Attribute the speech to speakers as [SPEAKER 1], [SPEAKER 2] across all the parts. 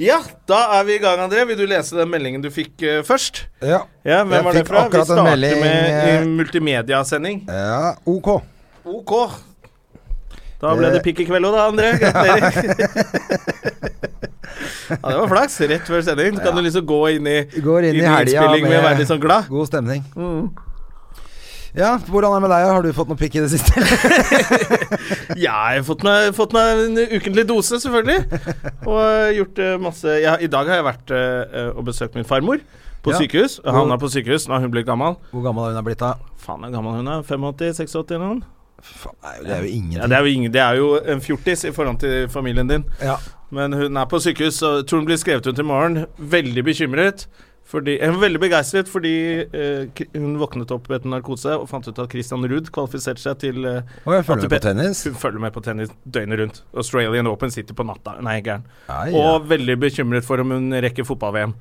[SPEAKER 1] Ja, da er vi i gang, André. Vil du lese den meldingen du fikk eh, først?
[SPEAKER 2] Ja.
[SPEAKER 1] Ja, hvem
[SPEAKER 2] Jeg
[SPEAKER 1] var det
[SPEAKER 2] fikk
[SPEAKER 1] fra? Vi
[SPEAKER 2] akkurat en
[SPEAKER 1] starter
[SPEAKER 2] melding,
[SPEAKER 1] med
[SPEAKER 2] eh,
[SPEAKER 1] eh, multimediasending.
[SPEAKER 2] ja, ok.
[SPEAKER 1] Ok. Da
[SPEAKER 2] Eh.
[SPEAKER 1] ble det pikk i kveld òg, da, André. Gratulerer. ja, det var flaks. Rett før sending. Så kan du liksom gå inn i,
[SPEAKER 2] Går inn i helga
[SPEAKER 1] innspilling med å være litt sånn glad.
[SPEAKER 2] god stemning. Ja, hvordan er det med deg? Har du fått noe pikk i det siste?
[SPEAKER 1] Ja, jeg har fått meg, fått meg en ukentlig dose, selvfølgelig. Og eh, gjort eh, masse ja, I dag har jeg vært eh, og besøkt min farmor på
[SPEAKER 2] Ja.
[SPEAKER 1] sykehus. Havna på sykehus når hun ble gammel.
[SPEAKER 2] Hvor gammel er hun er blitt da?
[SPEAKER 1] Faen, hvor gammel hun er. 85-86 eller noe?
[SPEAKER 2] Faen, det er jo- det er jo
[SPEAKER 1] Ja,
[SPEAKER 2] ingenting.
[SPEAKER 1] det er jo ingen Det er jo en fjortis i forhold til familien din.
[SPEAKER 2] Ja.
[SPEAKER 1] Men hun er på sykehus, og jeg tror hun blir skrevet ut i morgen. Veldig bekymret. Fordi, eh, veldig begeistret fordi eh, k- hun våknet opp etter narkose og fant ut at Christian Ruud kvalifiserte seg til eh,
[SPEAKER 2] Og jeg følger med på
[SPEAKER 1] ATP.
[SPEAKER 2] tennis.
[SPEAKER 1] Hun følger med på tennis døgnet rundt. Australian Open sitter på natta. Nei, gæren.
[SPEAKER 2] Ai, ja.
[SPEAKER 1] Og veldig bekymret for om hun rekker fotball-VM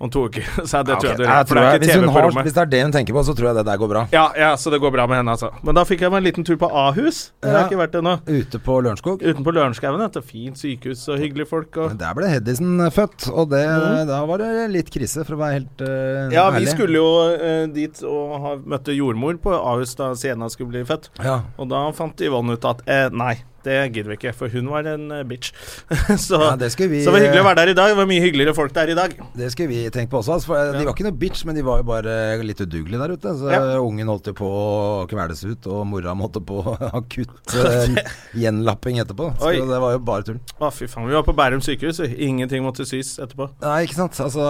[SPEAKER 1] om to uker. Så
[SPEAKER 2] Ja,
[SPEAKER 1] det tror
[SPEAKER 2] ok.
[SPEAKER 1] jeg du
[SPEAKER 2] Jeg
[SPEAKER 1] rekker, for
[SPEAKER 2] tror
[SPEAKER 1] det
[SPEAKER 2] jeg-
[SPEAKER 1] er
[SPEAKER 2] Hvis
[SPEAKER 1] ikke
[SPEAKER 2] hun
[SPEAKER 1] TV på
[SPEAKER 2] har- hvis
[SPEAKER 1] rommet.
[SPEAKER 2] det er det hun tenker på, så tror jeg det der går bra.
[SPEAKER 1] Ja, ja, så det går bra med henne, altså. Men da fikk jeg meg en liten tur på Ahus. Det har
[SPEAKER 2] Ja.
[SPEAKER 1] jeg ikke vært ennå.
[SPEAKER 2] Ute på Lørenskog.
[SPEAKER 1] Utenpå Lørenskauen. dette. Fint sykehus og hyggelige folk. Og
[SPEAKER 2] Men Der ble Hedison født, og det, da var det litt krise, for å være helt eh,
[SPEAKER 1] Ja, vi
[SPEAKER 2] ærlig.
[SPEAKER 1] skulle jo eh, dit og ha, møtte jordmor på Ahus da Sienna skulle bli født.
[SPEAKER 2] ja.
[SPEAKER 1] Og da fant Yvonne ut at eh, nei, det gidder vi ikke, for hun var en eh, bitch. så,
[SPEAKER 2] Ja, det skulle vi
[SPEAKER 1] så det var hyggelig å være der i dag. Det var mye hyggeligere folk der i dag.
[SPEAKER 2] Det skulle vi tenkt på også. altså, For eh, De var ikke noe bitch, men de var jo bare litt udugelige der ute. Så
[SPEAKER 1] Ja.
[SPEAKER 2] Ungen holdt jo på å kveles ut, og mora måtte på akutt eh, gjenlapping etterpå. Så
[SPEAKER 1] Oi.
[SPEAKER 2] det var jo bare tull.
[SPEAKER 1] Å, fy faen. Vi var på Bærum sykehus, og ingenting måtte sys etterpå.
[SPEAKER 2] Nei, ikke sant. Altså,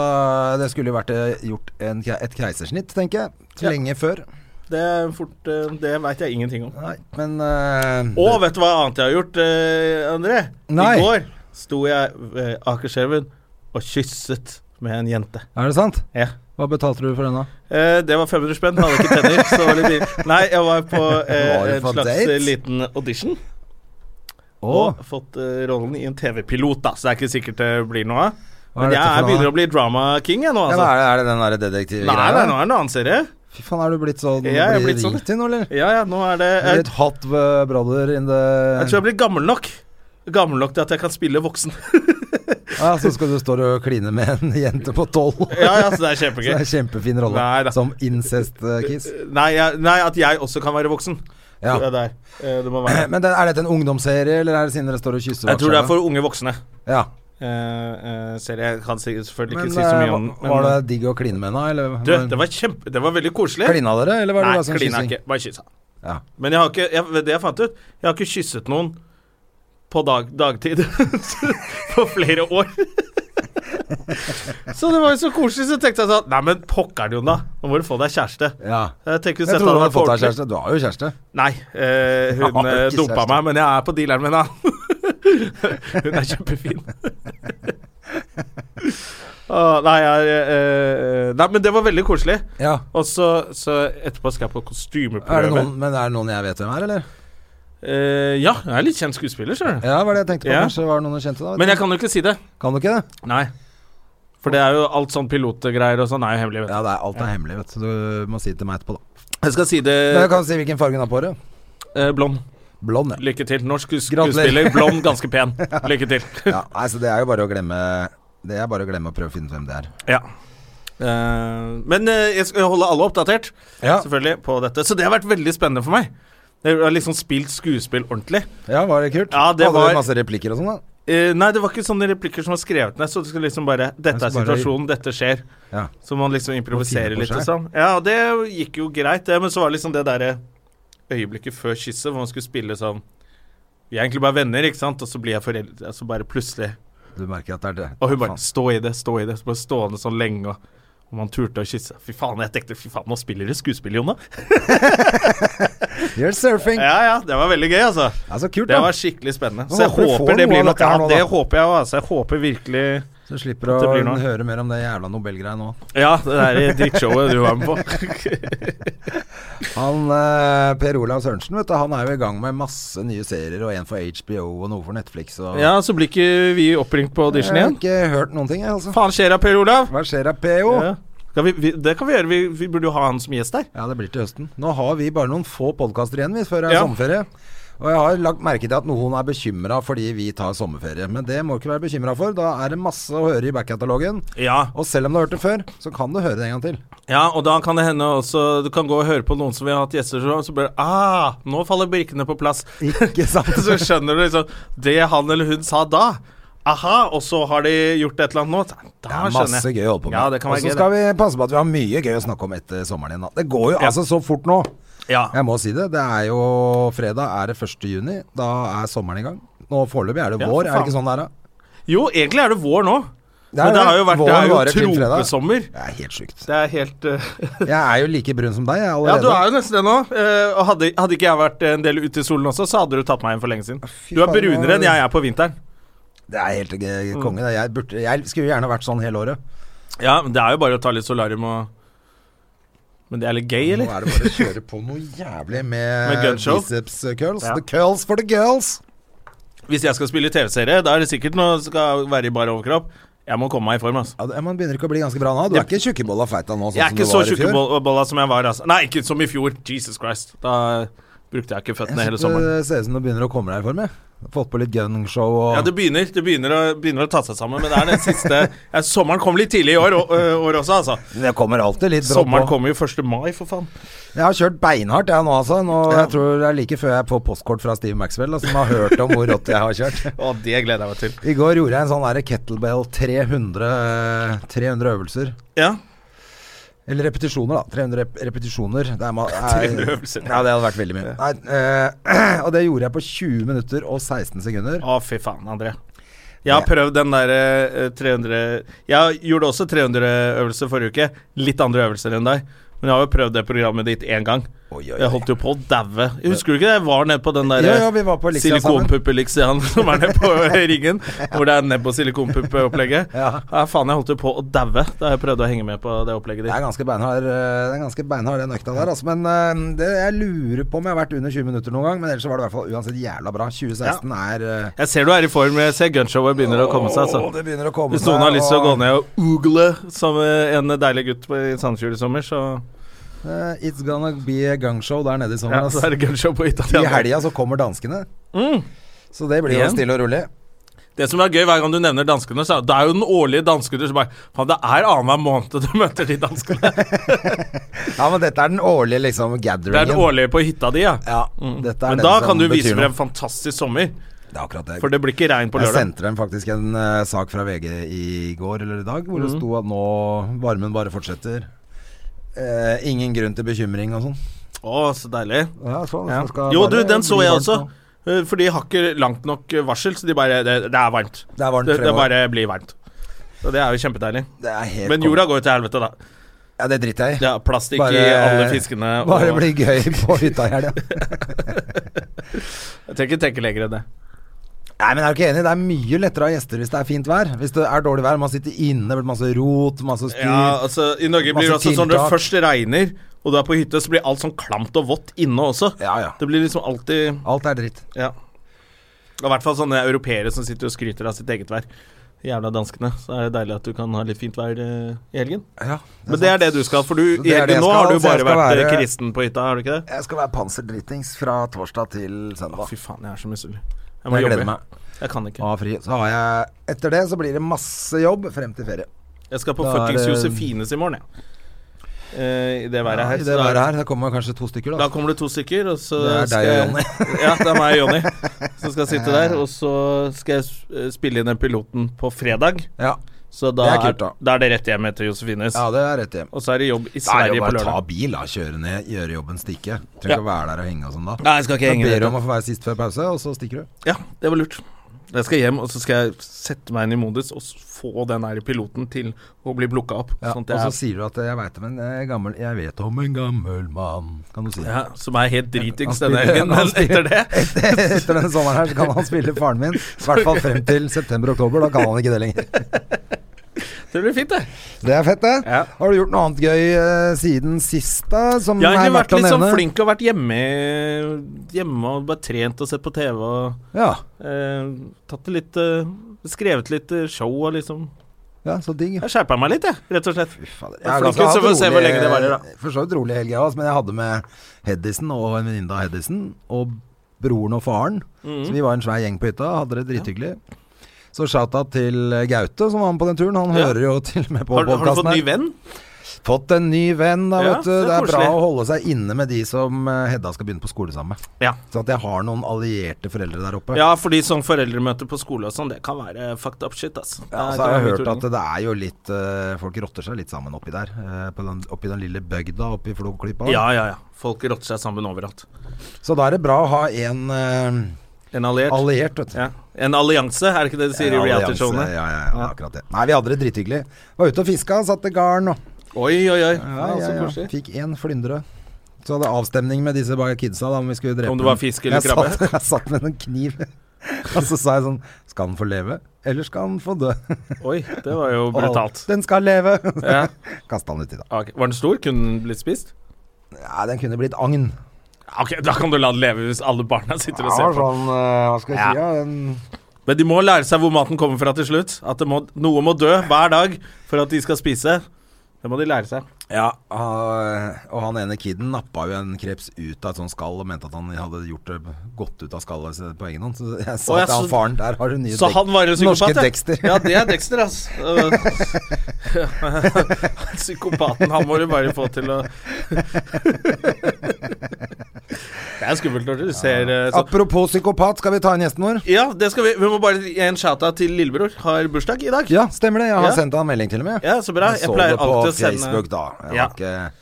[SPEAKER 2] det skulle jo vært eh, gjort en, kre- et keisersnitt, tenker jeg.
[SPEAKER 1] Ja.
[SPEAKER 2] Lenge før.
[SPEAKER 1] Det, er fort, eh, det veit jeg ingenting om.
[SPEAKER 2] Nei, men eh,
[SPEAKER 1] Og vet du hva annet jeg har gjort, eh, André?
[SPEAKER 2] Nei.
[SPEAKER 1] I går sto jeg ved Akerselven og kysset med en jente.
[SPEAKER 2] det- Er det sant?
[SPEAKER 1] Ja.
[SPEAKER 2] Hva betalte du for den, da?
[SPEAKER 1] Eh, det var 500 spenn. Hadde ikke tenner. Så det var litt dyrt. Nei, jeg var på eh,
[SPEAKER 2] Var du
[SPEAKER 1] en
[SPEAKER 2] på
[SPEAKER 1] slags
[SPEAKER 2] date?
[SPEAKER 1] eh, liten audition.
[SPEAKER 2] Å,
[SPEAKER 1] Og fått eh, rollen i en TV-pilot, da, så det er ikke sikkert det blir noe av.
[SPEAKER 2] er
[SPEAKER 1] Men jeg
[SPEAKER 2] dette for
[SPEAKER 1] er-
[SPEAKER 2] noe,
[SPEAKER 1] begynner
[SPEAKER 2] da?
[SPEAKER 1] å bli drama king, jeg nå,
[SPEAKER 2] ja, men
[SPEAKER 1] altså.
[SPEAKER 2] er, det, er det den derre detektivgreia?
[SPEAKER 1] Nei, nei, nå er det en annen serie.
[SPEAKER 2] Fy faen, er du blitt sånn
[SPEAKER 1] Ja, jeg er
[SPEAKER 2] blir
[SPEAKER 1] blitt sånn.
[SPEAKER 2] ringt til nå, eller?
[SPEAKER 1] Ja, ja, nå er det
[SPEAKER 2] Er du
[SPEAKER 1] jeg,
[SPEAKER 2] Litt hot eh, brother in the
[SPEAKER 1] jeg tror jeg blir gammel nok. Gammel nok til at jeg kan spille voksen.
[SPEAKER 2] Ja, så skal du stå og kline med en jente på tolv.
[SPEAKER 1] ja, ja, så
[SPEAKER 2] Så det
[SPEAKER 1] det er
[SPEAKER 2] er
[SPEAKER 1] kjempegøy.
[SPEAKER 2] en kjempefin rolle.
[SPEAKER 1] Nei da.
[SPEAKER 2] Som incest-kiss.
[SPEAKER 1] Nei, jeg, nei, at jeg også kan være voksen.
[SPEAKER 2] Ja.
[SPEAKER 1] Det er der. eh, Det må være.
[SPEAKER 2] Men det, er dette en ungdomsserie, eller er det siden dere står og kysser?
[SPEAKER 1] Jeg tror det er
[SPEAKER 2] hverandre?
[SPEAKER 1] for unge voksne.
[SPEAKER 2] ja.
[SPEAKER 1] Eh, eh, serie jeg kan si- selvfølgelig
[SPEAKER 2] Men
[SPEAKER 1] ikke si så mye om.
[SPEAKER 2] eh, var det digg å kline med henne, eller?
[SPEAKER 1] Du, det var kjempe Det var veldig koselig.
[SPEAKER 2] Klina dere, eller var det
[SPEAKER 1] Nei,
[SPEAKER 2] bare sånn
[SPEAKER 1] klina
[SPEAKER 2] kyssing?
[SPEAKER 1] ikke. Bare kyssa.
[SPEAKER 2] Ja.
[SPEAKER 1] Men jeg har ikke jeg, vet Det jeg fant ut Jeg har ikke kysset noen på dag, dagtid på flere år. så det var jo så koselig. Så tenkte jeg sånn Nei, men pokker, Jon, da. Nå må du få deg kjæreste.
[SPEAKER 2] ja.
[SPEAKER 1] Jeg tenker
[SPEAKER 2] Jeg
[SPEAKER 1] sette
[SPEAKER 2] trodde du
[SPEAKER 1] han
[SPEAKER 2] hadde
[SPEAKER 1] på
[SPEAKER 2] fått deg
[SPEAKER 1] ordentlig.
[SPEAKER 2] kjæreste. Du har jo kjæreste.
[SPEAKER 1] Nei, eh,
[SPEAKER 2] Jeg har
[SPEAKER 1] hun eh,
[SPEAKER 2] ikke
[SPEAKER 1] dumpa
[SPEAKER 2] kjæreste.
[SPEAKER 1] meg, men jeg er på dealeren min, da. hun er kjempefin. Åh, nei, jeg, eh, eh, nei, men det var veldig koselig.
[SPEAKER 2] Ja.
[SPEAKER 1] Og så, så etterpå skal jeg på
[SPEAKER 2] Er det
[SPEAKER 1] kostymeprøve.
[SPEAKER 2] noen, men er det noen jeg vet hvem er, eller?
[SPEAKER 1] Eh, ja, jeg er litt kjent skuespiller, skjønner du.
[SPEAKER 2] Ja, var det jeg tenkte på.
[SPEAKER 1] Ja.
[SPEAKER 2] Kanskje var det noen du kjente da?
[SPEAKER 1] Men jeg kan jo ikke si det.
[SPEAKER 2] Kan du ikke det?
[SPEAKER 1] Nei. For det er jo alt sånn pilotgreier og sånn er jo hemmelig. Vet.
[SPEAKER 2] Ja, det er, alt er hemmelig, vet du. Så du må si det til meg etterpå, da.
[SPEAKER 1] du. Jeg skal si det
[SPEAKER 2] Men jeg kan si hvilken farge hun har på håret.
[SPEAKER 1] eh, blond.
[SPEAKER 2] Blond, ja.
[SPEAKER 1] Lykke til. Norsk skues-
[SPEAKER 2] Gratulerer.
[SPEAKER 1] skuespiller, blond, ganske pen. Lykke til.
[SPEAKER 2] ja, nei, så det er jo bare å glemme Det er bare å glemme å prøve å finne ut hvem det er.
[SPEAKER 1] ja. Eh, men eh, jeg skal holde alle oppdatert,
[SPEAKER 2] Ja,
[SPEAKER 1] selvfølgelig, på dette. Så det har vært veldig spennende for meg. Jeg har liksom spilt skuespill ordentlig.
[SPEAKER 2] ja var det kult?
[SPEAKER 1] Ja, det
[SPEAKER 2] Hadde
[SPEAKER 1] var-
[SPEAKER 2] du masse replikker og sånn, da?
[SPEAKER 1] Eh, nei, det var ikke sånne replikker som var skrevet ned. Så du skulle liksom bare
[SPEAKER 2] Jeg
[SPEAKER 1] Dette er
[SPEAKER 2] skal bare-
[SPEAKER 1] situasjonen, dette skjer.
[SPEAKER 2] Ja.
[SPEAKER 1] Så man liksom improviserer
[SPEAKER 2] finne på
[SPEAKER 1] litt og
[SPEAKER 2] seg.
[SPEAKER 1] sånn. Ja, og det gikk jo greit, det. Men så var det liksom det derre øyeblikket før kysset, hvor man skulle spille sånn Vi er egentlig bare venner, ikke sant? Og så blir jeg forelder, og så bare plutselig
[SPEAKER 2] Du merker at det er det.
[SPEAKER 1] Og hun bare
[SPEAKER 2] Faen.
[SPEAKER 1] Stå i det, stå i det. Så bare stående sånn lenge, og, og man turte å kysse. Fy faen, jeg tenkte fy faen, nå spiller du skuespill, Jonna.
[SPEAKER 2] You're surfing!
[SPEAKER 1] Ja ja, det var veldig gøy, altså.
[SPEAKER 2] Det er så kult,
[SPEAKER 1] Det
[SPEAKER 2] da.
[SPEAKER 1] var skikkelig spennende.
[SPEAKER 2] Jeg
[SPEAKER 1] Så jeg
[SPEAKER 2] håper du får
[SPEAKER 1] håper det
[SPEAKER 2] noe
[SPEAKER 1] blir
[SPEAKER 2] av
[SPEAKER 1] noe
[SPEAKER 2] dette her
[SPEAKER 1] ja,
[SPEAKER 2] nå, da.
[SPEAKER 1] Det håper jeg òg, altså. Jeg håper virkelig
[SPEAKER 2] Så slipper å
[SPEAKER 1] Det blir noe.
[SPEAKER 2] høre mer om det jævla Nobelgreia nå.
[SPEAKER 1] Ja, det der drittshowet du var med på.
[SPEAKER 2] Han, eh, Per Olav Sørensen vet du, han er jo i gang med masse nye serier, og en for HBO og noe for Netflix. Og
[SPEAKER 1] Ja, så blir ikke vi oppringt på audition
[SPEAKER 2] Jeg har
[SPEAKER 1] igjen.
[SPEAKER 2] ikke hørt noen ting, jeg, altså.
[SPEAKER 1] Faen skjer da, Per Olav?
[SPEAKER 2] Hva skjer da, PO?
[SPEAKER 1] Ja. Kan vi, vi, det kan vi gjøre. Vi, vi burde jo ha han som gjest der.
[SPEAKER 2] Ja, det blir til høsten. Nå har vi bare noen få podkaster igjen vi, før det er
[SPEAKER 1] Ja.
[SPEAKER 2] sommerferie. Og jeg har lagt merke til at noen er bekymra fordi vi tar sommerferie. Men det må du ikke være bekymra for. Da er det masse å høre i backkatalogen.
[SPEAKER 1] Ja.
[SPEAKER 2] Og selv om du har hørt det før, så kan du høre det en gang til.
[SPEAKER 1] ja, og da kan det hende også Du kan gå og høre på noen som vi har hatt gjester, så, så blir det Ah, nå faller brikkene på plass.
[SPEAKER 2] Ikke sant?
[SPEAKER 1] Så skjønner du liksom Det han eller hun sa da. Aha, og så har de gjort et eller annet nå.
[SPEAKER 2] Det
[SPEAKER 1] Da
[SPEAKER 2] er
[SPEAKER 1] skjønner
[SPEAKER 2] masse
[SPEAKER 1] jeg.
[SPEAKER 2] gøy å holde på med.
[SPEAKER 1] Ja, det
[SPEAKER 2] og
[SPEAKER 1] kan være
[SPEAKER 2] så
[SPEAKER 1] gøy,
[SPEAKER 2] skal vi passe på at vi har mye gøy å snakke om etter sommeren igjen. da. Det går jo
[SPEAKER 1] Ja.
[SPEAKER 2] altså så fort nå.
[SPEAKER 1] Ja.
[SPEAKER 2] Jeg må si det. Det er jo fredag er det 1. juni. Da er sommeren i gang. Nå Foreløpig er det
[SPEAKER 1] Ja, for
[SPEAKER 2] vår, er det ikke
[SPEAKER 1] faen.
[SPEAKER 2] sånn det er da?
[SPEAKER 1] Jo, egentlig er det vår nå.
[SPEAKER 2] Det er
[SPEAKER 1] Men det
[SPEAKER 2] det.
[SPEAKER 1] har jo vært Det
[SPEAKER 2] Våren
[SPEAKER 1] er
[SPEAKER 2] varer til
[SPEAKER 1] jo
[SPEAKER 2] fredag.
[SPEAKER 1] tropesommer.
[SPEAKER 2] Det er helt sjukt.
[SPEAKER 1] Det er helt eh,
[SPEAKER 2] Jeg er jo like brun som deg jeg,
[SPEAKER 1] Ja,
[SPEAKER 2] allerede.
[SPEAKER 1] du er jo nesten det nå. eh, og hadde, hadde ikke jeg vært en del ute i solen også, så hadde du tatt meg igjen for lenge siden.
[SPEAKER 2] Fy
[SPEAKER 1] Du er
[SPEAKER 2] faen,
[SPEAKER 1] brunere enn
[SPEAKER 2] det-
[SPEAKER 1] jeg er på vinteren.
[SPEAKER 2] Det er helt eh,
[SPEAKER 1] Mm.
[SPEAKER 2] konge. det. Jeg, burde, jeg skulle gjerne vært sånn hele året.
[SPEAKER 1] Ja, men det er jo bare å ta litt solarium og Men det er litt gøy,
[SPEAKER 2] Nå
[SPEAKER 1] eller?
[SPEAKER 2] er det bare å kjøre på noe jævlig med,
[SPEAKER 1] Med gunshow?
[SPEAKER 2] biceps eh, curls.
[SPEAKER 1] Ja.
[SPEAKER 2] The curls for the girls!
[SPEAKER 1] Hvis jeg skal spille TV-serie, da er det sikkert noe som skal være i bar overkropp. Jeg må komme meg i form, altså.
[SPEAKER 2] Ja, det- man begynner ikke å bli ganske bra nå. Du er
[SPEAKER 1] Jeg-
[SPEAKER 2] ikke tjukkebolla feita nå, sånn
[SPEAKER 1] Jeg er
[SPEAKER 2] som
[SPEAKER 1] ikke
[SPEAKER 2] du
[SPEAKER 1] så
[SPEAKER 2] var i fjor.
[SPEAKER 1] tjukkebolla som jeg var, altså. Nei, ikke som i fjor. Jesus Christ. Da brukte jeg ikke føttene
[SPEAKER 2] Jeg
[SPEAKER 1] hele
[SPEAKER 2] synes
[SPEAKER 1] sommeren.
[SPEAKER 2] det ser ut som du begynner å komme deg i form. jeg. Fått på litt gunshow og
[SPEAKER 1] Ja, det begynner. Det begynner å, begynner å ta seg sammen, men det er den siste ja, Sommeren kom litt tidlig i år, og, ø, år også, altså.
[SPEAKER 2] Det kommer alltid litt brått
[SPEAKER 1] Sommeren
[SPEAKER 2] på.
[SPEAKER 1] kommer jo 1. mai, for faen.
[SPEAKER 2] Jeg har kjørt beinhardt jeg nå, altså. Nå,
[SPEAKER 1] Ja.
[SPEAKER 2] Jeg tror det er like før jeg får postkort fra Steve Maxwell, da, som har hørt om hvor rått jeg har kjørt.
[SPEAKER 1] Å, det gleder jeg meg til.
[SPEAKER 2] I går gjorde jeg en sånn der kettlebell 300, 300 øvelser.
[SPEAKER 1] Ja.
[SPEAKER 2] Eller repetisjoner, da. 300 rep repetisjoner. Det er, ma- er,
[SPEAKER 1] 300 øvelser.
[SPEAKER 2] Ja, det hadde vært veldig mye. Nei, eh, og det gjorde jeg på 20 minutter og 16 sekunder.
[SPEAKER 1] Å, fy faen, André. Jeg har prøvd den derre eh, 300 Jeg gjorde også 300-øvelse forrige uke. Litt andre øvelser enn deg. Men jeg har jo prøvd det programmet ditt én gang.
[SPEAKER 2] Oi, oi, oi.
[SPEAKER 1] Jeg holdt jo på å daue. Husker du ikke det? Jeg var nede på den der
[SPEAKER 2] Ja, ja, vi var på Elixia sammen.
[SPEAKER 1] silikonpuppe-lixian som er nede på ringen. Hvor det er nebb og silikonpuppe-opplegget.
[SPEAKER 2] Ja.
[SPEAKER 1] Ja, faen, jeg holdt jo på å daue da jeg prøvde å henge med på det opplegget
[SPEAKER 2] Det
[SPEAKER 1] ditt.
[SPEAKER 2] er ganske beinhard, eh, det er ganske beinhard den økta der, altså. Men eh, det, jeg lurer på om jeg har vært under 20 minutter noen gang. Men ellers så var det i hvert fall uansett jævla bra. 2016 er eh,
[SPEAKER 1] Jeg ser du er i form. Jeg ser gunshowet begynner å komme seg.
[SPEAKER 2] Åh,
[SPEAKER 1] altså
[SPEAKER 2] det begynner å komme
[SPEAKER 1] Hvis noen har lyst til å gå
[SPEAKER 2] og,
[SPEAKER 1] ned og oogle som eh, en deilig gutt på- i Sandefjord i sommer, så
[SPEAKER 2] eh, It's gonna be a gunshow der nede i sommer.
[SPEAKER 1] Ja, så
[SPEAKER 2] altså.
[SPEAKER 1] er det gunshow på hytta
[SPEAKER 2] I helga så kommer danskene. Så det blir jo
[SPEAKER 1] Igjen.
[SPEAKER 2] stille og rolig.
[SPEAKER 1] Det som er gøy hver gang du nevner danskene, så er det er jo den årlige dansketur som bare Faen, det er annenhver måned du møter de danskene.
[SPEAKER 2] Ja, men dette er den årlige liksom
[SPEAKER 1] Det er den
[SPEAKER 2] gatheringen.
[SPEAKER 1] årlige på hytta di, ja.
[SPEAKER 2] Ja, Mm. dette er
[SPEAKER 1] Men
[SPEAKER 2] den
[SPEAKER 1] da
[SPEAKER 2] som
[SPEAKER 1] kan du
[SPEAKER 2] betyr
[SPEAKER 1] vise
[SPEAKER 2] noe.
[SPEAKER 1] frem fantastisk sommer,
[SPEAKER 2] Det er akkurat det.
[SPEAKER 1] for det blir ikke regn på
[SPEAKER 2] jeg
[SPEAKER 1] lørdag.
[SPEAKER 2] sendte dem faktisk en eh, sak fra VG i går eller i dag, hvor
[SPEAKER 1] Mm.
[SPEAKER 2] det sto at nå varmen bare fortsetter. Eh, ingen grunn til bekymring og sånn.
[SPEAKER 1] Å, så deilig.
[SPEAKER 2] Ja, sånn,
[SPEAKER 1] Ja.
[SPEAKER 2] så skal
[SPEAKER 1] Jo, du,
[SPEAKER 2] bare
[SPEAKER 1] den så
[SPEAKER 2] bli
[SPEAKER 1] jeg
[SPEAKER 2] varmt
[SPEAKER 1] også.
[SPEAKER 2] nå.
[SPEAKER 1] Eh, For de har ikke langt nok eh, varsel, så de bare Det, det er varmt.
[SPEAKER 2] Det er varmt
[SPEAKER 1] Det, det
[SPEAKER 2] fremover.
[SPEAKER 1] bare blir varmt. Og det er jo kjempedeilig.
[SPEAKER 2] Det er helt
[SPEAKER 1] Men
[SPEAKER 2] konge.
[SPEAKER 1] jorda går jo til helvete, da.
[SPEAKER 2] Ja, det driter jeg i.
[SPEAKER 1] Ja, plastikk i alle fiskene.
[SPEAKER 2] Bare
[SPEAKER 1] Og,
[SPEAKER 2] bli gøy på hytta i helga.
[SPEAKER 1] jeg trenger ikke tenke lenger enn det.
[SPEAKER 2] Nei, men jeg er du ikke enig. Det er mye lettere å ha gjester hvis det er fint vær. Hvis det er dårlig vær, man sitter inne, det blir masse rot, masse styr.
[SPEAKER 1] Ja, altså I Norge blir det
[SPEAKER 2] Masse
[SPEAKER 1] også sånn når
[SPEAKER 2] tiltak.
[SPEAKER 1] det først regner, og du er på hytte, så blir alt sånn klamt og vått inne også.
[SPEAKER 2] Ja, ja.
[SPEAKER 1] Det blir liksom alltid
[SPEAKER 2] Alt er dritt.
[SPEAKER 1] Ja. Og I hvert fall sånne europeere som sitter og skryter av sitt eget vær. Jævla danskene. Så er det deilig at du kan ha litt fint vær eh, i helgen.
[SPEAKER 2] Ja,
[SPEAKER 1] Men det er det du skal, for du,
[SPEAKER 2] Det
[SPEAKER 1] i
[SPEAKER 2] er det
[SPEAKER 1] helgen
[SPEAKER 2] jeg
[SPEAKER 1] nå
[SPEAKER 2] skal,
[SPEAKER 1] har du
[SPEAKER 2] altså, jeg
[SPEAKER 1] bare
[SPEAKER 2] skal
[SPEAKER 1] vært eh,
[SPEAKER 2] være-
[SPEAKER 1] kristen på hytta, har du ikke det?
[SPEAKER 2] Jeg skal være panserdritings fra torsdag til søndag.
[SPEAKER 1] Fy faen, jeg er så misunnelig. Jeg må
[SPEAKER 2] jeg gleder
[SPEAKER 1] jobbe.
[SPEAKER 2] meg.
[SPEAKER 1] Jeg kan ikke.
[SPEAKER 2] Og ha fri. Så har jeg Etter det så blir det masse jobb frem til ferie.
[SPEAKER 1] Jeg skal på
[SPEAKER 2] Da er
[SPEAKER 1] fuckings
[SPEAKER 2] det-
[SPEAKER 1] Josefines i morgen, jeg. Eh, I det været her.
[SPEAKER 2] I
[SPEAKER 1] så
[SPEAKER 2] det
[SPEAKER 1] da-
[SPEAKER 2] været her. Det kommer kanskje to stykker,
[SPEAKER 1] Da
[SPEAKER 2] da.
[SPEAKER 1] kommer det to stykker, og så
[SPEAKER 2] Det er deg
[SPEAKER 1] skal
[SPEAKER 2] og
[SPEAKER 1] jeg-
[SPEAKER 2] Jonny.
[SPEAKER 1] ja, det er meg og Jonny som skal sitte der. Og så skal jeg s- eh, spille inn den piloten på fredag.
[SPEAKER 2] Ja.
[SPEAKER 1] Så da
[SPEAKER 2] Det er kult, da.
[SPEAKER 1] da er det rett hjem etter Josefines.
[SPEAKER 2] ja, det er rett hjem.
[SPEAKER 1] Og så er det jobb i
[SPEAKER 2] Da er det
[SPEAKER 1] Sverige
[SPEAKER 2] jo
[SPEAKER 1] på
[SPEAKER 2] bare å ta
[SPEAKER 1] lørdag.
[SPEAKER 2] bil, da. Kjøre ned, gjøre jobben, stikke. Trenger
[SPEAKER 1] Ja.
[SPEAKER 2] ikke å være der og henge og sånn da.
[SPEAKER 1] Nei, jeg skal
[SPEAKER 2] Da
[SPEAKER 1] ikke henge
[SPEAKER 2] ber du
[SPEAKER 1] det.
[SPEAKER 2] om å få være sist før pause, og så stikker du.
[SPEAKER 1] Ja, det var lurt. Jeg skal hjem, og så skal jeg sette meg inn i modus og s- få den her piloten til å bli blukka opp.
[SPEAKER 2] Ja,
[SPEAKER 1] sånn at
[SPEAKER 2] og så
[SPEAKER 1] jeg,
[SPEAKER 2] sier du at eh, jeg veit om en eh, gammel Jeg vet om en gammel mann, kan du si.
[SPEAKER 1] ja, som er helt dritings
[SPEAKER 2] Han
[SPEAKER 1] denne
[SPEAKER 2] spiller-
[SPEAKER 1] helgen,
[SPEAKER 2] han
[SPEAKER 1] men
[SPEAKER 2] spiller-
[SPEAKER 1] etter det
[SPEAKER 2] Etter denne sommeren her så kan han spille faren min. I hvert fall frem til september-oktober. Da kan han ikke det lenger.
[SPEAKER 1] Det blir fint, det.
[SPEAKER 2] Det er fett, det.
[SPEAKER 1] Ja.
[SPEAKER 2] Har du gjort noe annet gøy eh, siden sist, da? Som
[SPEAKER 1] Jeg har
[SPEAKER 2] er
[SPEAKER 1] egentlig
[SPEAKER 2] verdt
[SPEAKER 1] vært
[SPEAKER 2] å
[SPEAKER 1] litt sånn
[SPEAKER 2] nevne?
[SPEAKER 1] flink og vært hjemme, hjemme og bare trent og sett på TV og
[SPEAKER 2] Ja.
[SPEAKER 1] eh, tatt det litt eh, Skrevet litt eh, show og liksom
[SPEAKER 2] ja, så digg.
[SPEAKER 1] Jeg skjerpa meg litt, jeg, rett og slett.
[SPEAKER 2] Fy fader.
[SPEAKER 1] Jeg er flink, så får vi se hvor lenge det varer, da.
[SPEAKER 2] For eh, så vidt rolig helg, jeg også, men jeg hadde med Hedison og en venninne av Hedison og broren og faren.
[SPEAKER 1] Mhm.
[SPEAKER 2] Så vi var en svær gjeng på hytta, hadde det drithyggelig. Så shout-out til eh, Gaute, som var med på den turen. Han
[SPEAKER 1] Ja.
[SPEAKER 2] hører jo til og med på
[SPEAKER 1] Har, har du
[SPEAKER 2] podkasten
[SPEAKER 1] fått ny venn?
[SPEAKER 2] Fått en ny venn, da,
[SPEAKER 1] Ja,
[SPEAKER 2] vet du.
[SPEAKER 1] det er
[SPEAKER 2] Det er bra
[SPEAKER 1] koselig.
[SPEAKER 2] å holde seg inne med de som eh, Hedda skal begynne på skole sammen med.
[SPEAKER 1] Ja.
[SPEAKER 2] Sånn at jeg har noen allierte foreldre der oppe.
[SPEAKER 1] Ja, fordi sånn foreldremøte på skole og sånn, det kan være fucked up shit, ass.
[SPEAKER 2] Ja, så har jeg hørt at det er jo litt eh, Folk rotter seg litt sammen oppi der. eh, på den, oppi den lille bygda oppi Flåklypa.
[SPEAKER 1] Ja, ja, ja. Folk rotter seg sammen overalt.
[SPEAKER 2] Så da er det bra å ha en eh,
[SPEAKER 1] En alliert.
[SPEAKER 2] alliert, vet du.
[SPEAKER 1] ja. En allianse, er det ikke det de sier i
[SPEAKER 2] En allianse,
[SPEAKER 1] reality-showene?
[SPEAKER 2] Ja, ja, ja, akkurat det. Nei, vi hadde det drithyggelig. Var ute og fiska, satte garn og
[SPEAKER 1] Oi, oi, oi.
[SPEAKER 2] ja,
[SPEAKER 1] Ja,
[SPEAKER 2] ja,
[SPEAKER 1] så
[SPEAKER 2] ja.
[SPEAKER 1] koselig.
[SPEAKER 2] Fikk én flyndre. Så hadde jeg avstemning med disse bare kidsa da, om vi skulle drepe
[SPEAKER 1] Om det var
[SPEAKER 2] dem.
[SPEAKER 1] fisk eller
[SPEAKER 2] jeg
[SPEAKER 1] krabbe?
[SPEAKER 2] Satt, jeg satt med en kniv, og så sa jeg sånn Skal den få leve, eller skal den få dø?
[SPEAKER 1] Oi, det var jo brutalt.
[SPEAKER 2] Og, den skal leve!
[SPEAKER 1] Ja.
[SPEAKER 2] Kasta den uti, da.
[SPEAKER 1] Ok, Var den stor? Kunne den blitt spist?
[SPEAKER 2] Ja, den kunne blitt agn.
[SPEAKER 1] Ok, Da kan du la den leve hvis alle barna sitter og ser på.
[SPEAKER 2] sånn eh, Hva skal jeg
[SPEAKER 1] Ja.
[SPEAKER 2] si, ja. En
[SPEAKER 1] Men de må lære seg hvor maten kommer fra til slutt. At det må, noe må dø hver dag for at de skal spise. Det må de lære seg.
[SPEAKER 2] Ja, eh, og og han ene kiden nappa jo en kreps ut av et sånt skall og mente at han hadde gjort det godt ut av skallet så- på egen hånd. Så jeg sa
[SPEAKER 1] Å, ja,
[SPEAKER 2] til han
[SPEAKER 1] så-
[SPEAKER 2] faren der har du nye
[SPEAKER 1] Så
[SPEAKER 2] dek-
[SPEAKER 1] han var en psykopat,
[SPEAKER 2] norske
[SPEAKER 1] ja.
[SPEAKER 2] Dexter.
[SPEAKER 1] Ja, det er Dexter, ass. Øh, Psykopaten, han må du bare få til å Det er skummelt når du ser eh, så.
[SPEAKER 2] Apropos psykopat, skal vi ta inn gjesten vår?
[SPEAKER 1] Ja, det skal vi. Vi må bare gi en shout-out til lillebror. Har bursdag i dag.
[SPEAKER 2] Ja, stemmer det. Jeg har
[SPEAKER 1] Ja.
[SPEAKER 2] sendt han melding til og med.
[SPEAKER 1] Ja, så bra.
[SPEAKER 2] Jeg
[SPEAKER 1] Jeg
[SPEAKER 2] så
[SPEAKER 1] pleier
[SPEAKER 2] det på
[SPEAKER 1] alltid å sende-
[SPEAKER 2] Facebook da. Jeg
[SPEAKER 1] Ja.
[SPEAKER 2] har ikke,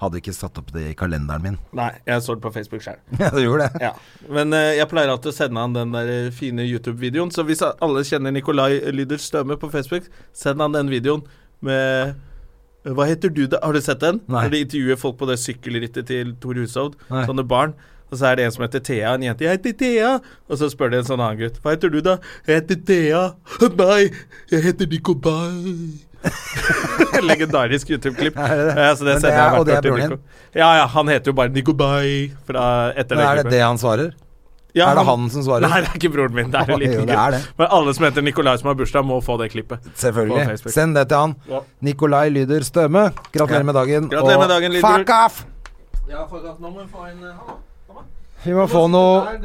[SPEAKER 2] hadde ikke satt opp det i kalenderen min.
[SPEAKER 1] Nei, jeg så det på Facebook sjøl.
[SPEAKER 2] Ja, du gjorde det?
[SPEAKER 1] Ja. Men eh, jeg pleier alltid å sende han den der eh, fine YouTube-videoen. Så hvis alle kjenner Nikolai Lyder Støme på Facebook, send han den videoen med Hva heter du da? Har du sett den?
[SPEAKER 2] Nei.
[SPEAKER 1] Når de intervjuer folk på det sykkelrittet til Tor Hushovd.
[SPEAKER 2] Nei.
[SPEAKER 1] Sånne barn. Og så er det en som heter Thea, en jente. 'Jeg heter Thea.' Og så spør de en sånn annen gutt. 'Hva heter du, da?' 'Jeg heter Thea.' 'Nei, jeg heter Nikolai.' Legendarisk YouTube-klipp.
[SPEAKER 2] Er det det?
[SPEAKER 1] Ja, så det
[SPEAKER 2] Men det
[SPEAKER 1] sender
[SPEAKER 2] er-
[SPEAKER 1] jeg hvert
[SPEAKER 2] og det er
[SPEAKER 1] år til
[SPEAKER 2] broren din?
[SPEAKER 1] Nico. Ja, ja, han heter jo bare Nikolai fra etter
[SPEAKER 2] Men er det
[SPEAKER 1] klippet.
[SPEAKER 2] det han svarer?
[SPEAKER 1] Ja,
[SPEAKER 2] er det han som svarer?
[SPEAKER 1] Nei, det er ikke broren min. Det er
[SPEAKER 2] Oi,
[SPEAKER 1] en liten
[SPEAKER 2] jo, det er
[SPEAKER 1] gutt. Men alle som heter Nikolai som har bursdag, må få det klippet. På
[SPEAKER 2] Selvfølgelig.
[SPEAKER 1] Facebook.
[SPEAKER 2] Send det til han.
[SPEAKER 1] Ja.
[SPEAKER 2] Nikolai Lyder Støme. Gratulerer
[SPEAKER 1] Ja.
[SPEAKER 2] med dagen.
[SPEAKER 1] Gratulerer med
[SPEAKER 2] og
[SPEAKER 1] dagen, Lyder.
[SPEAKER 2] fuck off! Vi må få noe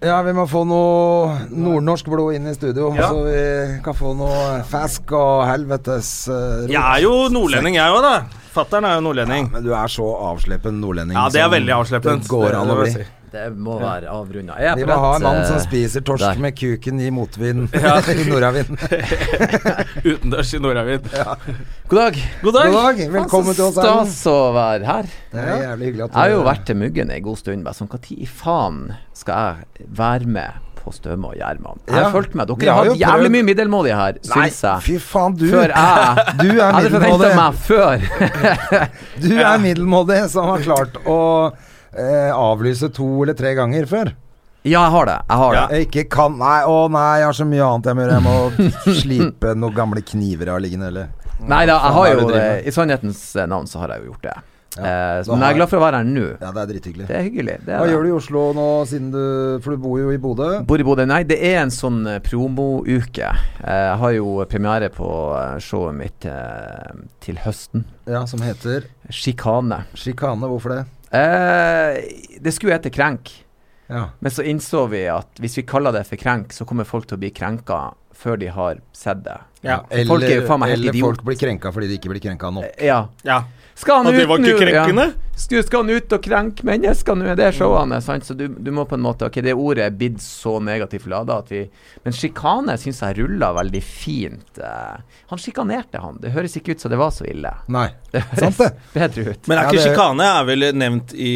[SPEAKER 2] Ja, vi må få noe nordnorsk blod inn i studio,
[SPEAKER 1] Ja.
[SPEAKER 2] så vi kan få noe fask og helvetes eh, rot.
[SPEAKER 1] Jeg er jo nordlending, jeg òg, da. Fattern er jo nordlending.
[SPEAKER 2] Men du er så avsleppen nordlending.
[SPEAKER 1] Ja, det er
[SPEAKER 2] som
[SPEAKER 1] veldig avsleppende.
[SPEAKER 2] Det går an å bli.
[SPEAKER 3] Det må være avrunda. Jeg er
[SPEAKER 2] De
[SPEAKER 3] på
[SPEAKER 2] må ha en
[SPEAKER 3] rett,
[SPEAKER 2] mann som
[SPEAKER 3] eh,
[SPEAKER 2] spiser torsk
[SPEAKER 3] der.
[SPEAKER 2] med kuken i motvind
[SPEAKER 1] Ja.
[SPEAKER 2] i nordavind.
[SPEAKER 1] Utendørs i Nordavid.
[SPEAKER 3] God dag.
[SPEAKER 1] God dag.
[SPEAKER 2] God dag, velkommen til oss. Erlend.
[SPEAKER 3] Stas å være her.
[SPEAKER 2] Det er jævlig hyggelig at
[SPEAKER 3] Jeg har jo vært til Muggen ei god stund. Bare sånn, Når i faen skal jeg være med på Støme og Gjerman? Jeg har
[SPEAKER 2] Ja.
[SPEAKER 3] følt meg
[SPEAKER 2] Vi
[SPEAKER 3] Dere
[SPEAKER 2] har
[SPEAKER 3] har
[SPEAKER 2] jo
[SPEAKER 3] hatt jævlig
[SPEAKER 2] prøvd-
[SPEAKER 3] mye middelmådige her,
[SPEAKER 2] Nei,
[SPEAKER 3] syns jeg.
[SPEAKER 2] fy faen, du,
[SPEAKER 3] Før jeg
[SPEAKER 2] Du er
[SPEAKER 3] Jeg hadde forventa
[SPEAKER 2] middelmådig.
[SPEAKER 3] meg før.
[SPEAKER 2] du er middelmådig som har klart å eh, avlyse to eller tre ganger før.
[SPEAKER 3] Ja, jeg har det. Jeg har det.
[SPEAKER 2] Jeg ikke kan Nei, å nei, jeg har så mye annet jeg må gjøre. Jeg må slipe noen gamle kniver jeg har liggende, eller
[SPEAKER 3] Nei da, jeg har
[SPEAKER 2] Faen, hva er det
[SPEAKER 3] jo
[SPEAKER 2] du driver med?
[SPEAKER 3] eh, I sannhetens eh, navn så har jeg jo gjort det. Eh,
[SPEAKER 2] da
[SPEAKER 3] men
[SPEAKER 2] har
[SPEAKER 3] jeg er glad for å være her nå.
[SPEAKER 2] Ja, det er drithyggelig.
[SPEAKER 3] Det er hyggelig. Det er
[SPEAKER 2] Hva
[SPEAKER 3] det.
[SPEAKER 2] gjør du i Oslo nå, siden du For du bor jo i Bodø.
[SPEAKER 3] Bor i Bodø. Nei, det er en sånn eh, promouke. Eh, Jeg har jo premiere på eh, showet mitt eh, til høsten.
[SPEAKER 2] Ja, som heter
[SPEAKER 3] Sjikane.
[SPEAKER 2] Sjikane. Hvorfor det?
[SPEAKER 3] Eh, det skulle hete Krenk,
[SPEAKER 2] Ja.
[SPEAKER 3] men så innså vi at hvis vi kaller det for Krenk, så kommer folk til å bli krenka før de har sett det.
[SPEAKER 1] Ja.
[SPEAKER 3] Folk er jo faen meg helt
[SPEAKER 2] eller
[SPEAKER 3] idiot.
[SPEAKER 2] folk blir krenka fordi de ikke blir krenka nå.
[SPEAKER 3] Eh, Ja.
[SPEAKER 1] ja.
[SPEAKER 3] Skal han
[SPEAKER 1] Og det
[SPEAKER 3] ut
[SPEAKER 1] var ikke
[SPEAKER 3] nå? Ja.
[SPEAKER 1] krenkende? Mm.
[SPEAKER 3] Skal, skal han ut og krenke mennesker nå? Er Det er showene, sant? Så du, du må på en måte Ok, det ordet er blitt så negativt lada at vi Men sjikane syns jeg rulla veldig fint. eh. han sjikanerte han. Det høres ikke ut som det var så ille.
[SPEAKER 2] Nei.
[SPEAKER 3] Det
[SPEAKER 2] Sant det.
[SPEAKER 3] høres bedre ut.
[SPEAKER 1] Men er
[SPEAKER 2] Ja,
[SPEAKER 1] ikke
[SPEAKER 2] det-
[SPEAKER 1] sjikane er vel nevnt i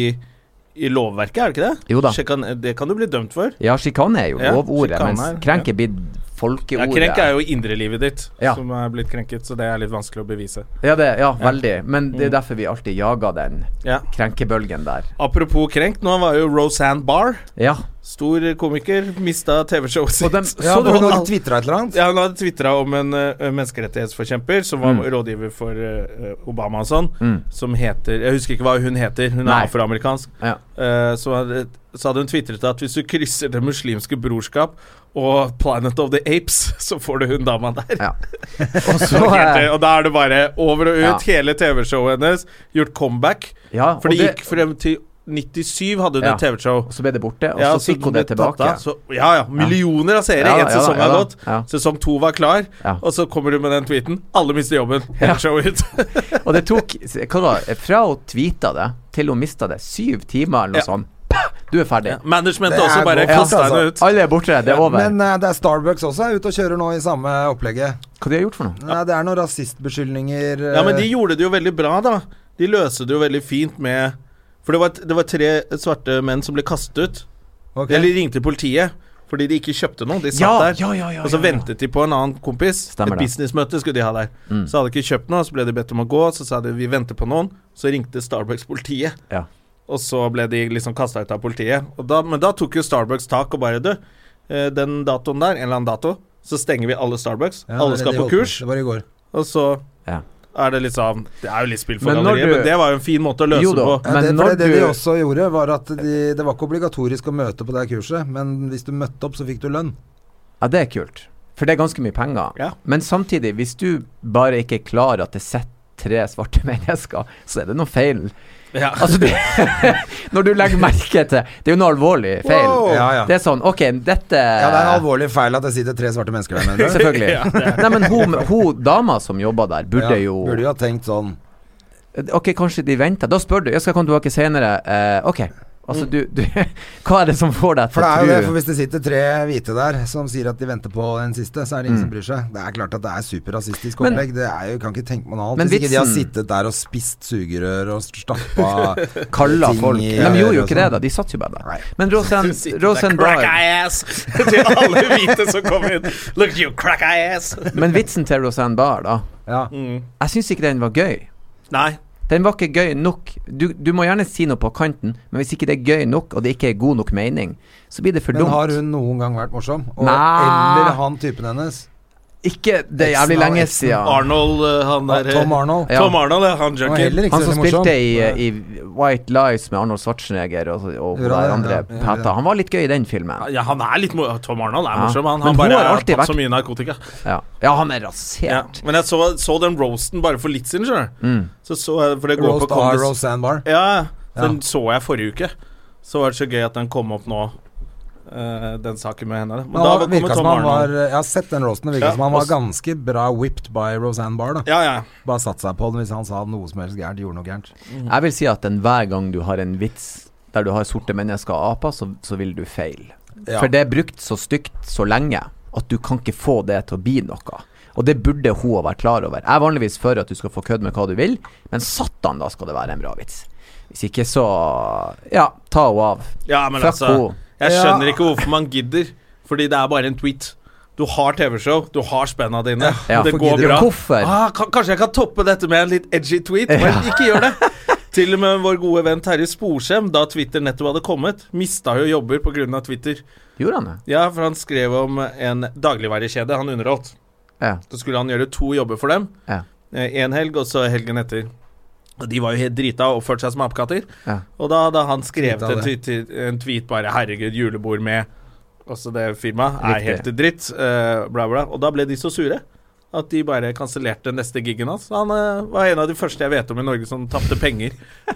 [SPEAKER 1] i lovverket, er det ikke det?
[SPEAKER 3] Jo da.
[SPEAKER 1] Sjikan- det kan du bli dømt for.
[SPEAKER 3] Ja, sjikane er jo
[SPEAKER 1] Ja,
[SPEAKER 3] lovordet,
[SPEAKER 1] sjikane er-
[SPEAKER 3] mens krenk er blitt
[SPEAKER 1] Ja,
[SPEAKER 3] folkeordet.
[SPEAKER 1] krenk er jo indrelivet ditt
[SPEAKER 3] Ja.
[SPEAKER 1] som er blitt krenket, så det er litt vanskelig å bevise.
[SPEAKER 3] ja, det, ja, veldig. Men det er derfor vi alltid jager den
[SPEAKER 1] Mm. Ja.
[SPEAKER 3] krenkebølgen der.
[SPEAKER 1] Apropos krenkt, nå var jo Roseanne Barr
[SPEAKER 3] Ja.
[SPEAKER 1] Stor komiker. Mista TV-showet sitt.
[SPEAKER 3] Og dem,
[SPEAKER 2] Ja,
[SPEAKER 3] så du
[SPEAKER 2] hun
[SPEAKER 3] hun
[SPEAKER 2] hadde tvitra et eller annet.
[SPEAKER 1] Ja, hun hadde tvitra om en eh, menneskerettighetsforkjemper som var
[SPEAKER 3] Mm.
[SPEAKER 1] rådgiver for eh, Obama og sånn,
[SPEAKER 3] Mm.
[SPEAKER 1] som heter Jeg husker ikke hva hun heter, hun er
[SPEAKER 3] Nei.
[SPEAKER 1] afroamerikansk.
[SPEAKER 3] Ja.
[SPEAKER 1] Eh, så, hadde, så hadde hun tvitret at hvis du krysser Det muslimske brorskap og Planet of the Apes, så får du hun dama der.
[SPEAKER 3] Ja. Og så
[SPEAKER 1] Markerte,
[SPEAKER 3] eh,
[SPEAKER 1] og da er det bare over og ut.
[SPEAKER 3] Ja.
[SPEAKER 1] Hele TV-showet hennes gjort comeback.
[SPEAKER 3] Ja, og
[SPEAKER 1] For det
[SPEAKER 3] det,
[SPEAKER 1] gikk frem til 97 hadde hun
[SPEAKER 3] Ja.
[SPEAKER 1] et TV-show.
[SPEAKER 3] og så ble det borte, og
[SPEAKER 1] Ja,
[SPEAKER 3] så fikk hun
[SPEAKER 1] ble
[SPEAKER 3] det tilbake.
[SPEAKER 1] tatt av, Så, ja, ja. Millioner av seere.
[SPEAKER 3] Ja,
[SPEAKER 1] Én
[SPEAKER 3] ja, ja,
[SPEAKER 1] sesong
[SPEAKER 3] ja,
[SPEAKER 1] har
[SPEAKER 3] ja.
[SPEAKER 1] gått.
[SPEAKER 3] Ja.
[SPEAKER 1] Sesong to var klar.
[SPEAKER 3] Ja.
[SPEAKER 1] Og så kommer du med den tweeten. Alle mister jobben. Hele
[SPEAKER 3] Ja.
[SPEAKER 1] showet ut.
[SPEAKER 3] Og det tok hva var, det, fra hun tweeta det til hun mista det, syv timer eller noe
[SPEAKER 1] Ja.
[SPEAKER 3] sånt. Pah! Du er ferdig.
[SPEAKER 1] Managementet
[SPEAKER 2] Det er
[SPEAKER 1] også bare
[SPEAKER 2] godt,
[SPEAKER 1] kasta
[SPEAKER 2] altså.
[SPEAKER 1] henne ut.
[SPEAKER 3] Alle er borte, det er over.
[SPEAKER 2] Men eh, det er Starbucks også er ute og kjører nå i samme opplegget.
[SPEAKER 3] Hva de har gjort for noe?
[SPEAKER 2] Nei, det er noen rasistbeskyldninger eh,
[SPEAKER 1] Ja, men de gjorde det jo veldig bra, da. De løste det jo veldig fint med For det var, det var tre svarte menn som ble kastet ut.
[SPEAKER 2] ok.
[SPEAKER 1] Eller de ringte politiet fordi de ikke kjøpte noe. De satt der.
[SPEAKER 3] ja, ja,
[SPEAKER 1] Og så
[SPEAKER 3] ja, ja.
[SPEAKER 1] ventet de på en annen kompis.
[SPEAKER 3] Stemmer
[SPEAKER 1] et
[SPEAKER 3] det.
[SPEAKER 1] businessmøte skulle de ha der.
[SPEAKER 3] Mm.
[SPEAKER 1] Så hadde de ikke kjøpt noe, så ble de bedt om å gå. Så sa de vi venter på noen. Så ringte Starbucks politiet.
[SPEAKER 3] Ja.
[SPEAKER 1] Og så ble de liksom kasta ut av politiet. Og da, men da tok jo Starbucks tak og bare Du, eh, den datoen der, en eller annen dato, så stenger vi alle Starbucks.
[SPEAKER 2] Ja,
[SPEAKER 1] alle
[SPEAKER 2] det er
[SPEAKER 1] skal
[SPEAKER 2] det de
[SPEAKER 1] på
[SPEAKER 2] holdt på med.
[SPEAKER 1] kurs.
[SPEAKER 2] Det var i går.
[SPEAKER 1] Og så
[SPEAKER 3] Ja.
[SPEAKER 1] er det liksom Det er jo litt spill for
[SPEAKER 3] Men når
[SPEAKER 1] galleriet,
[SPEAKER 3] du-
[SPEAKER 1] men det var jo en fin måte å løse
[SPEAKER 3] Jo da.
[SPEAKER 1] det på.
[SPEAKER 2] Ja,
[SPEAKER 3] Men
[SPEAKER 2] det, for
[SPEAKER 3] når
[SPEAKER 2] det, det de
[SPEAKER 3] du-
[SPEAKER 2] også gjorde, var at de, det var ikke obligatorisk å møte på det her kurset, men hvis du møtte opp, så fikk du lønn.
[SPEAKER 3] Ja, det er kult. For det er ganske mye penger.
[SPEAKER 1] Ja.
[SPEAKER 3] Men samtidig, hvis du bare ikke er klar at det sitter tre svarte mennesker, så er det noe feil.
[SPEAKER 1] Ja.
[SPEAKER 3] Altså, det, når du legger merke til Det er jo noe alvorlig feil.
[SPEAKER 2] Wow. Ja, ja.
[SPEAKER 3] Det er sånn OK, dette
[SPEAKER 2] Ja, det er en alvorlig feil at det sitter tre svarte mennesker der, mener du?
[SPEAKER 3] Selvfølgelig. Nei, men hun, hun dama som jobba der, burde
[SPEAKER 2] Ja,
[SPEAKER 3] jo
[SPEAKER 2] Burde jo ha tenkt sånn.
[SPEAKER 3] Ok, kanskje de venter. Da spør du. Jeg skal komme tilbake senere. Eh, ok. Altså, du, du Hva er det som får deg
[SPEAKER 2] For
[SPEAKER 3] til
[SPEAKER 2] det er jo det,
[SPEAKER 3] å
[SPEAKER 2] for
[SPEAKER 3] tro
[SPEAKER 2] hvis det sitter tre hvite der som sier at de venter på den siste, så er det ingen som bryr seg. Det er klart at det er superrasistisk
[SPEAKER 3] Mm. Men-
[SPEAKER 2] opplegg. Det er jo, kan ikke tenke meg noe annet.
[SPEAKER 3] Men
[SPEAKER 2] Hvis ikke de har
[SPEAKER 3] vitsen-
[SPEAKER 2] sittet der og spist sugerør og stappa
[SPEAKER 3] Kalla
[SPEAKER 2] ting
[SPEAKER 3] folk
[SPEAKER 2] i
[SPEAKER 3] De gjorde jo
[SPEAKER 2] øret og
[SPEAKER 3] ikke det,
[SPEAKER 2] sånn.
[SPEAKER 3] da. De satt jo bare
[SPEAKER 2] Nei.
[SPEAKER 3] der. Men Rosen,
[SPEAKER 1] Du sitter der,
[SPEAKER 3] Rosen
[SPEAKER 1] crack
[SPEAKER 3] Barr
[SPEAKER 1] ass til alle hvite som kommer inn. Look at you, crack ass. Mm.
[SPEAKER 3] Men vitsen til Roseanne Barr, da.
[SPEAKER 2] Ja.
[SPEAKER 3] Jeg syns ikke den var gøy.
[SPEAKER 1] Nei.
[SPEAKER 3] Den var ikke gøy nok. Du, du må gjerne si noe på kanten, men hvis ikke det er gøy nok, og det ikke er god nok mening, så blir det for
[SPEAKER 2] Men
[SPEAKER 3] dumt.
[SPEAKER 2] har hun noen gang vært morsom? Og,
[SPEAKER 3] Nei.
[SPEAKER 2] eller han typen hennes?
[SPEAKER 3] Ikke Det er
[SPEAKER 2] Eksen
[SPEAKER 3] jævlig
[SPEAKER 2] av
[SPEAKER 3] lenge
[SPEAKER 2] eksen.
[SPEAKER 3] siden.
[SPEAKER 1] Arnold, eh, han der
[SPEAKER 2] Tom Arnold?
[SPEAKER 3] Ja.
[SPEAKER 1] Tom Arnold, ja. Han
[SPEAKER 2] Han var
[SPEAKER 1] junkie.
[SPEAKER 2] heller ikke
[SPEAKER 3] Han
[SPEAKER 2] så
[SPEAKER 3] som
[SPEAKER 2] veldig morsom.
[SPEAKER 3] spilte i, i White Lies med Arnold Schwarzenegger og, og
[SPEAKER 2] Gjorde
[SPEAKER 3] der
[SPEAKER 2] han det?
[SPEAKER 3] andre
[SPEAKER 2] Ja, ja, ja.
[SPEAKER 3] Pata, han var litt gøy i den filmen.
[SPEAKER 1] Ja, han er litt mo Tom Arnold er
[SPEAKER 3] Ja.
[SPEAKER 1] morsom. Han,
[SPEAKER 3] Men
[SPEAKER 1] han
[SPEAKER 3] hun
[SPEAKER 1] bare
[SPEAKER 3] har
[SPEAKER 1] har
[SPEAKER 3] alltid
[SPEAKER 1] tatt
[SPEAKER 3] vært-
[SPEAKER 1] så mye narkotika.
[SPEAKER 3] Ja, ja han er
[SPEAKER 1] Ja.
[SPEAKER 3] rasert. Mm.
[SPEAKER 1] Men jeg så, så den roasten bare for litt siden, skjønner du. Så så jeg, for det går
[SPEAKER 2] Roast
[SPEAKER 1] på
[SPEAKER 3] ah,
[SPEAKER 2] R.
[SPEAKER 1] Condis.
[SPEAKER 2] Roseanne Barr.
[SPEAKER 1] Ja,
[SPEAKER 2] Ja.
[SPEAKER 1] den så jeg forrige uke. Så var det så gøy at den kom opp nå, eh, den saken med henne. da. Men
[SPEAKER 2] Men
[SPEAKER 1] da
[SPEAKER 2] han
[SPEAKER 1] kommer
[SPEAKER 2] virka som
[SPEAKER 1] Tom
[SPEAKER 2] han var
[SPEAKER 1] Arnold.
[SPEAKER 2] Jeg har sett den roasten. Det virka
[SPEAKER 1] Ja,
[SPEAKER 2] som han var
[SPEAKER 1] og s-
[SPEAKER 2] ganske bra whipped by Roseanne Barr. Da.
[SPEAKER 1] Ja, ja.
[SPEAKER 2] Bare satt seg på den hvis han sa noe som helst gærent. Gjorde noe gærent.
[SPEAKER 3] Jeg vil si at den hver gang du har en vits der du har sorte mennesker og aper, så, så vil du feile.
[SPEAKER 2] Ja.
[SPEAKER 3] For det er brukt så stygt så lenge at du kan ikke få det til å bli noe. Og det burde hun ha vært klar over. Jeg er vanligvis for at du skal få kødd med hva du vil, men satan, da skal det være en bra vits. Hvis ikke, så Ja, ta henne av.
[SPEAKER 1] ja, men
[SPEAKER 3] Fuck
[SPEAKER 1] altså
[SPEAKER 3] henne.
[SPEAKER 1] Jeg
[SPEAKER 2] Ja.
[SPEAKER 1] skjønner ikke hvorfor man gidder. Fordi det er bare en tweet. Du har TV-show, du har spenna dine.
[SPEAKER 3] Ja.
[SPEAKER 1] det
[SPEAKER 3] Hvorfor
[SPEAKER 1] går
[SPEAKER 3] gidder du?
[SPEAKER 1] bra.
[SPEAKER 3] Hvorfor?
[SPEAKER 1] Ah, ka- kanskje jeg kan toppe dette med en litt edgy tweet? Men
[SPEAKER 3] Ja.
[SPEAKER 1] ikke gjør det. Til og med vår gode venn Terje Sporsem, da Twitter nettopp hadde kommet, mista jo jobber pga. Twitter.
[SPEAKER 2] Ah.
[SPEAKER 3] Gjorde han det?
[SPEAKER 1] Ja, for han skrev om en dagligvarekjede han underholdt.
[SPEAKER 3] Ja.
[SPEAKER 1] Så skulle han gjøre to jobber for dem.
[SPEAKER 3] Ja.
[SPEAKER 1] Én helg, og så helgen etter. Og De var jo helt drita og oppførte seg som apekatter.
[SPEAKER 3] Ja.
[SPEAKER 1] Og da hadde han skrevet
[SPEAKER 2] Drita
[SPEAKER 1] en
[SPEAKER 2] det.
[SPEAKER 1] tweet, en tweet bare 'Herregud, julebord med Også det firmaet er
[SPEAKER 3] Riktig.
[SPEAKER 1] helt dritt. eh, bla, bla. Og da ble de så sure at de bare kansellerte neste gigen hans. Han eh, var en av de første jeg vet om i Norge som tapte penger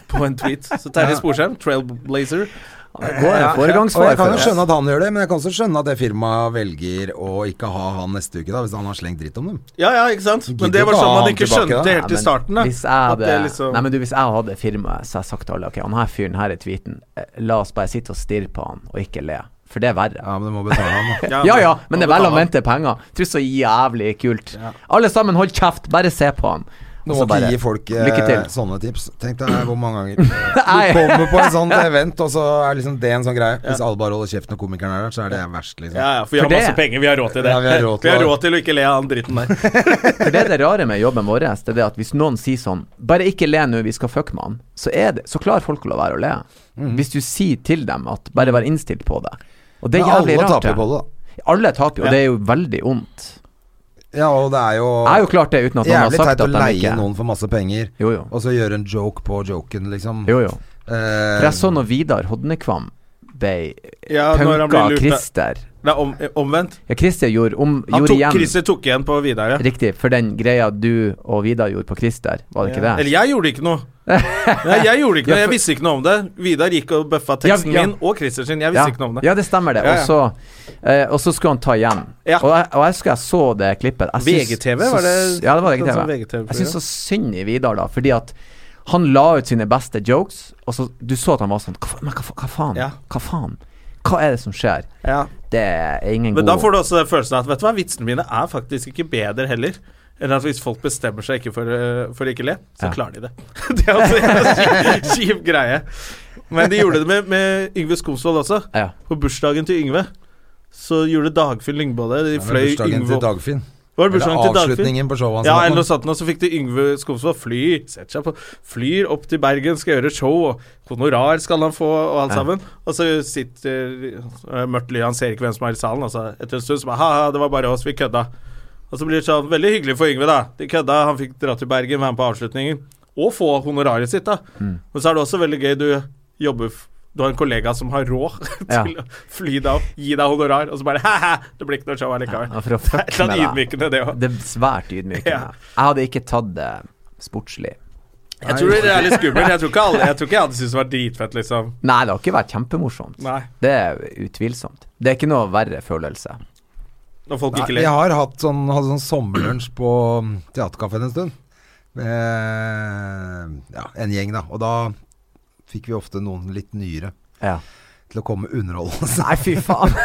[SPEAKER 1] på en tweet. Så Terje Sporsheim, trailblazer.
[SPEAKER 3] Går
[SPEAKER 2] Ja,
[SPEAKER 3] en foregangsfar
[SPEAKER 2] og jeg kan
[SPEAKER 3] for
[SPEAKER 2] jo
[SPEAKER 3] det.
[SPEAKER 2] skjønne at han gjør det, men jeg kan også skjønne at det firmaet velger å ikke ha han neste uke, da, hvis han har slengt dritt om dem.
[SPEAKER 1] Ja, ja, ikke sant? Men
[SPEAKER 2] Gidder
[SPEAKER 1] det var
[SPEAKER 2] ikke
[SPEAKER 1] sånn
[SPEAKER 2] ha
[SPEAKER 1] man
[SPEAKER 2] han
[SPEAKER 1] ikke
[SPEAKER 2] tilbake, da.
[SPEAKER 1] skjønte helt i
[SPEAKER 3] Nei, men
[SPEAKER 1] starten. Da.
[SPEAKER 3] Hvis jeg
[SPEAKER 1] At
[SPEAKER 3] hadde,
[SPEAKER 1] det liksom
[SPEAKER 3] Nei, men du, hvis jeg hadde firmaet, så hadde jeg sagt til alle Ok, han her fyren her i tweeten, eh, la oss bare sitte og stirre på han, og ikke le. For det er verre.
[SPEAKER 2] Ja, men du må betale han, da.
[SPEAKER 3] Ja ja, men det er vel
[SPEAKER 1] betale
[SPEAKER 3] å
[SPEAKER 1] han.
[SPEAKER 3] vente penger. Tror så jævlig kult. Alle sammen, hold kjeft, bare se på han.
[SPEAKER 2] Du må
[SPEAKER 3] Og så
[SPEAKER 2] ikke
[SPEAKER 3] bare,
[SPEAKER 2] gi folk eh,
[SPEAKER 3] Lykke til.
[SPEAKER 2] sånne tips. Tenk deg hvor mange ganger eh, Du kommer på en sånn event, og så er liksom det en sånn greie. Hvis alle bare holder kjeft når komikeren er der, så er det verst, liksom.
[SPEAKER 1] Ja, ja, for vi
[SPEAKER 3] For
[SPEAKER 1] har
[SPEAKER 3] det-
[SPEAKER 1] masse penger. Vi har råd til det.
[SPEAKER 2] Ja, vi har råd til det.
[SPEAKER 1] å ikke le av han dritten der.
[SPEAKER 3] For det er det rare med jobben vår, det er det at hvis noen sier sånn Bare ikke le nå, vi skal fucke med han,
[SPEAKER 2] Mm.
[SPEAKER 3] så, er det, så klarer folk å la være å le. Hvis du sier til dem at bare vær innstilt på det. Og det er
[SPEAKER 2] Men
[SPEAKER 3] jævlig
[SPEAKER 2] alle
[SPEAKER 3] rart.
[SPEAKER 2] taper på
[SPEAKER 3] det.
[SPEAKER 2] det, da.
[SPEAKER 3] Alle taper jo, og det er jo veldig vondt.
[SPEAKER 2] Ja, og det er jo,
[SPEAKER 3] Jeg har jo klart det uten at noen har
[SPEAKER 2] jævlig
[SPEAKER 3] sagt
[SPEAKER 2] teit å
[SPEAKER 3] at de
[SPEAKER 2] leie
[SPEAKER 3] ikke
[SPEAKER 2] noen for masse penger,
[SPEAKER 3] Jo, jo.
[SPEAKER 2] og så gjøre en joke på joken, liksom.
[SPEAKER 3] jo, jo.
[SPEAKER 2] Eh,
[SPEAKER 3] For sånn jeg så når Vidar Hodnekvam ble
[SPEAKER 1] Ja, når han ble
[SPEAKER 3] punka av
[SPEAKER 1] lurt av-
[SPEAKER 3] Christer
[SPEAKER 1] Nei, om, eh, omvendt.
[SPEAKER 3] Ja, Christer gjorde, om,
[SPEAKER 1] Han
[SPEAKER 3] gjorde
[SPEAKER 1] tok,
[SPEAKER 3] igjen
[SPEAKER 1] Christer tok igjen på Vidar, ja.
[SPEAKER 3] Riktig, for den greia du og Vidar gjorde på Christer, var det ikke det?
[SPEAKER 1] Eller jeg gjorde ikke noe. Nei, jeg gjorde ikke
[SPEAKER 3] Ja,
[SPEAKER 1] noe,
[SPEAKER 3] for-
[SPEAKER 1] jeg visste ikke noe om det. Vidar gikk og bøffa
[SPEAKER 3] Ja,
[SPEAKER 1] teksten
[SPEAKER 3] ja.
[SPEAKER 1] min og Christer sin. Jeg visste
[SPEAKER 3] ja.
[SPEAKER 1] ikke noe om det.
[SPEAKER 3] ja, det stemmer det.
[SPEAKER 1] Ja, ja.
[SPEAKER 3] Og, så, eh, og så skulle han ta igjen.
[SPEAKER 1] Ja.
[SPEAKER 3] Og, jeg, og jeg husker jeg så det klippet. Jeg syns-
[SPEAKER 1] VGTV,
[SPEAKER 3] så-
[SPEAKER 1] var det-
[SPEAKER 3] Ja, det var
[SPEAKER 1] det var sånn
[SPEAKER 3] VGTV.
[SPEAKER 1] VGTV-program.
[SPEAKER 3] Jeg syns så synd i Vidar, da, fordi at han la ut sine beste jokes, og så du så at han var sånn Hva, fa- men hva, fa- hva faen?
[SPEAKER 1] Ja.
[SPEAKER 3] Hva faen? Hva er det som skjer?
[SPEAKER 1] Ja.
[SPEAKER 3] Det er ingen
[SPEAKER 1] Men
[SPEAKER 3] god
[SPEAKER 1] da får du også den følelsen at vet du hva, vitsene mine er faktisk ikke bedre heller. Eller at hvis folk bestemmer seg ikke for, øh, for ikke le, så
[SPEAKER 3] Ja.
[SPEAKER 1] klarer de det. det er altså en kjip, kjip greie. Men de gjorde det med, med Yngve Skomsvold også.
[SPEAKER 3] Ja.
[SPEAKER 1] På bursdagen til Yngve så gjorde Dagfinn Lyngbo det. De
[SPEAKER 2] det var
[SPEAKER 1] fløy
[SPEAKER 2] bursdagen til
[SPEAKER 1] Yngve
[SPEAKER 2] Dagfinn.
[SPEAKER 1] Var det
[SPEAKER 2] Eller
[SPEAKER 1] bursdagen til Dagfinn?
[SPEAKER 2] avslutningen på showet hans.
[SPEAKER 3] Altså,
[SPEAKER 1] Ja,
[SPEAKER 2] eller
[SPEAKER 1] eller
[SPEAKER 2] noe.
[SPEAKER 1] noe sånt, og så fikk de Yngve Skomsvold fly, setter seg på, flyr opp til Bergen, skal gjøre show, og honorar skal han få, og alt sammen. Og så sitter eh, Mørkt Ly, han ser ikke hvem som er i salen, altså etter en stund så bare ha-ha, det var bare oss, vi kødda. Og så blir det sånn, veldig hyggelig for Yngve, da. De kødda, han fikk dra til Bergen, være med på avslutningen, og få honoraret sitt, da.
[SPEAKER 3] Mm.
[SPEAKER 1] Men så er det også veldig gøy, du jobber f- du har en kollega som har råd til
[SPEAKER 3] Ja.
[SPEAKER 1] å fly deg opp, gi deg honorar, og så bare ha-ha, det blir ikke noe show allikevel.
[SPEAKER 3] Ja, for å fucke
[SPEAKER 1] det er litt
[SPEAKER 3] med deg.
[SPEAKER 1] ydmykende, det òg.
[SPEAKER 3] Det er svært ydmykende.
[SPEAKER 1] Ja.
[SPEAKER 3] Jeg hadde ikke tatt det sportslig.
[SPEAKER 1] Jeg tror det er litt skummelt. Jeg tror ikke, alle, jeg tror ikke jeg hadde syntes det var dritfett, liksom.
[SPEAKER 3] Nei, det har ikke vært kjempemorsomt.
[SPEAKER 1] Nei.
[SPEAKER 3] Det er utvilsomt. Det er ikke noe verre følelse.
[SPEAKER 1] Når folk
[SPEAKER 2] Nei,
[SPEAKER 1] ikke
[SPEAKER 2] vi
[SPEAKER 1] ler.
[SPEAKER 2] har hatt sånn, hadde sånn sommerlunsj på mm, teaterkaffen en stund. Eh, ja, en gjeng, da. Og da fikk vi ofte noen litt nyere
[SPEAKER 3] Ja.
[SPEAKER 2] til å komme med underholdelse.
[SPEAKER 3] Nei, fy faen.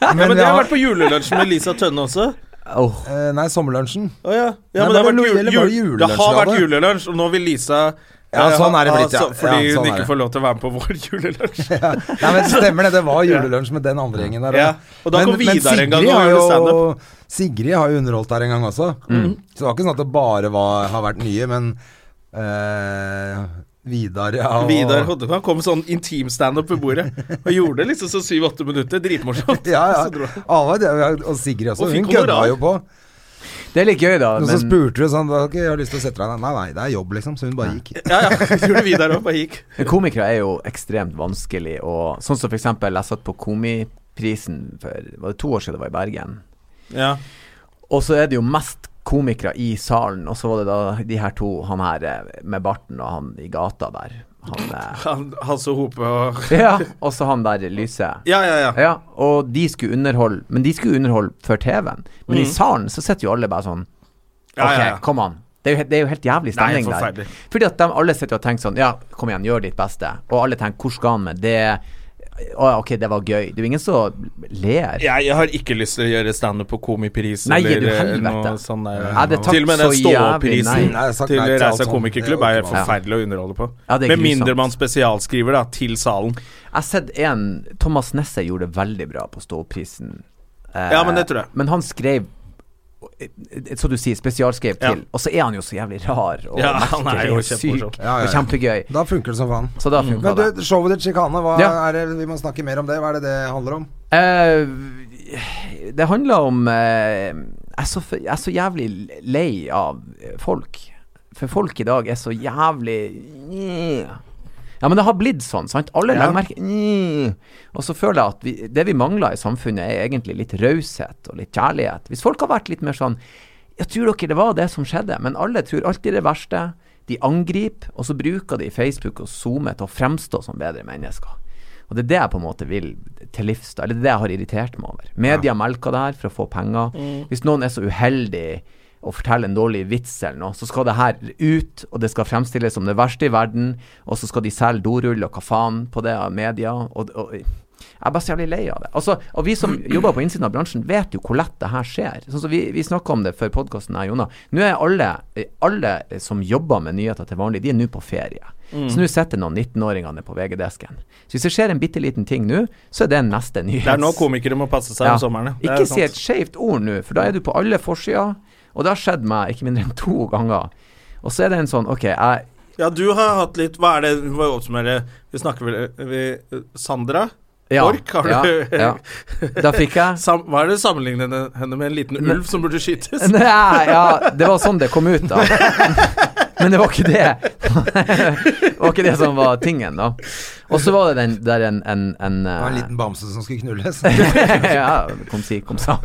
[SPEAKER 1] Ja, men
[SPEAKER 2] vi
[SPEAKER 1] det har
[SPEAKER 2] har-
[SPEAKER 1] vært på julelunsj med Lisa Tønne også.
[SPEAKER 3] Åh,
[SPEAKER 2] Eh, nei, sommerlunsjen.
[SPEAKER 1] Å ja.
[SPEAKER 2] Nei,
[SPEAKER 1] ja men det
[SPEAKER 2] det var
[SPEAKER 1] har vært
[SPEAKER 2] noe-
[SPEAKER 1] jul,
[SPEAKER 2] eller var det
[SPEAKER 1] jul, det
[SPEAKER 2] julelunsj
[SPEAKER 1] har
[SPEAKER 2] vi
[SPEAKER 1] vært
[SPEAKER 2] hadde?
[SPEAKER 1] julelunsj, og nå vil Lisa
[SPEAKER 2] Ja,
[SPEAKER 1] eh,
[SPEAKER 2] sånn er det
[SPEAKER 1] ha-
[SPEAKER 2] blitt, ja.
[SPEAKER 1] så- Fordi
[SPEAKER 2] Ja, sånn
[SPEAKER 1] hun
[SPEAKER 2] er
[SPEAKER 1] ikke
[SPEAKER 2] det.
[SPEAKER 1] får lov til å være med på vår julelunsj.
[SPEAKER 2] Ja. Nei, men stemmer det. Det var julelunsj med den andre gjengen der.
[SPEAKER 1] Ja. Og da
[SPEAKER 2] Men-
[SPEAKER 1] kom
[SPEAKER 2] men
[SPEAKER 1] Vidar en gang
[SPEAKER 2] Sigrid
[SPEAKER 1] og
[SPEAKER 2] har
[SPEAKER 1] gjorde
[SPEAKER 2] jo-
[SPEAKER 1] standup. Mm.
[SPEAKER 2] Sigrid har jo underholdt der en gang også. Så det var ikke sånn at det bare var, har vært nye, men eh, Vidar, ja. og-
[SPEAKER 1] Vidar Hodnekvam kom sånn intim-standup ved bordet og gjorde det liksom så syv-åtte minutter. Dritmorsomt.
[SPEAKER 2] Ja, ja.
[SPEAKER 1] Så dro han.
[SPEAKER 2] Alle, det- og Sigrid også.
[SPEAKER 1] Og
[SPEAKER 2] hun
[SPEAKER 1] fikk
[SPEAKER 2] kødda
[SPEAKER 1] honorar.
[SPEAKER 2] jo på.
[SPEAKER 3] det er litt gøy, da.
[SPEAKER 2] Og så
[SPEAKER 3] Men
[SPEAKER 2] spurte du sånn Ok, jeg har lyst til å sette deg ned. Nei, nei, det er jobb, liksom. Så hun bare gikk.
[SPEAKER 1] Ja, ja. Gjorde Vidar òg, bare gikk.
[SPEAKER 3] men komikere er jo ekstremt vanskelig og Sånn som for eksempel, jeg satt på Komiprisen for Var det to år siden det var i Bergen?
[SPEAKER 1] Ja.
[SPEAKER 3] Og så er det jo mest komikere i salen, og så var det da de her to, han her eh, med barten og han i gata der. Han eh,
[SPEAKER 1] Han- Hasse Hope og
[SPEAKER 3] Ja, og så han der lyse.
[SPEAKER 1] Ja, ja, ja.
[SPEAKER 3] Ja, og de skulle underholde Men de skulle underholde for TV-en. Men i salen så sitter jo alle bare sånn Ok,
[SPEAKER 1] Mm. Ja, ja, ja.
[SPEAKER 3] kom an. Det er, jo, he- det er jo helt jævlig stemning
[SPEAKER 1] Nei,
[SPEAKER 3] der.
[SPEAKER 1] forferdelig.
[SPEAKER 3] Fordi at de alle sitter og tenker sånn Ja, kom igjen, gjør ditt beste. Og alle tenker hvor skal han med det? Å, ok, det var gøy. Det er jo ingen som ler.
[SPEAKER 1] Jeg, jeg har ikke lyst til å gjøre standup på Komipris
[SPEAKER 3] Nei,
[SPEAKER 1] eller
[SPEAKER 3] du
[SPEAKER 1] eh,
[SPEAKER 3] helvete.
[SPEAKER 1] noe sånn der.
[SPEAKER 3] Ja, det takk
[SPEAKER 1] til og med den
[SPEAKER 3] så jævlig,
[SPEAKER 1] ståprisen
[SPEAKER 2] nei. Nei, jeg har sagt
[SPEAKER 1] til
[SPEAKER 2] nei til alt
[SPEAKER 1] Reisa
[SPEAKER 2] sånt. Det
[SPEAKER 1] komikerklubb er
[SPEAKER 2] er
[SPEAKER 1] helt
[SPEAKER 2] optimalt.
[SPEAKER 1] forferdelig å underholde på.
[SPEAKER 3] Ja, det er
[SPEAKER 1] Med mindre
[SPEAKER 3] grusomt.
[SPEAKER 1] man spesialskriver da, til salen.
[SPEAKER 3] Jeg har sett en Thomas Nesse gjorde det veldig bra på Ståprisen. Eh,
[SPEAKER 1] Ja, men det tror jeg.
[SPEAKER 3] Men han skrev eh, eh, så du sier, spesialskrev
[SPEAKER 1] Ja.
[SPEAKER 3] til. Og så er han jo så jævlig rar og
[SPEAKER 1] Ja, han er
[SPEAKER 3] merkelig
[SPEAKER 1] jo
[SPEAKER 3] og
[SPEAKER 1] kjempemorsom.
[SPEAKER 3] syk.
[SPEAKER 2] Ja, ja,
[SPEAKER 3] Og
[SPEAKER 2] ja.
[SPEAKER 3] kjempegøy.
[SPEAKER 2] Da funker det som faen.
[SPEAKER 3] Så da funka
[SPEAKER 2] Men
[SPEAKER 3] det.
[SPEAKER 2] du, showet ditt, Sjikane, hva
[SPEAKER 3] Ja.
[SPEAKER 2] er det Vi må snakke mer om det. Hva er det det handler om?
[SPEAKER 3] Eh, det handler om eh, jeg, er så, f- jeg er så jævlig lei av eh, folk. For folk i dag er så jævlig Ja, men det har blitt sånn, sant? Alle legger merke Og så føler jeg at vi, det vi mangler i samfunnet, er egentlig litt raushet og litt kjærlighet. Hvis folk har vært litt mer sånn Jeg tror dere det var det som skjedde, men alle tror alltid det verste. De angriper, og så bruker de Facebook og SoMe til å fremstå som bedre mennesker. Og det er det jeg på en måte vil til livs, da. Eller det er det jeg har irritert meg over. Media melker det her for å få penger. Hvis noen er så uheldig å fortelle en dårlig vits eller noe, så skal det her ut, og det skal fremstilles som det verste i verden, og så skal de selge dorull og hva faen på det av media. Og, og jeg er bare så jævlig lei av det. Altså, og vi som jobber på innsiden av bransjen, vet jo hvor lett det her skjer. Sånn som vi, vi snakka om det før podkasten, jeg og Jonna. Nå er alle, alle som jobber med nyheter til vanlig, de er nå på ferie.
[SPEAKER 1] Mm.
[SPEAKER 3] Så nå sitter noen 19-åringer nede på VG-desken. Så hvis det skjer en bitte liten ting nå, så er det neste nyhet.
[SPEAKER 1] Det er nå komikere må passe seg om sommeren. ja. Det er
[SPEAKER 3] Ikke si
[SPEAKER 1] sant.
[SPEAKER 3] et skjevt ord nå, for da er du på alle forsider. Og det har skjedd meg ikke mindre enn to ganger. Og så er det en sånn Ok, jeg
[SPEAKER 1] Ja, du har hatt litt Hva er det Vi må jo oppsummere. Vi snakker vel vi, eh, Sandra
[SPEAKER 3] Ja,
[SPEAKER 1] Ork, har
[SPEAKER 3] ja,
[SPEAKER 1] du
[SPEAKER 3] ja. Da fikk jeg
[SPEAKER 1] Sam, Hva er det du sammenligner henne- henne med? En liten ulv som burde skytes?
[SPEAKER 3] Nei, ja, det var sånn det kom ut, da. Men det var ikke det. Det var ikke det som var tingen, da. Og så var det den der en, en, en
[SPEAKER 2] Det var en
[SPEAKER 3] eh,
[SPEAKER 2] liten bamse som skulle knulles.
[SPEAKER 3] ja, kom si, kom sa.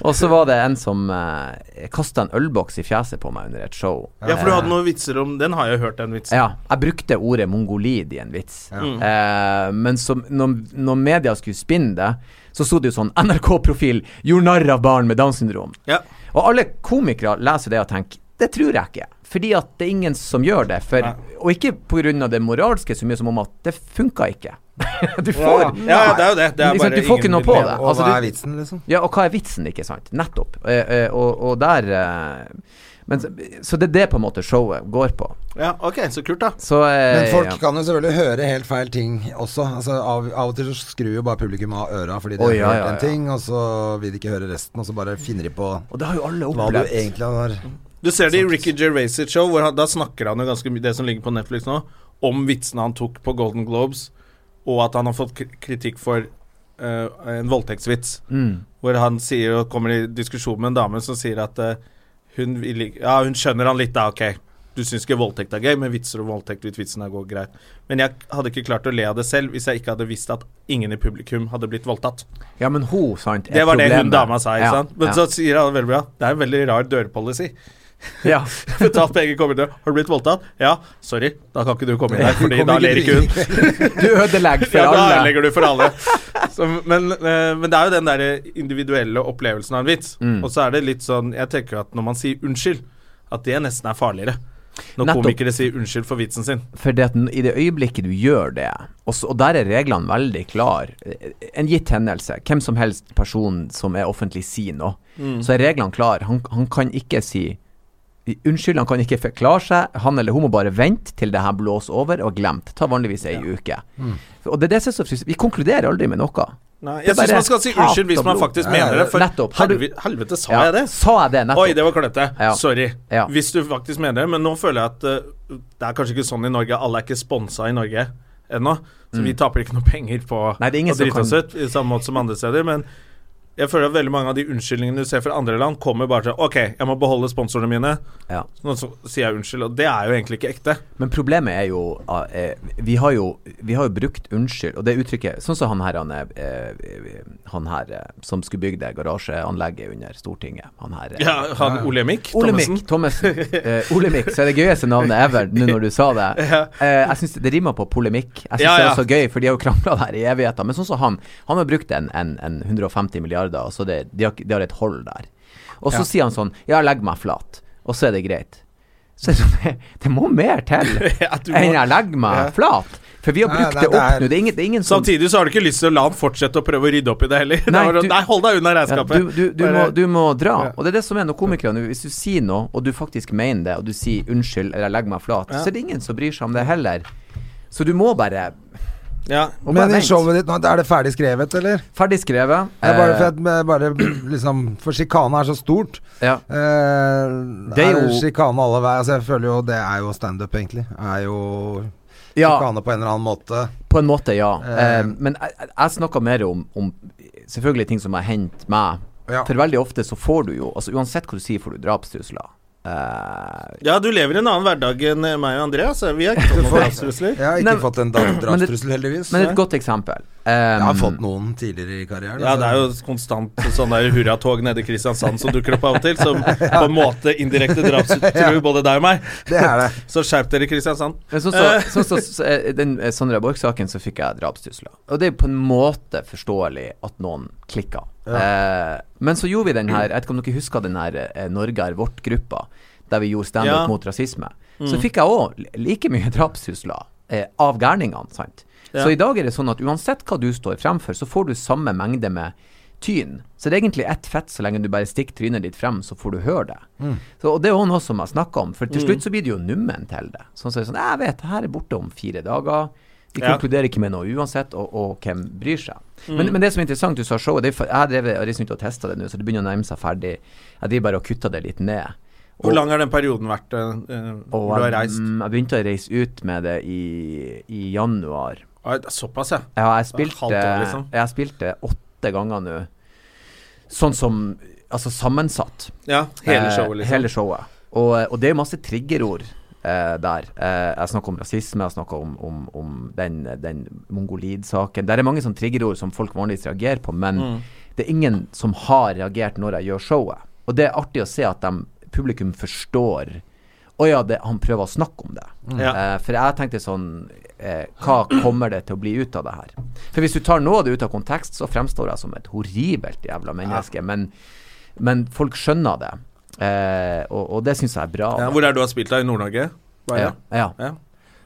[SPEAKER 3] Og så var det en som eh, kasta en ølboks i fjeset på meg under et show.
[SPEAKER 1] Ja, for du hadde noen vitser om Den har jeg hørt, den vitsen.
[SPEAKER 3] Ja, jeg brukte ordet mongolid i en vits. Eh, men som, når, når media skulle spinne det, så sto det jo sånn NRK-profil gjorde narr av barn med Downs syndrom.
[SPEAKER 1] Ja.
[SPEAKER 3] Og alle komikere leser det og tenker det tror jeg ikke. Fordi at det er ingen som gjør det. For, og ikke pga. det moralske så mye som om at det funka ikke. du får
[SPEAKER 1] Ja, ja, det er jo det. Det er
[SPEAKER 3] Liksom,
[SPEAKER 1] bare
[SPEAKER 3] du får ikke
[SPEAKER 1] ingen
[SPEAKER 3] noe på
[SPEAKER 1] idé.
[SPEAKER 3] det.
[SPEAKER 2] Og
[SPEAKER 3] Altså,
[SPEAKER 2] hva
[SPEAKER 3] du-
[SPEAKER 2] er vitsen, liksom?
[SPEAKER 3] ja, og hva er vitsen, ikke sant? Nettopp. Eh, eh, og, og der eh, men, så- Så det er det på en måte showet går på.
[SPEAKER 1] Ja, ok, så kult, da.
[SPEAKER 3] Så eh,
[SPEAKER 2] Men folk
[SPEAKER 3] ja.
[SPEAKER 2] kan jo selvfølgelig høre helt feil ting også. Altså, av, av og til så skrur jo bare publikum av øra fordi de
[SPEAKER 3] Å,
[SPEAKER 2] har
[SPEAKER 3] ja,
[SPEAKER 2] hørt
[SPEAKER 3] ja,
[SPEAKER 2] en
[SPEAKER 3] ja.
[SPEAKER 2] ting, og så vil de ikke høre resten, og så bare finner de på
[SPEAKER 3] Og det har jo alle
[SPEAKER 2] hva du
[SPEAKER 3] opplevd.
[SPEAKER 2] egentlig har
[SPEAKER 1] Du ser det i Ricky Gervais sitt show, hvor han, da snakker han jo ganske mye, det som ligger på Netflix nå, om vitsene han tok på Golden Globes, og at han har fått kri- kritikk for eh, en voldtektsvits.
[SPEAKER 3] Mm.
[SPEAKER 1] Hvor han sier, og kommer i diskusjon med en dame som sier at eh, hun, vil ikke- ja, hun skjønner han litt, da, ok. Du syns ikke voldtekt er gøy, men vitser om voldtekt litt vitsen er går greit. Men jeg hadde ikke klart å le av det selv hvis jeg ikke hadde visst at ingen i publikum hadde blitt voldtatt.
[SPEAKER 3] Ja, men hun, sant, er
[SPEAKER 1] Det var det hun
[SPEAKER 3] problemet.
[SPEAKER 1] dama sa, ikke
[SPEAKER 3] ja,
[SPEAKER 1] sant? Men
[SPEAKER 3] ja.
[SPEAKER 1] så sier han veldig bra Det er en veldig rar dørpolicy.
[SPEAKER 3] ja.
[SPEAKER 1] Betalt penger, kommer til Har du blitt voldtatt? Ja, sorry, da kan ikke du komme inn her, Fordi da ler ikke hun.
[SPEAKER 3] Du ødelegger for
[SPEAKER 1] Ja, da
[SPEAKER 3] alle.
[SPEAKER 1] ødelegger du for alle. Så, men, eh, men det er jo den derre individuelle opplevelsen av en vits.
[SPEAKER 3] Mm.
[SPEAKER 1] Og så er det litt sånn Jeg tenker at når man sier unnskyld, at det nesten er farligere. Når
[SPEAKER 3] Nettopp.
[SPEAKER 1] komikere sier unnskyld for vitsen sin.
[SPEAKER 3] For det at n- i det øyeblikket du gjør det, og, så, og der er reglene veldig klar Eh, En gitt hendelse, hvem som helst person som er offentlig sier noe,
[SPEAKER 1] Mm.
[SPEAKER 3] så er reglene klare. Han, han kan ikke si i- Unnskyld, han kan ikke forklare seg. Han eller hun må bare vente til det her blåser over og glemt. Tar vanligvis ei uke. Og det er det som er så frustr- Vi konkluderer aldri med noe.
[SPEAKER 1] Nei,
[SPEAKER 3] Det er
[SPEAKER 1] jeg syns
[SPEAKER 3] bare
[SPEAKER 1] man skal si
[SPEAKER 3] hat
[SPEAKER 1] unnskyld hvis
[SPEAKER 3] og
[SPEAKER 1] man
[SPEAKER 3] blod.
[SPEAKER 1] faktisk
[SPEAKER 3] Ja,
[SPEAKER 1] mener det. For
[SPEAKER 3] nettopp. Har du-
[SPEAKER 1] helvete, helvete sa
[SPEAKER 3] Ja,
[SPEAKER 1] jeg det?
[SPEAKER 3] Sa jeg det nettopp?
[SPEAKER 1] Oi, det var klønete.
[SPEAKER 3] Ja.
[SPEAKER 1] Sorry.
[SPEAKER 3] Ja.
[SPEAKER 1] Hvis du faktisk mener det. Men nå føler jeg at eh, det er kanskje ikke sånn i Norge. Alle er ikke sponsa i Norge ennå. Så vi taper ikke noe penger på
[SPEAKER 3] Mm. Nei, det er ingen
[SPEAKER 1] å
[SPEAKER 3] som
[SPEAKER 1] drite oss
[SPEAKER 3] kan-
[SPEAKER 1] ut, i samme måte som andre steder. Men jeg føler at veldig mange av de unnskyldningene du ser fra andre land, kommer bare til OK, jeg må beholde sponsorene mine.
[SPEAKER 3] Ja.
[SPEAKER 1] Så nå så, sier jeg unnskyld. Og det er jo egentlig ikke ekte.
[SPEAKER 3] Men problemet er jo ah, eh, Vi har jo, vi har jo brukt unnskyld, og det uttrykket Sånn som han her, han, er, eh, han her eh, som skulle bygge det garasjeanlegget under Stortinget. Han her eh,
[SPEAKER 1] Ja, han Olemic Thommessen.
[SPEAKER 3] Olemic Thommessen. Eh, Olemic, så er det gøyeste navnet ever, nå når du sa det. Eh, jeg synes Det rimer på polemikk. Jeg syns
[SPEAKER 1] Ja,
[SPEAKER 3] det
[SPEAKER 1] ja.
[SPEAKER 3] er så gøy, for de har jo krangla der i evigheter. Men sånn som han, han har brukt en, en, en 150 milliarder, og så det, de, har, ikke- de har et hold der. Og så sier han sånn Ja, legg meg flat, og så er det greit. Så er det, sånn, det må mer til
[SPEAKER 1] Ja, du må-
[SPEAKER 3] enn jeg legger meg flat. For vi har
[SPEAKER 2] Nei,
[SPEAKER 3] brukt
[SPEAKER 2] nei,
[SPEAKER 3] det
[SPEAKER 2] det
[SPEAKER 3] opp
[SPEAKER 2] er-
[SPEAKER 3] nå. Det er ingen, det er ingen som
[SPEAKER 1] Samtidig så har du ikke lyst til å la han fortsette å prøve å rydde opp i det heller. Nei,
[SPEAKER 3] Nei, du-
[SPEAKER 1] Nei hold deg unna
[SPEAKER 3] Ja,
[SPEAKER 1] regnskapet.
[SPEAKER 3] du, du, du, må,
[SPEAKER 1] Bare-
[SPEAKER 3] du må dra. Og det er det som er når komikere nå. Hvis du sier noe, og du faktisk mener det, og du sier 'unnskyld' eller 'legg meg flat', så er det ingen som bryr seg om det heller. Så du må bare
[SPEAKER 1] ja.
[SPEAKER 3] må bare
[SPEAKER 2] Men i
[SPEAKER 3] vente.
[SPEAKER 2] showet ditt nå, er det ferdig skrevet, eller?
[SPEAKER 3] Ferdig skrevet.
[SPEAKER 2] Det er bare
[SPEAKER 3] Eh,
[SPEAKER 2] for, at, jeg bare, liksom, for sjikane er så stort.
[SPEAKER 3] ja.
[SPEAKER 2] Eh,
[SPEAKER 3] Det er
[SPEAKER 2] er
[SPEAKER 3] jo-
[SPEAKER 2] sjikane alle veier. Altså, jeg føler jo det er jo standup, egentlig. Er jo
[SPEAKER 3] ja,
[SPEAKER 2] sjikane på en eller annen måte.
[SPEAKER 3] på en måte, ja.
[SPEAKER 2] Eh,
[SPEAKER 3] Eh, men jeg, jeg- jeg snakker mer om, om selvfølgelig ting som har hendt meg.
[SPEAKER 2] Ja.
[SPEAKER 3] For veldig ofte så får du jo altså Uansett hva du sier, får du drapstrusler. Eh,
[SPEAKER 1] Ja, du lever i en annen hverdag enn eh, meg og Andreas. Vi har ikke sånn fått noen drapstrusler.
[SPEAKER 2] Jeg har ikke
[SPEAKER 3] Nei,
[SPEAKER 2] fått en
[SPEAKER 3] men det-
[SPEAKER 2] drapstrussel, heldigvis.
[SPEAKER 3] men et godt eksempel.
[SPEAKER 2] jeg har
[SPEAKER 3] Eh,
[SPEAKER 2] fått noen tidligere i karrieren.
[SPEAKER 1] Ja,
[SPEAKER 2] altså.
[SPEAKER 1] det er jo konstant sånn der hurratog nede i Kristiansand som dukker opp av og til, som på en måte indirekte drapstruer både deg og meg.
[SPEAKER 2] det er det.
[SPEAKER 1] Så skjerp dere, Kristiansand.
[SPEAKER 3] Men sånn som så, så, så, eh, den eh, Sandra Borch-saken, så fikk jeg drapstrusler. Og det er på en måte forståelig at noen klikka. Eh, men så gjorde vi den her Jeg vet ikke om dere husker den her eh, Norge er vårt-gruppa, der vi gjorde standup
[SPEAKER 1] Ja.
[SPEAKER 3] mot rasisme.
[SPEAKER 1] Mm.
[SPEAKER 3] Så fikk jeg òg like mye drapstrusler eh, av gærningene, sant. Så i dag er det sånn at uansett hva du står fremfor, så får du samme mengde med tyn. Så det er egentlig ett fett, så lenge du bare stikker trynet ditt frem, så får du høre det.
[SPEAKER 1] Mm.
[SPEAKER 3] Så, og det er jo noe som jeg snakker om, for til slutt så blir det jo nummen til det. Sånn som så sånn, jeg vet, det her er borte om fire dager. Vi
[SPEAKER 1] Ja. Mm.
[SPEAKER 3] konkluderer ikke med noe uansett, og, og hvem bryr seg. Men, men det som er interessant, du sa showet, det er, for- jeg har drevet- jeg har reist rundt og testa det nå, så det begynner å nærme seg ferdig. Jeg driver bare og kutter det litt ned.
[SPEAKER 1] Hvor lang har den perioden vært eh, eh,
[SPEAKER 3] Og
[SPEAKER 1] hvor du har
[SPEAKER 3] jeg,
[SPEAKER 1] reist?
[SPEAKER 3] mm, jeg begynte å reise ut med det i, i januar.
[SPEAKER 1] Oi, det er Såpass, ja.
[SPEAKER 3] Ja, jeg
[SPEAKER 1] Halvt
[SPEAKER 3] spilte,
[SPEAKER 1] år, liksom.
[SPEAKER 3] jeg spilte åtte ganger nå. Sånn som Altså sammensatt.
[SPEAKER 1] ja. Hele
[SPEAKER 3] Eh,
[SPEAKER 1] showet, liksom.
[SPEAKER 3] Hele showet. Og, eh, og det er masse triggerord eh, der. Eh, jeg snakker om rasisme, jeg snakker om, om, om den, den mongolid-saken. Der er mange sånne triggerord som folk vanligvis reagerer på, men
[SPEAKER 1] Mm.
[SPEAKER 3] det er ingen som har reagert når jeg gjør showet. Og det er artig å se at dem- publikum forstår å ja, det, han prøver å snakke om det.
[SPEAKER 1] Mm. Ja.
[SPEAKER 3] Eh, for jeg tenkte sånn eh, Hva kommer det til å bli ut av det her? For hvis du tar noe av det ut av kontekst, så fremstår jeg som et horribelt jævla menneske. Men men folk skjønner det, eh, og, og det syns jeg er bra.
[SPEAKER 1] ja. Hvor er det du har spilt da? I Nord-Norge? Hva er
[SPEAKER 3] ja,
[SPEAKER 1] det?
[SPEAKER 3] ja.
[SPEAKER 1] Ja.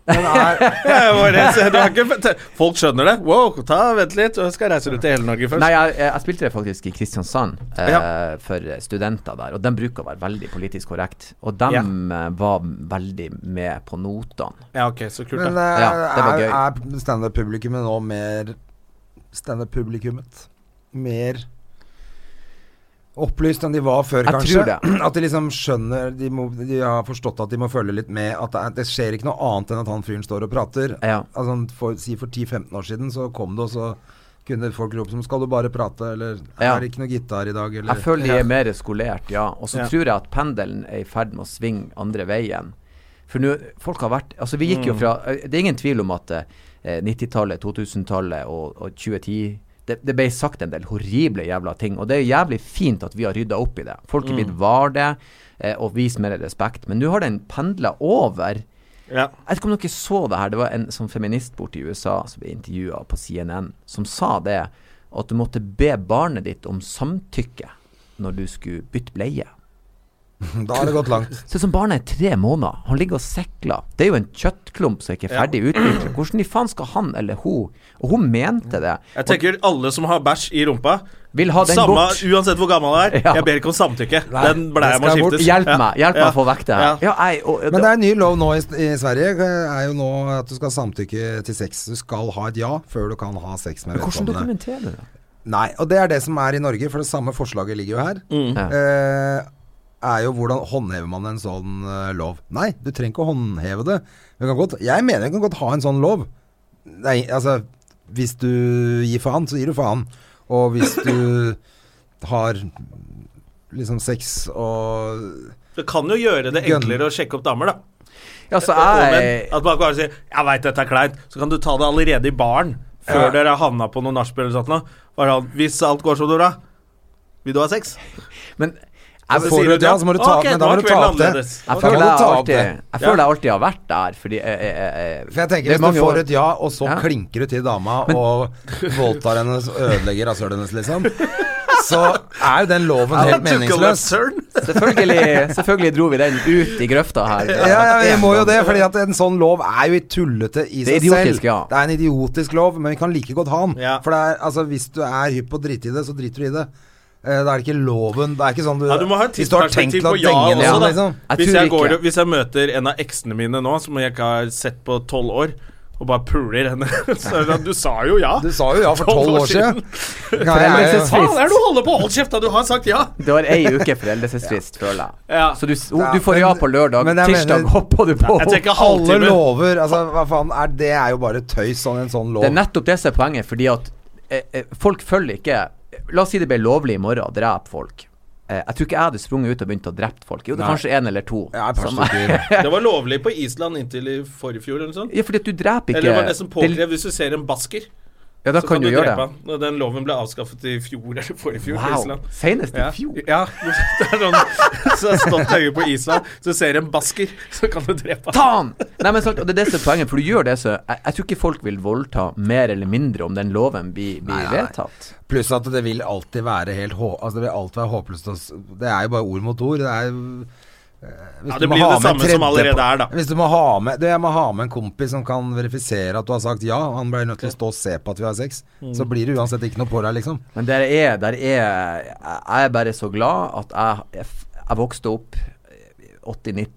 [SPEAKER 2] Men er,
[SPEAKER 1] Ja, bare det, så du har ikke, fått- folk skjønner det. Wow, ta, vent litt. Jeg skal reise rundt i hele Norge først.
[SPEAKER 3] Nei, jeg, jeg jeg spilte det faktisk i Kristiansand eh,
[SPEAKER 1] Ja.
[SPEAKER 3] for studenter der, og de bruker å være veldig politisk korrekt. Og de
[SPEAKER 1] Ja.
[SPEAKER 3] eh, var veldig med på notene.
[SPEAKER 1] Ja, ok, så kult.
[SPEAKER 2] men
[SPEAKER 1] da.
[SPEAKER 2] er,
[SPEAKER 3] Ja, det var
[SPEAKER 2] er, er standup-publikummet nå mer Standup-publikummet mer opplyst enn de var før,
[SPEAKER 3] Jeg
[SPEAKER 2] kanskje?
[SPEAKER 3] tror det.
[SPEAKER 2] At de liksom skjønner de, må, de har forstått at de må følge litt med at det, er, det skjer ikke noe annet enn at han fyren står og prater.
[SPEAKER 3] Ja.
[SPEAKER 2] Altså, for, si for 10-15 år siden så kom det, og så kunne folk rope som 'Skal du bare prate?' eller 'Er
[SPEAKER 3] Ja.
[SPEAKER 2] det ikke noe gitar i dag?' eller
[SPEAKER 3] Jeg føler de er mer skolert, ja. Og så
[SPEAKER 1] Ja.
[SPEAKER 3] tror jeg at pendelen er i ferd med å svinge andre veien. For nå Folk har vært Altså, vi gikk jo fra Det er ingen tvil om at eh, 90-tallet, 2000-tallet og, og 2010 det, det ble sagt en del horrible jævla ting, og det er jævlig fint at vi har rydda opp i det. Folk er blitt var det, eh, og vist mer respekt. Men nå har den pendla over
[SPEAKER 1] Ja.
[SPEAKER 3] jeg vet ikke om dere så det her. Det var en sånn feminist borte i USA som ble intervjua på CNN, som sa det at du måtte be barnet ditt om samtykke når du skulle bytte bleie.
[SPEAKER 2] Da har det gått langt.
[SPEAKER 3] Så som barnet er tre måneder, han ligger og sikler. Det er jo en kjøttklump som ikke er ferdig utviklet. Hvordan i faen skal han eller hun Og hun mente det.
[SPEAKER 1] Jeg tenker alle som har bæsj i rumpa
[SPEAKER 3] Vil ha den
[SPEAKER 1] Samme
[SPEAKER 3] bort.
[SPEAKER 1] uansett hvor gammel han er.
[SPEAKER 3] Ja.
[SPEAKER 1] Jeg ber ikke om samtykke. Den bleia
[SPEAKER 2] det
[SPEAKER 1] må
[SPEAKER 2] skal bort.
[SPEAKER 1] skiftes.
[SPEAKER 3] Hjelp
[SPEAKER 1] Ja.
[SPEAKER 3] meg hjelp meg
[SPEAKER 1] Ja.
[SPEAKER 3] å få vekk det
[SPEAKER 1] Ja.
[SPEAKER 3] her. Ja, jeg, og,
[SPEAKER 2] Men det er en ny lov nå i, i Sverige. eh, er jo nå at du skal samtykke til sex. Du skal ha et ja før du kan ha sex med
[SPEAKER 3] hvordan
[SPEAKER 2] vedkommende.
[SPEAKER 3] dokumenterer du det?
[SPEAKER 2] Nei, og det er det som er i Norge, for det samme forslaget ligger jo her.
[SPEAKER 3] Mm. Ja.
[SPEAKER 1] Mm.
[SPEAKER 2] Eh, er jo hvordan håndhever man en sånn eh, lov? Nei, du trenger ikke å håndheve det. Du kan godt, jeg mener du kan godt ha en sånn lov. Nei, altså Hvis du gir faen, så gir du faen. Og hvis du har liksom sex og
[SPEAKER 1] Det kan jo gjøre det
[SPEAKER 2] Gun.
[SPEAKER 1] enklere å sjekke opp damer, da.
[SPEAKER 3] Ja, så
[SPEAKER 1] Og menn.
[SPEAKER 3] jeg
[SPEAKER 1] At man bare sier 'jeg veit dette er kleint', så kan du ta det allerede i baren. Før dere har havna på noen nachspiel eller sånt noe. Bare sånn 'Hvis alt går som du vil, vil du ha sex?'
[SPEAKER 3] Men
[SPEAKER 2] Jeg
[SPEAKER 1] Altså,
[SPEAKER 3] jeg
[SPEAKER 2] får du et ja, så må du ta
[SPEAKER 1] Ok,
[SPEAKER 2] men da
[SPEAKER 1] da
[SPEAKER 2] må
[SPEAKER 1] er
[SPEAKER 2] du ta
[SPEAKER 1] kvelden
[SPEAKER 2] opp det.
[SPEAKER 1] annerledes.
[SPEAKER 2] Da
[SPEAKER 3] Jeg
[SPEAKER 2] må
[SPEAKER 3] føler
[SPEAKER 2] du
[SPEAKER 3] jeg,
[SPEAKER 2] ta opp
[SPEAKER 3] alltid,
[SPEAKER 2] det.
[SPEAKER 3] jeg føler jeg alltid har vært der, fordi eh, eh, eh,
[SPEAKER 2] For jeg
[SPEAKER 3] det
[SPEAKER 2] tenker
[SPEAKER 3] er
[SPEAKER 2] Hvis du
[SPEAKER 3] mange
[SPEAKER 2] får
[SPEAKER 3] år.
[SPEAKER 2] et ja, og så
[SPEAKER 3] Ja.
[SPEAKER 2] klinker du til dama og voldtar henne og ødelegger rasshølet hennes, liksom, så er jo den loven helt meningsløs.
[SPEAKER 3] Selvfølgelig, selvfølgelig dro vi den ut i grøfta her.
[SPEAKER 2] Ja, ja, vi må jo det, fordi at en sånn lov er jo tullete i
[SPEAKER 3] Det
[SPEAKER 2] seg
[SPEAKER 3] er
[SPEAKER 2] selv.
[SPEAKER 3] idiotisk, ja.
[SPEAKER 2] Det er en idiotisk lov, men vi kan like godt ha den.
[SPEAKER 1] Ja.
[SPEAKER 2] For det er, altså, hvis du er hypp på å drite i det, så driter du i det. Eh, Da er det ikke loven Det er ikke sånn du,
[SPEAKER 1] Ja, du må ha et
[SPEAKER 2] Hvis du har tenkt til
[SPEAKER 1] tidsperspektiv
[SPEAKER 2] å
[SPEAKER 1] på ja
[SPEAKER 2] denge
[SPEAKER 1] også,
[SPEAKER 2] noen,
[SPEAKER 1] da.
[SPEAKER 2] liksom.
[SPEAKER 3] Jeg
[SPEAKER 1] hvis,
[SPEAKER 3] tror
[SPEAKER 1] jeg går,
[SPEAKER 3] ikke.
[SPEAKER 1] hvis jeg møter en av eksene mine nå, som jeg ikke har sett på tolv år, og bare puler henne Så er det sånn, Du sa jo ja!
[SPEAKER 2] Du sa jo ja for tolv år siden. Kan jeg-
[SPEAKER 3] Foreldelsesfrist.
[SPEAKER 1] Faen, er det du holder på? Hold kjeft, da! Du har sagt ja!
[SPEAKER 3] Du har ei uke foreldelsesfrist, føler jeg.
[SPEAKER 1] Ja.
[SPEAKER 3] Så du, s-
[SPEAKER 2] Ja,
[SPEAKER 3] du får
[SPEAKER 2] men-
[SPEAKER 3] ja på lørdag,
[SPEAKER 2] men jeg
[SPEAKER 3] tirsdag
[SPEAKER 2] mener-
[SPEAKER 3] hopper du på.
[SPEAKER 1] Jeg tenker
[SPEAKER 2] Alle
[SPEAKER 1] halvtime.
[SPEAKER 2] lover altså, Hva faen er det? er jo bare tøys, sånn en sånn lov.
[SPEAKER 3] Det er nettopp det som er poenget, fordi at eh, eh, folk følger ikke La oss si det ble lovlig i morgen å drepe folk. Eh, jeg tror ikke jeg hadde sprunget ut og begynt å drepe folk. Jo, det er
[SPEAKER 2] Nei.
[SPEAKER 3] kanskje én eller to.
[SPEAKER 2] ja, et par
[SPEAKER 3] som-
[SPEAKER 2] stykker.
[SPEAKER 1] Det var lovlig på Island inntil i forrige fjor, eller noe sånt.
[SPEAKER 3] ja, fordi at du dreper ikke
[SPEAKER 1] Eller det var nesten
[SPEAKER 3] det-
[SPEAKER 1] påkrevd hvis du ser en basker.
[SPEAKER 3] Ja, da
[SPEAKER 1] så
[SPEAKER 3] kan, du, gjøre
[SPEAKER 1] drepe
[SPEAKER 3] det.
[SPEAKER 1] han. Og Den loven ble avskaffet i fjor eller forrige fjor på
[SPEAKER 3] Wow.
[SPEAKER 1] Island.
[SPEAKER 3] Senest i
[SPEAKER 1] Ja.
[SPEAKER 3] fjor.
[SPEAKER 1] ja. Det er sånn Så jeg har stått høye på Island, så ser en basker, så kan du drepe han.
[SPEAKER 3] Ta han! Nei, men sant, og det er det som er poenget, for du gjør det så jeg, jeg tror ikke folk vil voldta mer eller mindre om den loven blir, blir
[SPEAKER 2] Nei, nei, nei.
[SPEAKER 3] vedtatt.
[SPEAKER 2] Pluss at det vil alltid være helt hå... Altså, det vil alltid være håpløst. å s- Det er jo bare ord mot ord. Det er jo eh, hvis
[SPEAKER 1] Ja,
[SPEAKER 2] du
[SPEAKER 1] det
[SPEAKER 2] må
[SPEAKER 1] blir jo
[SPEAKER 2] ha
[SPEAKER 1] det
[SPEAKER 2] med en
[SPEAKER 1] samme som allerede
[SPEAKER 2] tredjepart-
[SPEAKER 1] er, da.
[SPEAKER 2] Hvis du må ha med du, Jeg må ha med en kompis som kan verifisere at du har sagt ja. Han blir nødt til å stå og se på at vi har sex.
[SPEAKER 1] Mm.
[SPEAKER 2] Så blir det uansett ikke noe på deg, liksom.
[SPEAKER 3] Men der er, der er Jeg er bare så glad at jeg, jeg, f- jeg vokste opp eh, 80-90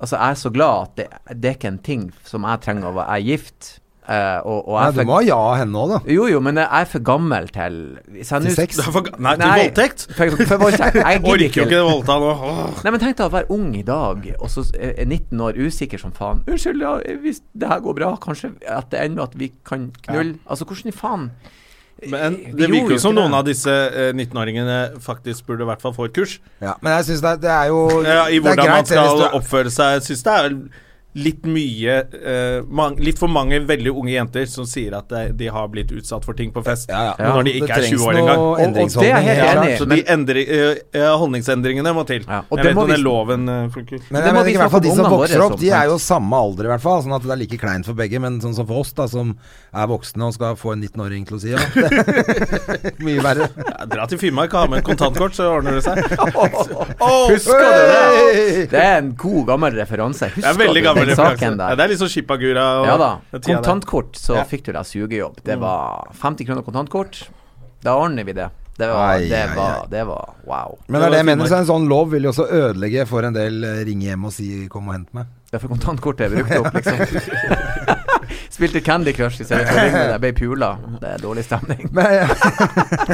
[SPEAKER 3] Altså, jeg er så glad at det, det er ikke en ting som jeg trenger å være jeg er gift. eh, og, og
[SPEAKER 2] Nei,
[SPEAKER 3] jeg
[SPEAKER 2] du
[SPEAKER 3] fikk-
[SPEAKER 2] må ha ja av henne òg, da.
[SPEAKER 3] Jo, jo, men jeg er for gammel til Hvis jeg
[SPEAKER 2] Til
[SPEAKER 3] nå-
[SPEAKER 2] sex.
[SPEAKER 1] Det er for, nei, til
[SPEAKER 3] Nei.
[SPEAKER 1] voldtekt!
[SPEAKER 3] For, for voldtekt.
[SPEAKER 1] Orker
[SPEAKER 3] Jeg gidder
[SPEAKER 1] jo ikke
[SPEAKER 3] ikke.
[SPEAKER 1] det voldta nå. Åh.
[SPEAKER 3] Nei, men tenk deg å være ung i dag, og så er er 19 år, usikker som faen. Unnskyld, ja, hvis det her går bra, kanskje at det ender med at vi kan knulle Altså, hvordan i faen?
[SPEAKER 1] Men
[SPEAKER 3] Vi
[SPEAKER 1] det
[SPEAKER 3] gjorde
[SPEAKER 1] virker jo som
[SPEAKER 3] ikke
[SPEAKER 1] noen
[SPEAKER 3] det.
[SPEAKER 1] av disse eh, 19-åringene faktisk burde i hvert fall få et kurs.
[SPEAKER 2] Ja, men jeg syns det, er- det er jo
[SPEAKER 1] Ja, I hvordan man
[SPEAKER 2] det hvis
[SPEAKER 1] skal
[SPEAKER 2] du er-
[SPEAKER 1] oppføre seg. Jeg syns det er litt mye eh, mang- Litt for mange veldig unge jenter som sier at eh, de, de har blitt utsatt for ting på fest.
[SPEAKER 2] Ja, ja.
[SPEAKER 1] Men Når de
[SPEAKER 2] Det
[SPEAKER 1] ikke er
[SPEAKER 2] trengs
[SPEAKER 1] 20 år
[SPEAKER 2] noe
[SPEAKER 1] engang.
[SPEAKER 3] og det er jeg
[SPEAKER 2] endringsholdning,
[SPEAKER 3] helt
[SPEAKER 2] helt
[SPEAKER 3] enig i.
[SPEAKER 2] klart.
[SPEAKER 1] Så de endri, eh, eh, holdningsendringene må til.
[SPEAKER 3] Ja,
[SPEAKER 1] Jeg
[SPEAKER 3] og det
[SPEAKER 1] vet ikke
[SPEAKER 3] må
[SPEAKER 1] om den
[SPEAKER 3] vi-
[SPEAKER 1] loven eh, funker.
[SPEAKER 2] Men jeg
[SPEAKER 3] Det må
[SPEAKER 2] mener
[SPEAKER 3] vi
[SPEAKER 2] ikke i hvert fall de
[SPEAKER 3] snakke om
[SPEAKER 2] som
[SPEAKER 3] ungene
[SPEAKER 2] vokser
[SPEAKER 3] våre,
[SPEAKER 2] opp, de
[SPEAKER 3] sånn.
[SPEAKER 2] er jo samme alder i hvert fall. Sånn at det er like kleint for begge. Men sånn som for oss, da, som er voksne og skal få en 19-åring til å si ja. Mye verre.
[SPEAKER 1] Ja, dra til Finnmark og ha med et kontantkort, så ordner det seg.
[SPEAKER 3] Husker du det?
[SPEAKER 2] Hey!
[SPEAKER 3] Det er en god, gammel referanse.
[SPEAKER 1] Det
[SPEAKER 3] Husker
[SPEAKER 1] er veldig
[SPEAKER 3] du
[SPEAKER 1] gammel
[SPEAKER 3] den
[SPEAKER 1] referanse.
[SPEAKER 3] saken
[SPEAKER 1] Ja,
[SPEAKER 3] der?
[SPEAKER 1] det er litt sånn Chipagura og
[SPEAKER 3] Ja da.
[SPEAKER 1] den tida der.
[SPEAKER 3] Kontantkort, så
[SPEAKER 1] Ja.
[SPEAKER 3] fikk du deg sugejobb.
[SPEAKER 2] Mm.
[SPEAKER 3] Det var 50 kroner kontantkort. Da ordner vi det. Det var,
[SPEAKER 2] Ai,
[SPEAKER 3] det
[SPEAKER 2] ai,
[SPEAKER 3] var, det var wow.
[SPEAKER 2] Men det er det jeg mener, så en sånn lov vil jo også ødelegge for en del eh, ringe hjem og si 'kom og hent meg'.
[SPEAKER 3] Derfor kontantkortet er brukt opp, liksom. Spilte Candy Crush i stedet for å ringe deg. Ble pula. Det er dårlig stemning.
[SPEAKER 2] Men,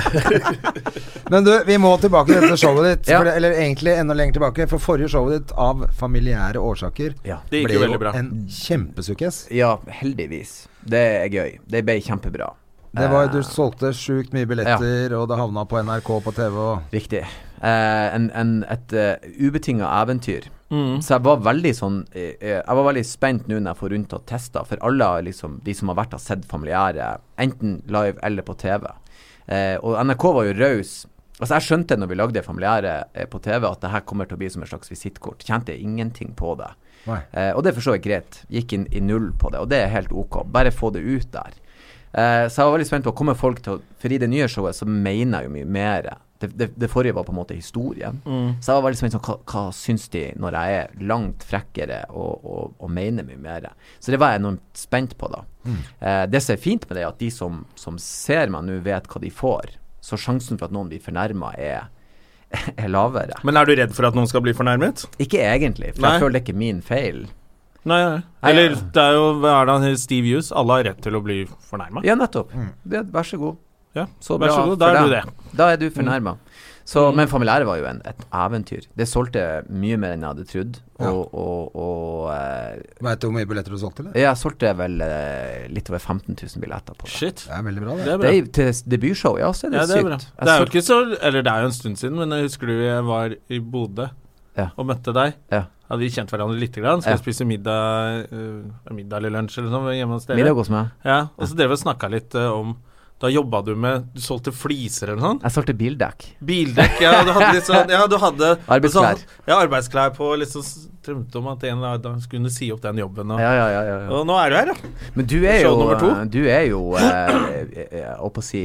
[SPEAKER 2] Men du, vi må tilbake til dette showet ditt.
[SPEAKER 3] Ja.
[SPEAKER 2] For det, eller egentlig enda lenger tilbake. For forrige showet ditt, av familiære årsaker,
[SPEAKER 3] Ja.
[SPEAKER 1] Det gikk jo veldig bra.
[SPEAKER 2] en kjempesukkes.
[SPEAKER 3] Ja, heldigvis. Det er gøy. Det ble kjempebra.
[SPEAKER 2] Det var,
[SPEAKER 3] Eh,
[SPEAKER 2] du solgte sjukt mye billetter, og det havna på NRK på TV. Og
[SPEAKER 3] Riktig. Eh, en, en, et uh, ubetinga eventyr. Så jeg var veldig sånn eh, eh, Jeg var veldig spent nå når jeg får rundt og testa, for alle har liksom, de som har vært har sett familiære, enten live eller på TV. Eh, og NRK var jo raus. Altså Jeg skjønte når vi lagde familiære eh, på TV at det her kommer til å bli som et slags visittkort. Kjente ingenting på det.
[SPEAKER 2] Nei.
[SPEAKER 3] Eh, og det er for så vidt greit. Gikk inn i null på det, og det er helt ok. Bare få det ut der. Eh, så jeg var veldig spent på å komme folk til å For i det nye showet så mener jeg jo mye mer. Det, det, det forrige var på en måte historien. Så jeg var veldig spent på hva, hva syns de når jeg er langt frekkere og, og, og mener mye mer. Så det var jeg enormt spent på, da. Eh, det som er fint med det, er at de som, som ser meg nå, vet hva de får. Så sjansen for at noen blir fornærma, er, er lavere.
[SPEAKER 1] Men er du redd for at noen skal bli fornærmet?
[SPEAKER 3] Ikke egentlig, for
[SPEAKER 1] Nei.
[SPEAKER 3] jeg føler det er ikke min feil.
[SPEAKER 1] Nei, nei.
[SPEAKER 3] Nei,
[SPEAKER 1] Eller
[SPEAKER 3] ja.
[SPEAKER 1] det er jo hva er det han heter, Steve Hughes? Alle har rett til å bli fornærma.
[SPEAKER 3] Ja, nettopp. Det, vær så god.
[SPEAKER 1] Ja.
[SPEAKER 3] Så
[SPEAKER 1] Vær
[SPEAKER 3] bra
[SPEAKER 1] så god,
[SPEAKER 3] for
[SPEAKER 1] da er du det.
[SPEAKER 3] deg. Da er du fornærma. Men familiære var jo en, et eventyr. Det solgte mye mer enn jeg hadde trodd. Og,
[SPEAKER 2] Ja.
[SPEAKER 3] og, og eh,
[SPEAKER 2] Veit du hvor mye billetter du solgte, eller?
[SPEAKER 3] jeg solgte vel eh, litt over 15 000 billetter på det.
[SPEAKER 1] Shit.
[SPEAKER 2] Det er veldig bra,
[SPEAKER 1] Det
[SPEAKER 2] det.
[SPEAKER 1] er bra.
[SPEAKER 3] Det er, til s- debutshow, ja, så er det
[SPEAKER 1] Ja, det er bra.
[SPEAKER 3] sykt.
[SPEAKER 1] Det er jo ikke så Eller det er jo en stund siden, men jeg husker du jeg var i Bodø
[SPEAKER 3] Ja.
[SPEAKER 1] og møtte deg?
[SPEAKER 3] Ja.
[SPEAKER 1] Hadde vi kjent hverandre lite grann? Skal
[SPEAKER 3] Ja.
[SPEAKER 1] spise middag eh, middag eller lunsj eller noe sånt hjemme hos dere?
[SPEAKER 3] middag hos meg.
[SPEAKER 1] Ja, og så drev vi og snakka litt eh, om Da jobba du med Du solgte fliser eller noe sånt?
[SPEAKER 3] Jeg solgte bildekk.
[SPEAKER 1] Bildekk, ja. Du hadde litt sånn Ja, du hadde
[SPEAKER 3] Arbeidsklær.
[SPEAKER 1] Sånn, ja, arbeidsklær på liksom s- Drømte om at en eller annen dag skulle si opp den jobben. Og,
[SPEAKER 3] Ja, ja, ja, ja, ja.
[SPEAKER 1] og nå er du her, ja.
[SPEAKER 3] Men du er
[SPEAKER 1] Show
[SPEAKER 3] jo
[SPEAKER 1] nummer to.
[SPEAKER 3] eh, Du er jo eh, eh, eh, holdt på å si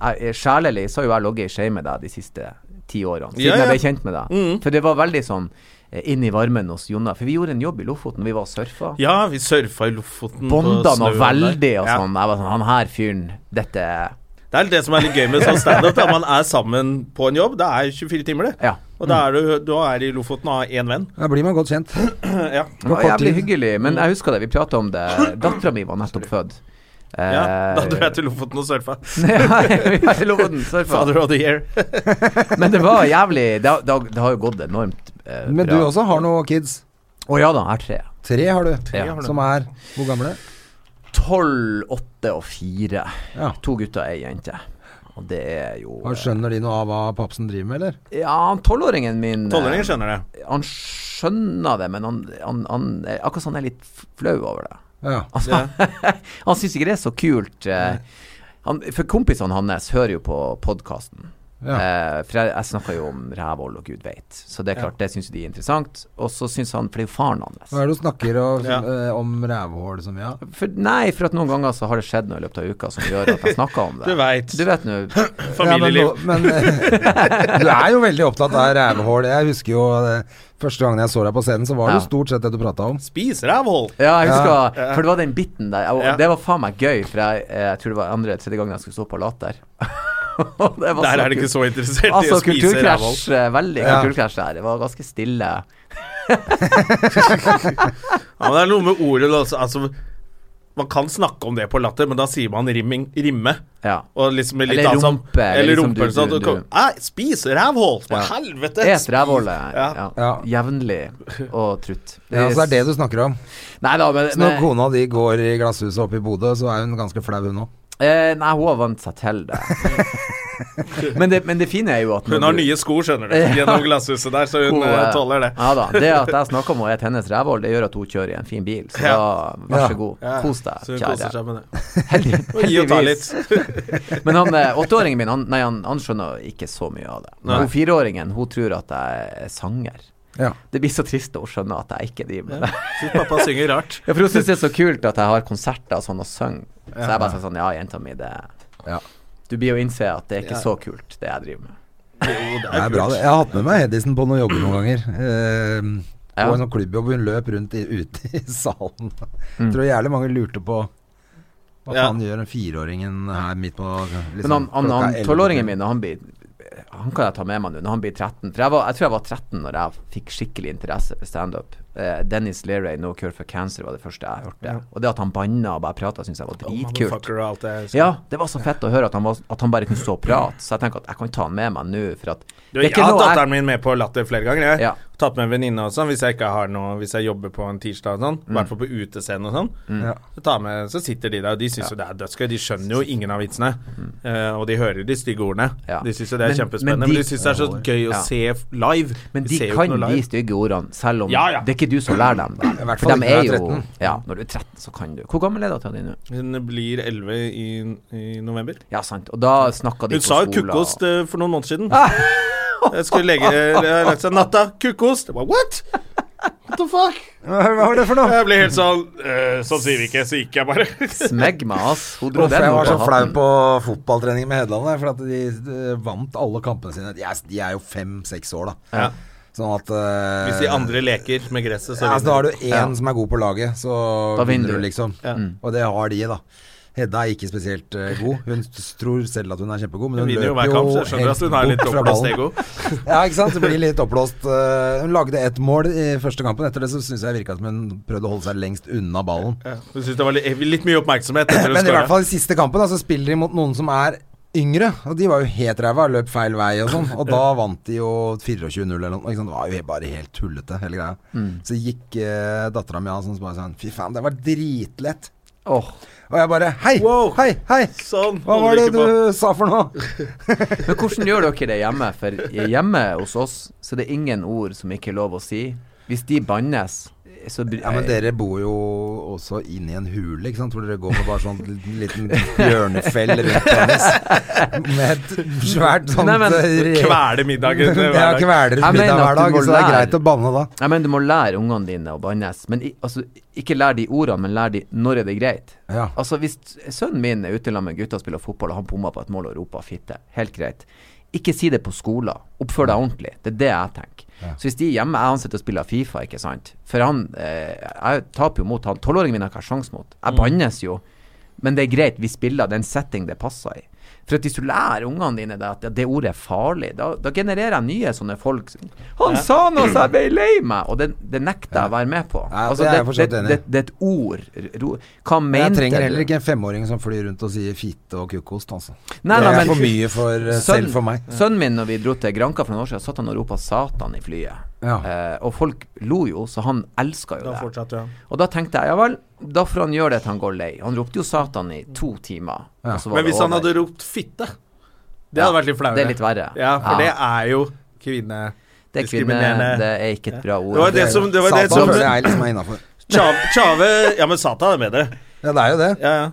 [SPEAKER 3] eh, eh, Sjelelig så har jo jeg ligget i skje med deg de siste ti årene, siden
[SPEAKER 1] Ja, Mm. ja.
[SPEAKER 3] jeg ble kjent med deg. For det var veldig sånn eh, inn i varmen hos Jonna. For vi gjorde en jobb i Lofoten, vi var og surfa.
[SPEAKER 1] Ja, vi surfa i Lofoten. på
[SPEAKER 3] Bonda noe
[SPEAKER 1] snøen
[SPEAKER 3] veldig
[SPEAKER 1] der.
[SPEAKER 3] og
[SPEAKER 1] Ja.
[SPEAKER 3] sånn. Jeg var sånn Han her fyren, dette er-
[SPEAKER 1] Det er det som er litt gøy med sånn standup. da. Man er sammen på en jobb. Det er 24 timer, det.
[SPEAKER 3] Ja.
[SPEAKER 1] Og da er du, du er i Lofoten og har én venn.
[SPEAKER 2] Da blir man godt kjent.
[SPEAKER 1] Ja.
[SPEAKER 3] Det var
[SPEAKER 2] kort
[SPEAKER 3] jævlig
[SPEAKER 2] tid.
[SPEAKER 3] hyggelig,
[SPEAKER 1] Mm.
[SPEAKER 3] men jeg husker det. Vi prata om det. Dattera mi var nettopp født. Eh,
[SPEAKER 1] ja. Da dro jeg til Lofoten og surfa.
[SPEAKER 3] Ja, vi var i Lofoten, surfa.
[SPEAKER 1] Father of the year.
[SPEAKER 3] Men det var jævlig Det, har- det, har- det har jo gått enormt eh,
[SPEAKER 2] Men du
[SPEAKER 3] bra.
[SPEAKER 2] også har noen kids.
[SPEAKER 3] Å ja da, jeg har tre.
[SPEAKER 2] Tre har du.
[SPEAKER 3] Tre har du.
[SPEAKER 2] Som er hvor gamle?
[SPEAKER 3] Tolv, åtte og fire.
[SPEAKER 2] Ja.
[SPEAKER 3] To gutter og ei jente. Og det er jo eh,
[SPEAKER 2] Og skjønner de noe av hva papsen driver med, eller?
[SPEAKER 3] Ja, han tolvåringen min eh,
[SPEAKER 1] Tolvåringer skjønner det.
[SPEAKER 3] Han skjønner det, men han, han, han er- Akkurat som han er litt f- flau over det.
[SPEAKER 2] Ja.
[SPEAKER 3] Altså, han syns ikke det er så kult. eh, Han, for kompisene hans hører jo på podkasten.
[SPEAKER 2] ja.
[SPEAKER 3] Eh, for jeg, jeg snakker jo om rævhold og gud veit. Så det er klart, det syns jo de er interessant. Og så syns han For det er jo faren hans.
[SPEAKER 2] Hva er det du snakker og,
[SPEAKER 1] Ja.
[SPEAKER 2] eh, om rævhål som ja?
[SPEAKER 3] For, nei, for at noen ganger så har det skjedd noe i løpet av uka som gjør at jeg snakker om det.
[SPEAKER 1] Du vet.
[SPEAKER 3] Du vet nå.
[SPEAKER 1] Familieliv.
[SPEAKER 2] Ja, men, nå- men eh, du er jo veldig opptatt av rævhål. Jeg husker jo eh, første gangen jeg så deg på scenen, så var det
[SPEAKER 3] Ja.
[SPEAKER 2] jo stort sett det du prata om.
[SPEAKER 1] Spis rævhold!
[SPEAKER 3] Ja, jeg husker For det var den biten der. Og
[SPEAKER 1] Ja.
[SPEAKER 3] Det var faen meg gøy, for jeg, eh, jeg tror det var andre eller tredje gangen jeg skulle stå på Latter. Og det var
[SPEAKER 1] Der er de
[SPEAKER 3] kul-
[SPEAKER 1] ikke så interessert i
[SPEAKER 3] Altså,
[SPEAKER 1] å spise rævhold.
[SPEAKER 3] kulturkrasj. eh, Veldig
[SPEAKER 2] Ja.
[SPEAKER 3] kulturkrasj der. Det var ganske stille.
[SPEAKER 1] Ja, men det er noe med ordet altså, altså Man kan snakke om det på latter, men da sier man rimming, rimme.
[SPEAKER 3] Ja.
[SPEAKER 1] Og liksom med litt
[SPEAKER 3] Eller
[SPEAKER 1] annet sånn-
[SPEAKER 3] rumpe, eller
[SPEAKER 1] Eller
[SPEAKER 3] liksom
[SPEAKER 1] rumpe.
[SPEAKER 3] du-
[SPEAKER 1] sånn,
[SPEAKER 3] du-
[SPEAKER 1] du,
[SPEAKER 3] du-
[SPEAKER 1] Nei, spis rævhål! For
[SPEAKER 3] Ja.
[SPEAKER 1] helvete!
[SPEAKER 3] Et rævhålet. Ja.
[SPEAKER 1] Ja.
[SPEAKER 2] Ja.
[SPEAKER 3] Jevnlig og trutt.
[SPEAKER 2] Ja, så det er det du snakker om.
[SPEAKER 3] Nei da, men,
[SPEAKER 2] Så når
[SPEAKER 3] men
[SPEAKER 2] kona di går i glasshuset oppe i Bodø, så er hun ganske flau, hun òg.
[SPEAKER 3] eh, Nei, hun har vant seg til det. men det. Men det fine er jo at når
[SPEAKER 1] Hun har
[SPEAKER 3] du-
[SPEAKER 1] nye sko, skjønner du, gjennom glasshuset der, så hun eh,
[SPEAKER 3] eh,
[SPEAKER 1] tåler det.
[SPEAKER 3] Ja da. Det at jeg snakker om å spise hennes rævhål, det gjør at hun kjører i en fin bil. Så da,
[SPEAKER 1] Ja.
[SPEAKER 3] vær
[SPEAKER 2] Ja.
[SPEAKER 3] så god.
[SPEAKER 1] Ja,
[SPEAKER 3] Kos
[SPEAKER 1] Så
[SPEAKER 3] deg,
[SPEAKER 1] hun koser
[SPEAKER 3] kjære.
[SPEAKER 1] seg med det.
[SPEAKER 3] Heldig,
[SPEAKER 1] Og gi og ta
[SPEAKER 3] heldigvis.
[SPEAKER 1] litt.
[SPEAKER 3] Men han eh, åtteåringen min, han, nei, han, han skjønner ikke så mye av det.
[SPEAKER 1] Nei.
[SPEAKER 3] Hun fireåringen, hun tror at jeg er sanger.
[SPEAKER 2] Ja.
[SPEAKER 3] Det blir så trist når hun skjønner at jeg ikke driver med det.
[SPEAKER 1] Sitt pappa synger rart.
[SPEAKER 3] Ja, for hun syns det er så kult at jeg har konserter og sånn og synger. Så jeg bare sier sånn, ja, jenta mi, det
[SPEAKER 2] Ja.
[SPEAKER 3] Du blir jo innse at det er ikke så kult, det jeg driver med.
[SPEAKER 1] Jo, det
[SPEAKER 2] Det
[SPEAKER 1] er
[SPEAKER 2] er bra,
[SPEAKER 1] kult.
[SPEAKER 2] det. Jeg har hatt med meg Hedisen på noen jobber noen ganger. Eh,
[SPEAKER 3] Ja.
[SPEAKER 2] På en sånn klubbjobb hun løp rundt i, ute i salen.
[SPEAKER 3] Mm.
[SPEAKER 2] Tror jævlig mange lurte på hva
[SPEAKER 1] Ja.
[SPEAKER 2] faen gjør den fireåringen her midt på liksom,
[SPEAKER 3] Men han, han,
[SPEAKER 2] klokka
[SPEAKER 3] han
[SPEAKER 2] 11?
[SPEAKER 3] tolvåringen min, når han blir han kan jeg ta med meg nå når han blir 13. For jeg, var, jeg tror jeg var 13 når jeg fikk skikkelig interesse for standup. Eh, Dennis Leray, No Cure for Cancer, var det første jeg hørte. Og det at han banna og bare prata, syns jeg var dritkult.
[SPEAKER 1] Motherfucker altså. og alt det.
[SPEAKER 3] Ja, det var så fett å høre at han, var, at han bare kunne stå og prate. Så jeg tenker at jeg kan ta han med meg nå, for at
[SPEAKER 1] Du,
[SPEAKER 3] det er
[SPEAKER 1] jeg
[SPEAKER 3] ikke
[SPEAKER 1] har
[SPEAKER 3] noe
[SPEAKER 1] hatt
[SPEAKER 3] jeg-
[SPEAKER 1] datteren min med på latter flere ganger. Jeg har
[SPEAKER 3] Ja.
[SPEAKER 1] tatt med en venninne og sånn, hvis jeg ikke har noe Hvis jeg jobber på en tirsdag og sånn, i
[SPEAKER 3] Mm.
[SPEAKER 1] hvert fall på utescenen og sånn,
[SPEAKER 2] Ja.
[SPEAKER 1] så, tar med, så sitter de der, og de syns jo det er dødsgøy. De skjønner jo ingen av vitsene, eh, og de hører de stygge ordene.
[SPEAKER 3] Mm. Ja.
[SPEAKER 1] De syns jo det er
[SPEAKER 3] Men-
[SPEAKER 1] kjempespennende,
[SPEAKER 3] men
[SPEAKER 1] men de,
[SPEAKER 3] de-
[SPEAKER 1] syns det er så gøy å
[SPEAKER 3] Ja.
[SPEAKER 1] se f- live.
[SPEAKER 3] Men de
[SPEAKER 1] ser jo ikke
[SPEAKER 3] kan
[SPEAKER 1] noe
[SPEAKER 3] de
[SPEAKER 1] live.
[SPEAKER 3] stygge ordene, selv om
[SPEAKER 1] Ja, ja.
[SPEAKER 3] det er ikke du som lærer dem det.
[SPEAKER 2] hvert
[SPEAKER 3] For
[SPEAKER 2] fall
[SPEAKER 3] dem
[SPEAKER 2] ikke
[SPEAKER 3] er
[SPEAKER 2] når jeg er
[SPEAKER 3] jo
[SPEAKER 2] 13.
[SPEAKER 3] Ja, når du er 13, så kan du. Hvor gammel er dattera di nå?
[SPEAKER 1] Hun blir 11 i, i november.
[SPEAKER 3] Ja, sant. Og da snakka de
[SPEAKER 1] Hun
[SPEAKER 3] på
[SPEAKER 1] sa
[SPEAKER 3] skolen. Ah!
[SPEAKER 1] jo kukkost eh, for noen måneder siden. Jeg skulle legge Jeg har lagt seg natta. Kukkost! Jeg bare, What? What the fuck?
[SPEAKER 2] Hva hva var det for noe?
[SPEAKER 1] Jeg ble helt sånn eh, Sånn sier vi ikke, så gikk jeg bare.
[SPEAKER 3] Smegg meg, ass. Hun dro
[SPEAKER 2] Hvorfor
[SPEAKER 3] den
[SPEAKER 2] jeg
[SPEAKER 3] opp
[SPEAKER 2] var så
[SPEAKER 3] av
[SPEAKER 2] flau
[SPEAKER 3] hatten.
[SPEAKER 2] på fotballtrening med Hedland der, for at de, eh, vant alle kampene sine. De er, de er jo fem-seks år, da.
[SPEAKER 1] Ja.
[SPEAKER 2] Sånn at eh,
[SPEAKER 1] Hvis de andre leker med gresset, så
[SPEAKER 2] ja, altså, Da har
[SPEAKER 1] vinner de.
[SPEAKER 2] du én som er god på laget, så
[SPEAKER 3] Da vinner
[SPEAKER 2] vinner du,
[SPEAKER 3] du. Mm.
[SPEAKER 2] liksom. Og det har de, da. Hedda er ikke spesielt eh, god. Hun s- tror selv at hun er kjempegod, men
[SPEAKER 1] Hun
[SPEAKER 2] hun,
[SPEAKER 1] vinner jo
[SPEAKER 2] løper
[SPEAKER 1] hver
[SPEAKER 2] jo
[SPEAKER 1] kamp, så jeg skjønner at hun er
[SPEAKER 2] helt
[SPEAKER 1] litt
[SPEAKER 2] bort fra
[SPEAKER 1] oppblåst
[SPEAKER 2] ballen.
[SPEAKER 1] ego.
[SPEAKER 2] Ja, ikke sant? Det blir litt oppblåst. Eh, Hun lagde ett mål i første kampen. Etter det så syns jeg virka som hun prøvde å holde seg lengst unna ballen.
[SPEAKER 1] Ja. Hun syntes det var litt, litt mye oppmerksomhet etter hun
[SPEAKER 2] Men i hvert
[SPEAKER 1] skåra.
[SPEAKER 2] fall i siste kampen da, så spiller de mot noen som er yngre, og de var jo helt ræva, løp feil vei og sånn. Og da vant de jo 24-0 eller noe. Ikke sant? Det var jo helt- bare helt tullete, hele greia.
[SPEAKER 3] Mm.
[SPEAKER 2] Så gikk eh, dattera mi av sånn så bare sånn Fy faen, det var dritlett.
[SPEAKER 3] Åh.
[SPEAKER 2] Og jeg bare Hei,
[SPEAKER 1] Wow.
[SPEAKER 2] hei, hei!
[SPEAKER 1] Sånn.
[SPEAKER 2] Hva var det du sa for noe?
[SPEAKER 3] Men hvordan gjør dere det hjemme? For hjemme hos oss så det er ingen ord som ikke er lov å si. Hvis de bannes, så bry-
[SPEAKER 2] Ja, men dere bor jo også inne i en hule, ikke sant? Hvor dere går med bare sånn liten bjørnefell rundt penis. Med et svært sånt
[SPEAKER 3] Nei, men-
[SPEAKER 2] eh, re-
[SPEAKER 1] Kvele middagen hver
[SPEAKER 2] Ja,
[SPEAKER 1] dag.
[SPEAKER 2] kveler
[SPEAKER 3] Jeg
[SPEAKER 2] middag
[SPEAKER 3] mener
[SPEAKER 2] hver
[SPEAKER 3] at du
[SPEAKER 2] dag,
[SPEAKER 3] må
[SPEAKER 2] så det er
[SPEAKER 3] lære.
[SPEAKER 2] greit å banne da.
[SPEAKER 3] Jeg mener, du må lære ungene dine å bannes. Men i, altså, ikke lær de ordene, men lær de når er det greit.
[SPEAKER 2] Ja.
[SPEAKER 3] Altså, hvis sønnen min er ute sammen med gutta og spiller fotball, og han bomma på et mål og roper 'fitte', helt greit. Ikke si det på skolen. Oppfør deg ordentlig. Det er det jeg tenker. Så hvis de er hjemme Jeg han sitter og spiller Fifa, ikke sant. For han eh, Jeg taper jo mot han. Tolvåringen min har ikke jeg sjans mot.
[SPEAKER 2] Mm.
[SPEAKER 3] Jeg bannes jo. Men det er greit, vi spiller den setting det passer i. For at hvis du lærer ungene dine det, at det ordet er farlig, da, da genererer jeg nye sånne folk. som, Han sa noe så jeg ble lei meg! Og det, det nekter jeg å være med på.
[SPEAKER 2] Ja,
[SPEAKER 3] Altså,
[SPEAKER 2] det er jeg
[SPEAKER 3] det,
[SPEAKER 2] fortsatt
[SPEAKER 3] det,
[SPEAKER 2] enig i.
[SPEAKER 3] det, det er et ord. Ro- Hva
[SPEAKER 2] Men jeg
[SPEAKER 3] mente
[SPEAKER 2] trenger heller
[SPEAKER 3] du?
[SPEAKER 2] ikke en femåring som flyr rundt og sier fitte og kukkost, altså.
[SPEAKER 3] Nei,
[SPEAKER 2] det
[SPEAKER 3] nei,
[SPEAKER 2] er
[SPEAKER 3] men-
[SPEAKER 2] for mye for, eh, selv for meg.
[SPEAKER 3] Sønnen min, når vi dro til Granca for noen år siden, satt han og ropa 'Satan' i flyet.
[SPEAKER 2] Ja.
[SPEAKER 3] Eh, og folk lo jo, så han elska jo
[SPEAKER 1] Da
[SPEAKER 3] det.
[SPEAKER 1] fortsatte hun.
[SPEAKER 3] Og da tenkte jeg ja vel, da får han gjøre det til han går lei. Han ropte jo 'Satan' i to timer.
[SPEAKER 2] Ja.
[SPEAKER 3] og så var
[SPEAKER 1] Men
[SPEAKER 3] det
[SPEAKER 1] hvis han
[SPEAKER 3] over.
[SPEAKER 1] hadde ropt 'fitte', det hadde
[SPEAKER 3] Ja,
[SPEAKER 1] vært litt flauere.
[SPEAKER 3] Det er litt verre.
[SPEAKER 1] Ja, for det
[SPEAKER 3] Ja.
[SPEAKER 1] er jo kvinne...
[SPEAKER 3] Det er kvinne,
[SPEAKER 1] diskriminerende.
[SPEAKER 3] det er ikke et bra ord.
[SPEAKER 1] Det var det som, det var det
[SPEAKER 2] Satan
[SPEAKER 1] som
[SPEAKER 2] føler jeg liksom er innafor.
[SPEAKER 1] Tja- Tjave Ja, men Satan er bedre.
[SPEAKER 2] Ja, det er jo det.
[SPEAKER 1] Ja, ja.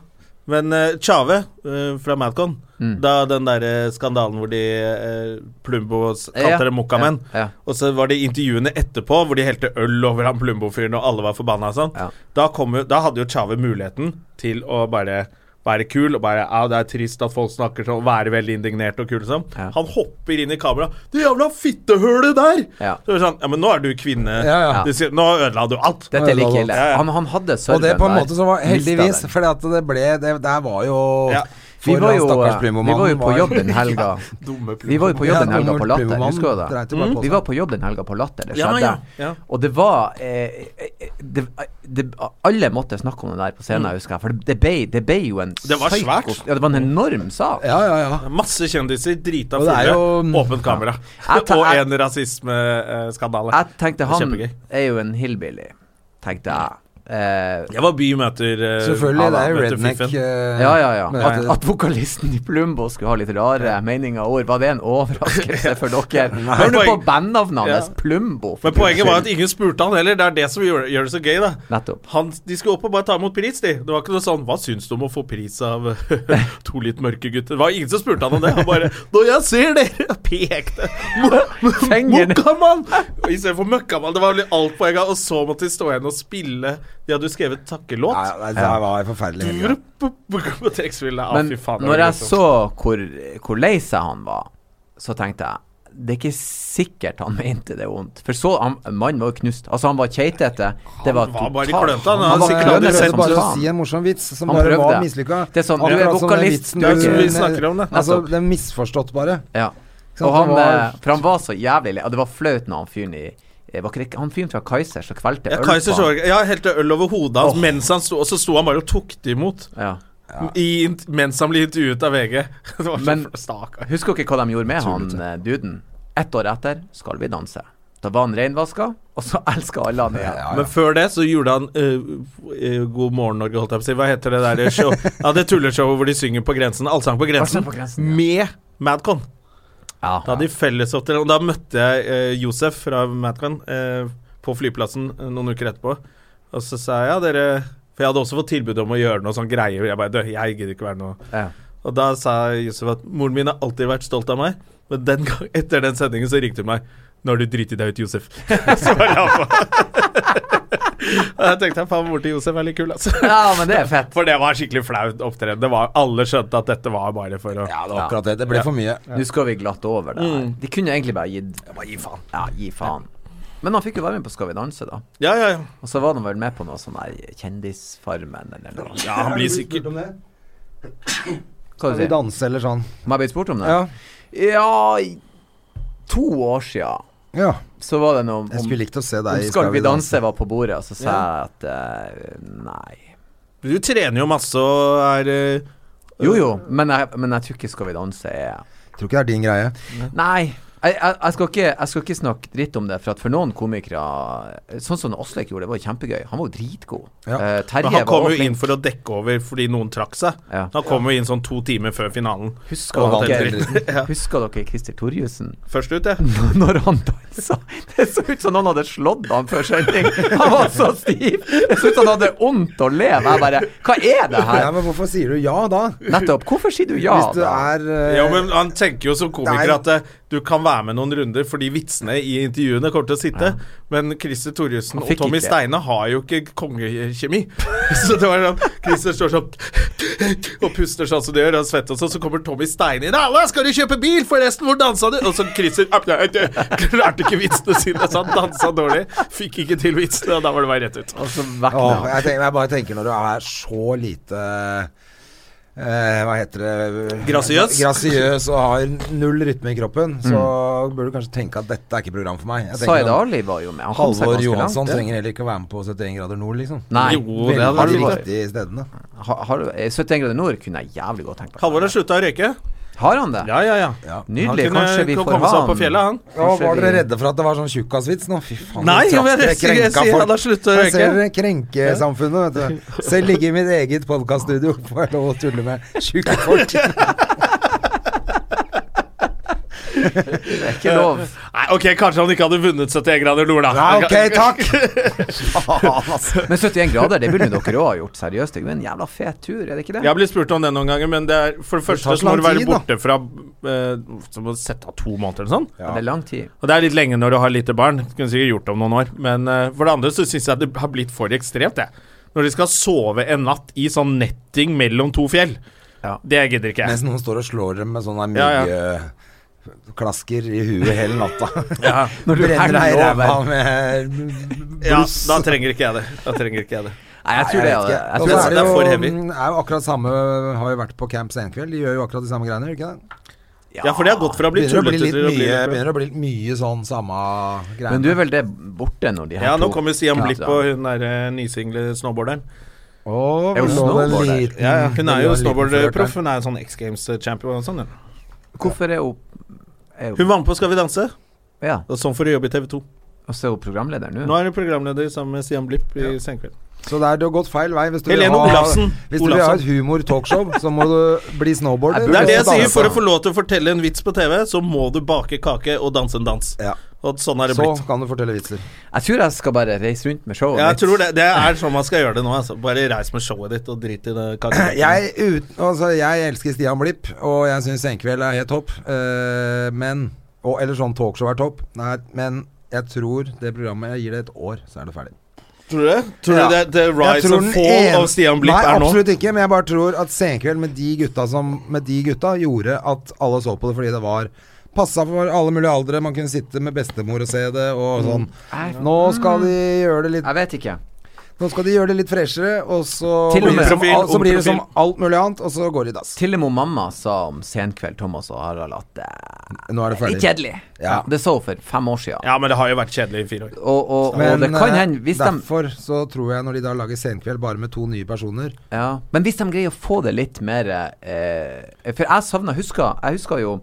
[SPEAKER 1] Men eh, Tjave eh, fra Madcon,
[SPEAKER 3] Mm.
[SPEAKER 1] da den derre skandalen hvor de eh, Plumbo s- kalte
[SPEAKER 3] Ja,
[SPEAKER 1] det Mokkamen,
[SPEAKER 3] ja, ja.
[SPEAKER 1] og så var det intervjuene etterpå hvor de helte øl over han Plumbo-fyren og alle var forbanna og sånn,
[SPEAKER 3] Ja.
[SPEAKER 1] da, kom jo, da hadde jo Tjave muligheten til å bare være kul og bare Ja, det er trist at folk snakker sånn, være veldig indignert og kul og sånn.
[SPEAKER 3] Ja.
[SPEAKER 1] Han hopper inn i kamera 'Det jævla fittehølet der!'
[SPEAKER 3] Ja.
[SPEAKER 1] Så er det sånn Ja, men nå er du kvinne.
[SPEAKER 2] Ja, ja.
[SPEAKER 1] Du sier, nå ødela du alt.
[SPEAKER 3] Dette er like ille.
[SPEAKER 1] Ja, ja.
[SPEAKER 3] Han, han hadde
[SPEAKER 2] Og
[SPEAKER 3] sølven
[SPEAKER 2] det på en
[SPEAKER 3] der.
[SPEAKER 2] måte som var
[SPEAKER 3] Mistet
[SPEAKER 2] heldigvis,
[SPEAKER 3] den.
[SPEAKER 2] for det ble det Der var jo
[SPEAKER 1] Ja.
[SPEAKER 3] Vi var jo,
[SPEAKER 2] han
[SPEAKER 3] eh,
[SPEAKER 2] stakkars
[SPEAKER 3] vi
[SPEAKER 2] plimomannen
[SPEAKER 3] var jo på
[SPEAKER 2] var-
[SPEAKER 3] jobb den helga.
[SPEAKER 1] Dumme
[SPEAKER 3] Vi var jo på jobb den
[SPEAKER 2] Ja,
[SPEAKER 3] helga på
[SPEAKER 2] gammel
[SPEAKER 3] Latter,
[SPEAKER 2] plimomann
[SPEAKER 3] husker du det? Mm.
[SPEAKER 2] dreit jo bare på
[SPEAKER 3] Vi
[SPEAKER 2] seg.
[SPEAKER 3] var på jobb den helga på Latter, det
[SPEAKER 1] Ja,
[SPEAKER 3] skjedde.
[SPEAKER 1] ja, ja.
[SPEAKER 3] Og det var eh, eh, det, det, Alle måtte snakke om det der på scenen, husker jeg. For det ble, det ble jo en
[SPEAKER 1] Mm. Det var svært.
[SPEAKER 3] psykos- Ja, det var en enorm sak.
[SPEAKER 2] Ja, ja, ja.
[SPEAKER 1] Masse kjendiser, drita
[SPEAKER 2] Og det er
[SPEAKER 1] fulle,
[SPEAKER 2] jo-
[SPEAKER 1] åpent kamera.
[SPEAKER 3] Jeg tar-
[SPEAKER 1] og
[SPEAKER 3] jeg-
[SPEAKER 1] en eh, rasismeskandale.
[SPEAKER 3] Jeg tenkte han
[SPEAKER 1] Kjempegøy.
[SPEAKER 3] er jo en hillbilly, tenkte jeg. Eh,
[SPEAKER 1] Jeg var by møter eh,
[SPEAKER 2] Selvfølgelig,
[SPEAKER 1] Adam,
[SPEAKER 2] det er jo
[SPEAKER 1] møter
[SPEAKER 2] redneck
[SPEAKER 1] fiffen.
[SPEAKER 2] eh,
[SPEAKER 3] ja, ja, ja.
[SPEAKER 2] men-
[SPEAKER 3] At, at vokalisten i Plumbo skulle ha litt rare meninger og ord, var det en overraskelse for dere? Hør nå
[SPEAKER 1] Poeng-
[SPEAKER 3] på bandnavnet hans,
[SPEAKER 1] Ja.
[SPEAKER 3] Plumbo. for
[SPEAKER 1] Men poenget
[SPEAKER 3] Guds
[SPEAKER 1] var at
[SPEAKER 3] skyld.
[SPEAKER 1] ingen spurte han heller. Det er det som gjør, gjør det så gøy, da.
[SPEAKER 3] Nettopp.
[SPEAKER 1] Han, de skulle opp og bare ta imot pris, de. Det var ikke noe sånn 'Hva syns du om å få pris av to litt mørke gutter?' Det var ingen som spurte han om det. Han bare 'Når jeg ser dere!' og Pekte.
[SPEAKER 3] Fingeren.
[SPEAKER 1] Møkkamann! Og Istedenfor møkkamann. Det var litt alt på en gang. Og så måtte de stå igjen og spille. De hadde jo skrevet takkelåt.
[SPEAKER 2] Nei, nei, det her var en forferdelig altså. helg.
[SPEAKER 1] På trekkspillet. Ah,
[SPEAKER 3] Men
[SPEAKER 1] fy faen. det var
[SPEAKER 3] når jeg
[SPEAKER 1] grusomt.
[SPEAKER 3] så hvor, hvor lei seg han var, så tenkte jeg det er ikke sikkert han mente det vondt. For så han, Mannen var jo knust. Altså, han var keitete. Det var
[SPEAKER 1] var bare i
[SPEAKER 3] totalt-
[SPEAKER 1] klønete, han. Han
[SPEAKER 2] Han
[SPEAKER 1] var
[SPEAKER 2] var
[SPEAKER 1] sikkert
[SPEAKER 2] prøvde
[SPEAKER 1] aldri sett
[SPEAKER 2] bare å
[SPEAKER 3] sånn.
[SPEAKER 2] si en morsom vits som
[SPEAKER 3] Han
[SPEAKER 2] bare var
[SPEAKER 3] prøvde.
[SPEAKER 2] mislykka.
[SPEAKER 3] Det er sånn, du
[SPEAKER 2] Akkurat
[SPEAKER 3] er
[SPEAKER 2] som den
[SPEAKER 3] vokalist,
[SPEAKER 2] vitsen
[SPEAKER 3] du er
[SPEAKER 2] du-
[SPEAKER 3] ikke-
[SPEAKER 1] Vi snakker om det.
[SPEAKER 2] Altså,
[SPEAKER 3] Nettopp.
[SPEAKER 2] det er misforstått, bare.
[SPEAKER 3] Ja.
[SPEAKER 2] sant,
[SPEAKER 3] Og han,
[SPEAKER 2] han var-
[SPEAKER 3] eh, for han var så jævlig lei. Og det var flaut når han fyren i eh, var ikke det, Han fyren fra Kaizers som kvelte
[SPEAKER 1] ja,
[SPEAKER 3] øl
[SPEAKER 1] Kaiser
[SPEAKER 3] på han.
[SPEAKER 1] Sjorg- ja, helte øl over hodet hans mens han sto, og så sto han bare og tok det imot.
[SPEAKER 3] Ja.
[SPEAKER 1] I, int- mens han ble intervjuet av VG. Det var så
[SPEAKER 3] Men-
[SPEAKER 1] fl- stakkar.
[SPEAKER 3] Husker dere hva de gjorde med han eh, duden? Ett år etter skal vi danse. Da var han reinvaska, og så elska alle han igjen.
[SPEAKER 1] Men før det så gjorde han eh, eh, God morgen Norge, holdt jeg på å si. Hva heter det der show? ja, det tulleshowet hvor de synger på grensen. Allsang på grensen.
[SPEAKER 3] Allsang på grensen, ja.
[SPEAKER 1] Med Madcon.
[SPEAKER 3] Ja.
[SPEAKER 1] Da hadde de fellesopptreden. Og da møtte jeg eh, Josef fra Madcon eh, på flyplassen eh, noen uker etterpå. Og så sa jeg ja, dere For jeg hadde også fått tilbud om å gjøre noe sånn greie. Jeg bare, «Dø, jeg gidder ikke være noe
[SPEAKER 3] Ja.
[SPEAKER 1] Og da sa Josef at moren min har alltid vært stolt av meg, men den gang, etter den sendingen så ringte hun meg. Nå har du driti deg ut, Josef. så var jeg på. Og jeg tenkte faen, mor til Josef er litt kul, altså.
[SPEAKER 3] ja, men det er fett.
[SPEAKER 1] For det var skikkelig flaut opptreden. Det var- Alle skjønte at dette var bare for å
[SPEAKER 2] Ja, det var akkurat det. Det ble for mye.
[SPEAKER 3] Nå skal vi glatt over det
[SPEAKER 2] Mm.
[SPEAKER 3] her. De kunne egentlig bare gitt
[SPEAKER 1] Gi faen.
[SPEAKER 3] Ja, gi faen. Men han fikk jo være med på Skal vi danse, da.
[SPEAKER 1] Ja, ja, ja.
[SPEAKER 3] Og så var han vel med på noe sånn der Kjendisfarmen eller noe.
[SPEAKER 1] ja han blir sikkert
[SPEAKER 2] Skal vi
[SPEAKER 3] Hva sier du?
[SPEAKER 2] danse eller sånn?
[SPEAKER 3] Må jeg bli spurt om det?
[SPEAKER 2] Ja.
[SPEAKER 3] Ja, i to år sia
[SPEAKER 2] ja.
[SPEAKER 3] så var det noe om,
[SPEAKER 2] Jeg skulle likt å se deg
[SPEAKER 3] om
[SPEAKER 2] i
[SPEAKER 3] Skal vi danse var på bordet, og så sa jeg at eh, nei.
[SPEAKER 1] Du trener jo masse og er eh,
[SPEAKER 3] Jo jo, men jeg, men jeg tror ikke Skal vi danse er
[SPEAKER 2] Tror ikke det er din greie.
[SPEAKER 3] Nei. Jeg, jeg, jeg, skal ikke, jeg skal ikke snakke dritt om det, for at for noen komikere Sånn som Åslek gjorde, det var jo kjempegøy. Han var jo dritgod.
[SPEAKER 2] Ja.
[SPEAKER 3] Eh, Terje
[SPEAKER 1] Men han
[SPEAKER 3] var
[SPEAKER 1] kom
[SPEAKER 3] også
[SPEAKER 1] jo inn
[SPEAKER 3] flink.
[SPEAKER 1] for å dekke over fordi noen trakk seg.
[SPEAKER 3] Ja.
[SPEAKER 1] Han kom jo inn sånn to timer før finalen.
[SPEAKER 3] Husker
[SPEAKER 2] Og vant
[SPEAKER 3] dere,
[SPEAKER 2] hele
[SPEAKER 3] husker dere Christer Torjussen?
[SPEAKER 1] Først ut, jeg.
[SPEAKER 3] Når han dansa Det så ut som noen hadde slått ham før sending. Han var så stiv. Det så ut som han hadde vondt å leve. Jeg bare Hva er det
[SPEAKER 2] Ja,
[SPEAKER 3] her?
[SPEAKER 2] men hvorfor sier du ja da?
[SPEAKER 3] Nettopp. Hvorfor sier du ja?
[SPEAKER 2] Hvis du
[SPEAKER 3] da?
[SPEAKER 2] er eh,
[SPEAKER 1] Ja, men Han tenker jo som komiker
[SPEAKER 2] Nei.
[SPEAKER 1] at eh, du kan være med noen runder fordi vitsene i intervjuene kommer til å sitte. Men Christer Thorjussen
[SPEAKER 3] Han
[SPEAKER 1] og
[SPEAKER 3] fikk
[SPEAKER 1] Tommy
[SPEAKER 3] ikke.
[SPEAKER 1] Steine har jo ikke kongekjemi. så det var sånn Christer står sånn og puster sånn som de gjør, og svetter og sånn. Så kommer Tommy Steine inn. 'Halla, skal du kjøpe bil? Forresten, hvor dansa du?' Og så Christer «App, nei, jeg Klarte ikke vitsene sine, så han dansa dårlig. Fikk ikke til vitsene, og da var det bare rett ut.
[SPEAKER 3] Og så
[SPEAKER 2] Å,
[SPEAKER 3] vekna Altså, han.
[SPEAKER 2] jeg, tenker, jeg bare tenker når du er så lite eh, hva heter det
[SPEAKER 1] Grasiøs?
[SPEAKER 2] Grasiøs og har null rytme i kroppen, så
[SPEAKER 1] Mm.
[SPEAKER 2] bør du kanskje tenke at dette er ikke program for meg. Jeg tenker
[SPEAKER 3] Zaid
[SPEAKER 2] sånn,
[SPEAKER 3] Ali var jo med. Han kom seg
[SPEAKER 2] Halvor
[SPEAKER 3] ganske
[SPEAKER 2] Johansson
[SPEAKER 3] langt.
[SPEAKER 2] trenger heller ikke å være med på 71 grader nord, liksom.
[SPEAKER 3] Nei.
[SPEAKER 1] Jo, det
[SPEAKER 2] Veldig
[SPEAKER 1] hadde vært
[SPEAKER 2] de
[SPEAKER 1] fint.
[SPEAKER 2] riktige stedene.
[SPEAKER 3] Har, har, 71 grader nord kunne jeg jævlig godt tenkt meg.
[SPEAKER 1] Halvor har slutta å røyke.
[SPEAKER 3] Har han det?
[SPEAKER 1] Ja, ja, ja.
[SPEAKER 3] Nydelig.
[SPEAKER 1] Kunne
[SPEAKER 3] Kanskje vi får
[SPEAKER 1] komme
[SPEAKER 3] ha
[SPEAKER 1] seg opp på fjellet, han.
[SPEAKER 2] Ja, var
[SPEAKER 3] vi-
[SPEAKER 2] dere redde for at det var sånn tjukkasvits nå? Fy faen.
[SPEAKER 1] Nei,
[SPEAKER 2] nå traff
[SPEAKER 1] jeg- jeg- jeg
[SPEAKER 2] krenka
[SPEAKER 1] sier
[SPEAKER 2] folk.
[SPEAKER 1] han har sluttet å
[SPEAKER 2] Nå
[SPEAKER 1] røyke.
[SPEAKER 2] Ser dere krenkesamfunnet, vet du. Selv ligge i mitt eget podkaststudio får jeg lov å tulle med tjukke folk.
[SPEAKER 3] Det er ikke lov.
[SPEAKER 1] Nei, ok, Kanskje han ikke hadde vunnet 71 grader nord, da.
[SPEAKER 2] Ja, ok, takk! Faen, altså.
[SPEAKER 3] Men 71 grader, det burde dere òg ha gjort. Seriøst. Det er jo en jævla fet tur, er det ikke det?
[SPEAKER 1] Jeg har blitt spurt om det noen ganger, men det er, for det første
[SPEAKER 2] tar så
[SPEAKER 1] så må du
[SPEAKER 2] lang
[SPEAKER 1] være
[SPEAKER 2] tid, da.
[SPEAKER 1] borte fra eh, Så må du sette av to måneder eller sånn.
[SPEAKER 3] Det er lang tid.
[SPEAKER 1] Og det er litt lenge når du har lite barn. Kunne sikkert gjort det om noen år. Men eh, for det andre så syns jeg det har blitt for ekstremt, jeg. Når de skal sove en natt i sånn netting mellom to fjell.
[SPEAKER 3] Ja.
[SPEAKER 1] Det gidder ikke
[SPEAKER 2] Mens
[SPEAKER 1] jeg.
[SPEAKER 2] noen står og slår dem med sånne
[SPEAKER 1] Ja,
[SPEAKER 2] myggeklasker i huet hele natta.
[SPEAKER 1] Ja,
[SPEAKER 2] Når
[SPEAKER 3] du
[SPEAKER 2] brenner
[SPEAKER 3] henger
[SPEAKER 2] deg i
[SPEAKER 3] over.
[SPEAKER 2] ræva med
[SPEAKER 1] ja, da trenger ikke jeg det. Da trenger ikke jeg det.
[SPEAKER 3] Nei, jeg tror det.
[SPEAKER 2] vet
[SPEAKER 3] Jeg,
[SPEAKER 2] ikke.
[SPEAKER 3] jeg
[SPEAKER 2] Og
[SPEAKER 3] tror
[SPEAKER 2] så
[SPEAKER 1] det-
[SPEAKER 2] er
[SPEAKER 3] det.
[SPEAKER 2] det
[SPEAKER 1] det er for heavy.
[SPEAKER 2] jo, er jo akkurat samme Har jo vært på Camp Senkveld. De gjør jo akkurat de samme greiene, gjør de ikke det?
[SPEAKER 1] Ja, for det har gått fra å bli
[SPEAKER 2] Begynner å bli
[SPEAKER 1] tullete
[SPEAKER 2] litt
[SPEAKER 1] til å bli
[SPEAKER 2] mye,
[SPEAKER 1] litt bra.
[SPEAKER 2] begynner å bli litt mye sånn samme greiene.
[SPEAKER 3] Men du er vel det borte når de her
[SPEAKER 1] Ja, nå
[SPEAKER 3] to-
[SPEAKER 1] kommer Sian
[SPEAKER 3] Ja.
[SPEAKER 1] Blipp og hun derre nysingle snowboarderen.
[SPEAKER 2] Å,
[SPEAKER 3] er jo
[SPEAKER 2] det lå en
[SPEAKER 3] snowboarder.
[SPEAKER 2] liten-
[SPEAKER 1] Ja, ja, hun
[SPEAKER 2] det
[SPEAKER 1] er
[SPEAKER 2] lå
[SPEAKER 1] jo
[SPEAKER 2] en liten
[SPEAKER 1] snowboardproff.
[SPEAKER 2] flørt der.
[SPEAKER 1] Hun er jo sånn X Games-champion og sånn. hun.
[SPEAKER 3] Hvorfor er hun er hun,
[SPEAKER 1] Hun var med på Skal vi danse,
[SPEAKER 3] Ja,
[SPEAKER 1] og sånn får hun jobbe i TV 2.
[SPEAKER 3] og så er hun programleder
[SPEAKER 1] Nå
[SPEAKER 3] nå?
[SPEAKER 1] er hun programleder sammen med Stian Blipp i Senkveld.
[SPEAKER 2] Så det er, du har gått feil vei. Hvis du
[SPEAKER 1] Helene
[SPEAKER 2] vil ha,
[SPEAKER 1] Olafsen.
[SPEAKER 2] Hvis du vil ha
[SPEAKER 1] Olafsen.
[SPEAKER 2] et humor-talkshow, så må du bli snowboarder.
[SPEAKER 1] Det er det jeg
[SPEAKER 2] og så
[SPEAKER 1] sier. For å
[SPEAKER 2] danse.
[SPEAKER 1] få lov til å fortelle en vits på TV, så må du bake kake og danse en dans.
[SPEAKER 2] Ja.
[SPEAKER 1] Og sånn er det blitt.
[SPEAKER 2] Så kan du fortelle vitser.
[SPEAKER 3] Jeg tror jeg skal bare reise rundt med showet
[SPEAKER 1] Ja, jeg
[SPEAKER 3] mitt.
[SPEAKER 1] tror det, det er sånn man skal gjøre det nå. Altså. Bare reis med showet ditt og drit i det kakebakingen.
[SPEAKER 2] Jeg, ut, altså, jeg elsker Stian Blipp, og jeg syns Senkveld er helt topp. Eh, men og, Eller sånn talkshow er topp. Nei, men jeg tror det programmet Jeg gir det et år, så er det ferdig.
[SPEAKER 1] Tror du det? Tror
[SPEAKER 2] Ja.
[SPEAKER 1] du det, the
[SPEAKER 2] Jeg
[SPEAKER 1] rise
[SPEAKER 2] tror
[SPEAKER 1] and
[SPEAKER 2] den
[SPEAKER 1] fall
[SPEAKER 2] ene-
[SPEAKER 1] av Stian Blipp
[SPEAKER 2] Nei,
[SPEAKER 1] er nå?
[SPEAKER 2] absolutt ikke, men jeg bare tror at Senkveld med de gutta som Med de gutta gjorde at alle så på det fordi det var Passa for alle mulige aldre, man kunne sitte med bestemor og se det og sånn. Nå skal de gjøre det litt
[SPEAKER 3] Jeg vet ikke.
[SPEAKER 2] Nå skal de gjøre det litt freshere, og så
[SPEAKER 3] Til
[SPEAKER 2] blir
[SPEAKER 3] og
[SPEAKER 2] det
[SPEAKER 3] med.
[SPEAKER 2] som,
[SPEAKER 1] Profil,
[SPEAKER 2] alt- så blir det
[SPEAKER 1] ung profil.
[SPEAKER 2] som alt mulig annet, og så går de i dass.
[SPEAKER 3] Til og med mamma sa om Senkveld, Thomas og Harald at det
[SPEAKER 2] Nå er det
[SPEAKER 3] er litt
[SPEAKER 2] ferdig.
[SPEAKER 3] kjedelig.
[SPEAKER 2] Ja.
[SPEAKER 3] Det så hun for fem år siden.
[SPEAKER 1] Ja, men det har jo vært kjedelig i fire år.
[SPEAKER 3] Og, og, og det kan
[SPEAKER 2] eh,
[SPEAKER 3] hende hvis de
[SPEAKER 2] derfor så tror jeg når de da lager Senkveld bare med to nye personer
[SPEAKER 3] Ja, men hvis de greier å få det litt mer eh, For jeg savna husker, Jeg husker jo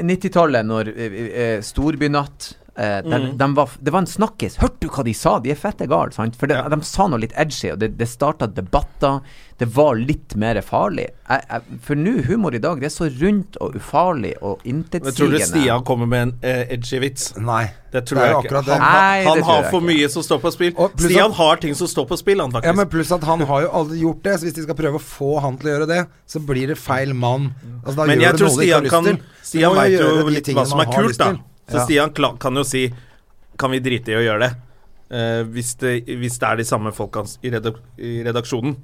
[SPEAKER 3] 90-tallet, når eh, eh, Storbynatt eh, der,
[SPEAKER 1] Mm.
[SPEAKER 3] dem var, Det var en snakkis. Hørte du hva de sa? De er fette gale, sant? For de,
[SPEAKER 1] Ja.
[SPEAKER 3] de sa noe litt edgy, og det, det starta debatter. Det var litt mer farlig. Jeg, jeg, for nå, humor i dag, det er så rundt og ufarlig og
[SPEAKER 1] Men tror du
[SPEAKER 3] intetsigende.
[SPEAKER 1] Stian kommer med en eh, edgy vits?
[SPEAKER 2] Nei.
[SPEAKER 1] Det tror
[SPEAKER 2] Det er
[SPEAKER 1] jeg
[SPEAKER 2] jo
[SPEAKER 1] ikke.
[SPEAKER 2] akkurat det.
[SPEAKER 1] Han,
[SPEAKER 3] Nei, det
[SPEAKER 1] han
[SPEAKER 3] tror
[SPEAKER 1] har
[SPEAKER 3] jeg
[SPEAKER 1] for
[SPEAKER 3] ikke.
[SPEAKER 1] mye som står på spill.
[SPEAKER 2] Og pluss
[SPEAKER 1] Stian
[SPEAKER 2] at-
[SPEAKER 1] har ting som står på spill, han
[SPEAKER 2] Ja,
[SPEAKER 1] faktisk.
[SPEAKER 2] men Pluss at han har jo aldri gjort det, så hvis de skal prøve å få han til å gjøre det, så blir det feil mann. Altså, da
[SPEAKER 1] Men
[SPEAKER 2] gjør
[SPEAKER 1] jeg
[SPEAKER 2] du
[SPEAKER 1] tror
[SPEAKER 2] noe de ikke har
[SPEAKER 1] Stian
[SPEAKER 2] lyst
[SPEAKER 1] kan
[SPEAKER 2] til.
[SPEAKER 1] Stian
[SPEAKER 2] Du må
[SPEAKER 1] veit
[SPEAKER 2] gjøre
[SPEAKER 1] jo
[SPEAKER 2] de
[SPEAKER 1] litt hva
[SPEAKER 2] tingene
[SPEAKER 1] som
[SPEAKER 2] man
[SPEAKER 1] er
[SPEAKER 2] har
[SPEAKER 1] kult,
[SPEAKER 2] lyst
[SPEAKER 1] da.
[SPEAKER 2] til.
[SPEAKER 1] Så
[SPEAKER 2] Ja.
[SPEAKER 1] Stian kla- kan jo si Kan vi drite i å gjøre det? Eh, hvis, det hvis det er de samme folka s- i, redak i redaksjonen,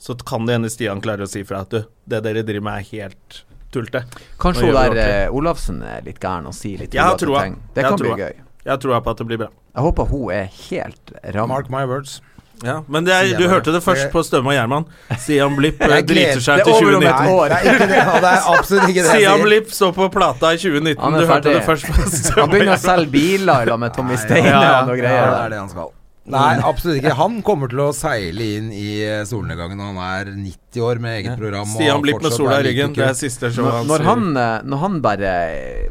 [SPEAKER 1] så kan det hende Stian klarer å si fra at du, det dere driver med, er helt tullete. Nå
[SPEAKER 3] Kanskje hun
[SPEAKER 1] gjør
[SPEAKER 3] der
[SPEAKER 1] vi
[SPEAKER 3] eh, Olafsen er litt gæren og sier litt
[SPEAKER 1] Jeg har
[SPEAKER 3] tullete
[SPEAKER 1] troa.
[SPEAKER 3] ting. Det
[SPEAKER 1] Jeg
[SPEAKER 3] kan
[SPEAKER 1] har
[SPEAKER 3] bli
[SPEAKER 1] troa.
[SPEAKER 3] gøy.
[SPEAKER 1] Jeg tror på at det blir bra.
[SPEAKER 3] Jeg håper hun er helt ram.
[SPEAKER 2] Mark my words.
[SPEAKER 1] Ja, men det er,
[SPEAKER 2] Sier
[SPEAKER 1] du
[SPEAKER 2] jeg bare.
[SPEAKER 1] hørte det først
[SPEAKER 2] Jeg-
[SPEAKER 1] på Støme og Gjerman. Stian Blipp eh,
[SPEAKER 2] Jeg gleder-
[SPEAKER 1] driter seg
[SPEAKER 3] det er
[SPEAKER 1] til
[SPEAKER 3] over om et
[SPEAKER 1] 2019.
[SPEAKER 3] år.
[SPEAKER 2] Det er ikke det, ja, det er absolutt ikke det
[SPEAKER 1] Siam
[SPEAKER 2] jeg sier.
[SPEAKER 1] Lipp står på plata i 2019.
[SPEAKER 3] Han er
[SPEAKER 1] Du hørte
[SPEAKER 3] ferdig.
[SPEAKER 1] det først på Støme
[SPEAKER 3] Han begynner å
[SPEAKER 1] og Gjerman.
[SPEAKER 3] selge biler i lag med Tommy Steine
[SPEAKER 2] ja,
[SPEAKER 3] og noe
[SPEAKER 2] ja,
[SPEAKER 3] greier. Mm.
[SPEAKER 2] det er det han skal. Nei, absolutt ikke. Han kommer til å seile inn i eh, solnedgangen når han er 90 år med eget program. og
[SPEAKER 1] Stian Blipp med
[SPEAKER 2] fortsatt er
[SPEAKER 1] sola i
[SPEAKER 2] like
[SPEAKER 1] ryggen.
[SPEAKER 2] kul.
[SPEAKER 1] Det er siste showet hans.
[SPEAKER 3] Når han, eh, når han bare eh,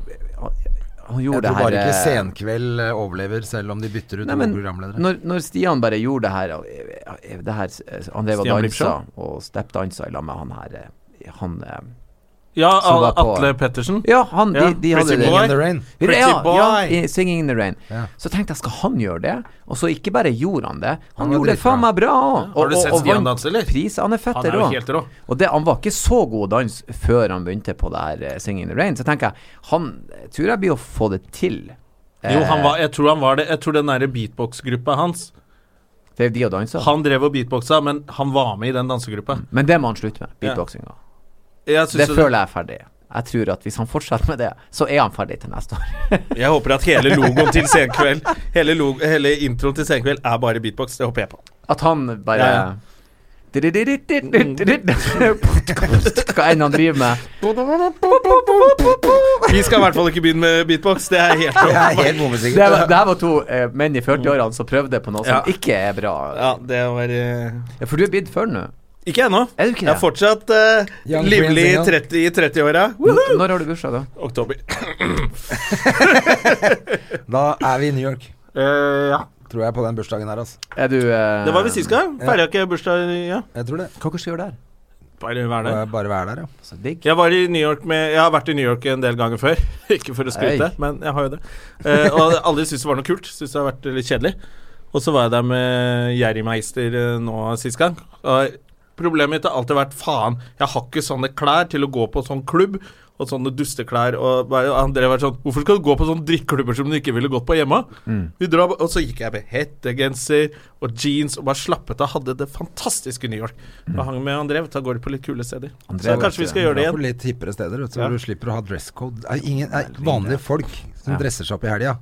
[SPEAKER 3] Han, han
[SPEAKER 2] Jeg tror
[SPEAKER 3] gjorde det her
[SPEAKER 2] bare ikke
[SPEAKER 3] eh,
[SPEAKER 2] Senkveld eh, overlever, selv om de bytter ut
[SPEAKER 3] Nei,
[SPEAKER 2] noen
[SPEAKER 3] men
[SPEAKER 2] programledere.
[SPEAKER 3] når, når Stian bare gjorde det her, eh, eh, det her eh, Han drev og
[SPEAKER 1] Stian
[SPEAKER 3] dansa
[SPEAKER 1] Blipp-show?
[SPEAKER 3] og steppdansa i lag med han her eh, Han eh,
[SPEAKER 1] Ja,
[SPEAKER 3] Som var på-
[SPEAKER 1] Atle Pettersen.
[SPEAKER 3] Ja, han, de,
[SPEAKER 1] Ja,
[SPEAKER 3] de hadde
[SPEAKER 1] Pretty
[SPEAKER 3] det.
[SPEAKER 1] Boy.
[SPEAKER 2] In the rain.
[SPEAKER 1] Pretty
[SPEAKER 3] ja, ja,
[SPEAKER 1] boy.
[SPEAKER 3] i Singing in the Rain.
[SPEAKER 2] Ja.
[SPEAKER 3] Så tenkte jeg, skal han gjøre det? Og så ikke bare gjorde han det, han,
[SPEAKER 2] Han var
[SPEAKER 3] gjorde det
[SPEAKER 2] dritbra.
[SPEAKER 3] faen meg bra òg.
[SPEAKER 1] Har du sett Stian danse, eller?
[SPEAKER 3] Pris, han er
[SPEAKER 1] Han er
[SPEAKER 3] fetter
[SPEAKER 1] jo
[SPEAKER 3] òg.
[SPEAKER 1] helt rå.
[SPEAKER 3] Og det, han var ikke så god dans før han begynte på det her eh, Singing in the Rain, så tenker jeg, han eh, tror jeg blir å få det til. Eh.
[SPEAKER 1] Jo, han var, jeg tror han var det. Jeg tror den derre beatbox-gruppa hans
[SPEAKER 3] Det er de og danser.
[SPEAKER 1] Han drev og beatboxa, men han var med i den dansegruppa.
[SPEAKER 3] Men det må han slutte med, beatboxinga.
[SPEAKER 1] Jeg,
[SPEAKER 3] Det
[SPEAKER 1] synes jo-
[SPEAKER 3] føler jeg er ferdig. Jeg tror at hvis han fortsetter med det, så er han ferdig til neste år.
[SPEAKER 1] jeg håper at hele logoen til Senkveld hele, lo- hele introen til Senkveld er bare beatbox. Det håper jeg på.
[SPEAKER 3] At han bare
[SPEAKER 1] Ja, ja.
[SPEAKER 3] Hva enn han driver med.
[SPEAKER 1] Vi skal i hvert fall ikke begynne med beatbox. Det er
[SPEAKER 2] Jeg
[SPEAKER 1] helt
[SPEAKER 2] er
[SPEAKER 1] rå.
[SPEAKER 2] helt bombesikker.
[SPEAKER 3] Det, var, det her var to eh, menn i 40-årene som prøvde på noe som
[SPEAKER 1] Ja.
[SPEAKER 3] ikke er bra.
[SPEAKER 1] Ja, det var eh,
[SPEAKER 3] Ja, For du er bidd før nå.
[SPEAKER 1] Ikke ennå.
[SPEAKER 3] Er du ikke
[SPEAKER 1] Jeg er
[SPEAKER 3] det?
[SPEAKER 1] fortsatt eh,
[SPEAKER 2] Young
[SPEAKER 1] livlig i
[SPEAKER 2] Prince, ja.
[SPEAKER 1] 30 i 30-åra.
[SPEAKER 3] N- Når har du bursdag, da?
[SPEAKER 1] Oktober.
[SPEAKER 2] Da er vi i New York,
[SPEAKER 1] Eh, ja.
[SPEAKER 2] tror jeg, på den bursdagen her, altså.
[SPEAKER 3] Er du eh,
[SPEAKER 1] Det var vi sist gang. Feira ikke jeg bursdag, ja.
[SPEAKER 2] Jeg tror det.
[SPEAKER 3] Hva dere skal gjøre der? Altså,
[SPEAKER 1] Bare vær
[SPEAKER 2] Må
[SPEAKER 1] der.
[SPEAKER 2] jeg bare være der, ja.
[SPEAKER 3] Så digg.
[SPEAKER 1] Jeg var i New York med Jeg har vært i New York en del ganger før. Ikke for å skryte,
[SPEAKER 3] Hei.
[SPEAKER 1] men jeg har jo det. Eh, og aldri syntes det var noe kult. Syntes det har vært litt kjedelig. Og så var jeg der med Jerrymeister eh, nå sist gang. Og problemet mitt har alltid vært faen, jeg har ikke sånne klær til å gå på sånn klubb. Og sånne dusteklær. Og bare- og han drev og vært sånn Hvorfor skal du gå på sånne drikkeklubber som du ikke ville gått på hjemme? Vi drar, og så gikk jeg med hettegenser og jeans og bare slappet av. Hadde det fantastisk i New York. Og hang med Andrev. Da går det på litt kule steder.
[SPEAKER 3] Andrev,
[SPEAKER 1] så kanskje vi skal gjøre det
[SPEAKER 2] Dra
[SPEAKER 1] igjen.
[SPEAKER 2] på litt hippere steder, vet du,
[SPEAKER 1] Ja.
[SPEAKER 2] hvor du slipper å ha dresscode. Det er ingen det er vanlige folk som
[SPEAKER 3] Ja.
[SPEAKER 2] dresser seg opp i helga.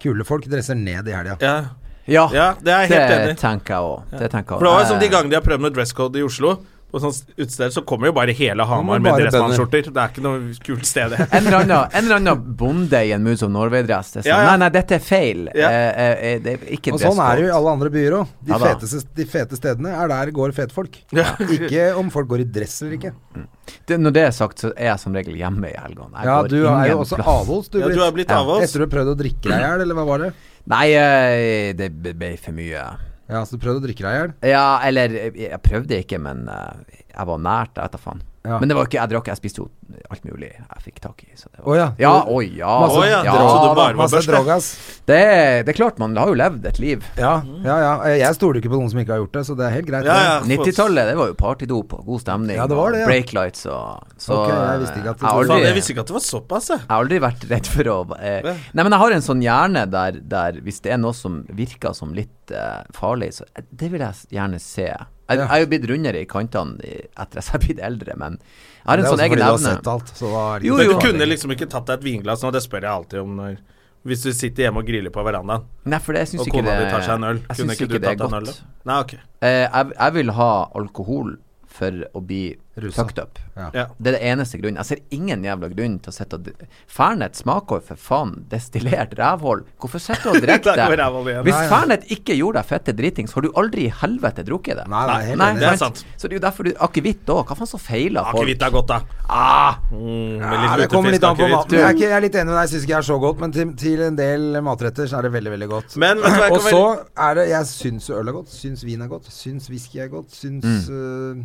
[SPEAKER 2] Kule folk dresser ned i helga.
[SPEAKER 1] Ja.
[SPEAKER 3] Ja,
[SPEAKER 1] Ja, det er jeg helt
[SPEAKER 3] det
[SPEAKER 1] enig i.
[SPEAKER 3] tenker jeg òg. Det tenker jeg
[SPEAKER 1] For det var jo
[SPEAKER 3] også. Eh,
[SPEAKER 1] som de gangene de har prøvd med dresscode i Oslo. På sånne utesteder så kommer jo bare hele Hamar
[SPEAKER 2] Kommer
[SPEAKER 1] med
[SPEAKER 2] bare
[SPEAKER 1] dressmannsskjorter. Det er ikke noe kult sted, det.
[SPEAKER 3] en eller, annen, en eller annen bonde i en Moods of Norway-dress. Det er sånn,
[SPEAKER 1] Ja, ja.
[SPEAKER 3] Nei, nei, dette er feil.
[SPEAKER 1] Ja.
[SPEAKER 3] Eh, eh, det er ikke
[SPEAKER 2] Og sånn er det jo i
[SPEAKER 3] dresscode.
[SPEAKER 2] alle andre byer òg. De,
[SPEAKER 3] Ja da.
[SPEAKER 2] feteste- de fete stedene er der går fete folk.
[SPEAKER 1] Ja.
[SPEAKER 2] Ikke om folk går i dress eller ikke.
[SPEAKER 3] Det, når det er sagt, så er jeg som regel hjemme i helgene. Jeg
[SPEAKER 2] Ja,
[SPEAKER 3] går
[SPEAKER 2] du er
[SPEAKER 3] ingen
[SPEAKER 2] jo også
[SPEAKER 3] plass.
[SPEAKER 2] avholds, du.
[SPEAKER 1] Ja, du har blitt
[SPEAKER 2] Ja.
[SPEAKER 1] avholds.
[SPEAKER 2] Etter du prøvde å drikke deg i hjel, eller hva var det?
[SPEAKER 3] Nei, eh, det ble- ble for mye.
[SPEAKER 2] Ja, så du prøvde å drikke deg i hjel.
[SPEAKER 3] Ja, eller eh, Jeg prøvde ikke, men eh, jeg var nært. Jeg vet da faen.
[SPEAKER 2] Ja.
[SPEAKER 3] Men det var ikke, jeg drakk, jeg spiste jo alt mulig jeg fikk tak i. Så det var,
[SPEAKER 2] Å ja.
[SPEAKER 3] ja, å ja.
[SPEAKER 2] Masse
[SPEAKER 1] Å ja,
[SPEAKER 3] altså, ja,
[SPEAKER 1] det trodde
[SPEAKER 2] da,
[SPEAKER 1] du bare var
[SPEAKER 2] masse
[SPEAKER 1] børste.
[SPEAKER 2] drogas.
[SPEAKER 3] det, det er klart, man har jo levd et liv.
[SPEAKER 2] Ja, ja, ja. Jeg stoler ikke på noen som ikke har gjort det, så det er helt greit.
[SPEAKER 1] Ja,
[SPEAKER 2] det.
[SPEAKER 1] ja.
[SPEAKER 3] 90-tallet, det var jo partydop og god stemning.
[SPEAKER 2] Ja, det var det,
[SPEAKER 3] og
[SPEAKER 2] ja.
[SPEAKER 3] Break lights og så,
[SPEAKER 2] Ok, jeg visste ikke at det-
[SPEAKER 3] jeg har
[SPEAKER 1] Faen,
[SPEAKER 3] aldri-
[SPEAKER 1] jeg visste ikke at det var såpass, jeg.
[SPEAKER 3] jeg har aldri vært redd for å eh,
[SPEAKER 1] Hva?
[SPEAKER 3] Nei, men jeg har en sånn hjerne der, der hvis det er noe som virker som litt eh, farlig, så eh, det vil jeg s- gjerne se. Jeg, jeg er jo blitt rundere i kantene i- etter at jeg er blitt eldre, men jeg har
[SPEAKER 2] Det
[SPEAKER 3] en
[SPEAKER 2] er
[SPEAKER 3] sånn
[SPEAKER 2] også
[SPEAKER 3] egen
[SPEAKER 2] fordi du har
[SPEAKER 3] evne.
[SPEAKER 2] sett alt, så da er det
[SPEAKER 3] Jo,
[SPEAKER 2] ikke
[SPEAKER 1] Men
[SPEAKER 2] så
[SPEAKER 1] du
[SPEAKER 2] farlig.
[SPEAKER 1] kunne liksom ikke tatt deg et vinglass nå, det spør jeg alltid om når Hvis du sitter hjemme og griller på verandaen,
[SPEAKER 3] Nei, for det syns
[SPEAKER 1] og
[SPEAKER 3] ikke
[SPEAKER 1] kona
[SPEAKER 3] det
[SPEAKER 1] di tar seg en øl,
[SPEAKER 3] jeg
[SPEAKER 1] kunne
[SPEAKER 3] syns
[SPEAKER 1] ikke du
[SPEAKER 3] det er
[SPEAKER 1] tatt deg en øl? da?
[SPEAKER 3] godt.
[SPEAKER 1] Nei, ok.
[SPEAKER 3] Eh, jeg, jeg vil ha alkohol for å bli
[SPEAKER 2] Rusa.
[SPEAKER 3] fucked up.
[SPEAKER 1] Ja.
[SPEAKER 3] Det er det eneste grunnen. Jeg ser ingen jævla grunn til å sitte og dri- Fernet smaker jo for faen destillert rævhold. Hvorfor sitter du og drikker
[SPEAKER 1] Da går
[SPEAKER 3] det?
[SPEAKER 1] rævhold igjen.
[SPEAKER 3] Hvis
[SPEAKER 2] Nei, nei.
[SPEAKER 3] Fernet ikke gjorde deg fette dritings, har du aldri i helvete drukket det.
[SPEAKER 2] Nei, nei, helt
[SPEAKER 3] Nei,
[SPEAKER 2] enig.
[SPEAKER 1] det er sant.
[SPEAKER 3] Så det er jo derfor du Akevitt òg. Hva faen så feiler folk?
[SPEAKER 1] Akevitt er godt, da.
[SPEAKER 3] Ah,
[SPEAKER 1] Mm, med
[SPEAKER 2] Ja, det
[SPEAKER 1] lutefisk,
[SPEAKER 2] kommer litt an på
[SPEAKER 1] akevitt.
[SPEAKER 2] maten. Jeg er, ikke, jeg er litt enig med deg, jeg syns ikke jeg er så godt, men til, til en del matretter så er det veldig, veldig godt.
[SPEAKER 1] Men vet du hva jeg
[SPEAKER 2] og
[SPEAKER 1] kan
[SPEAKER 2] så
[SPEAKER 1] være-
[SPEAKER 2] er det Jeg syns jo øl er godt, syns vin er godt, syns whisky er godt, syns
[SPEAKER 1] Mm.
[SPEAKER 2] øh,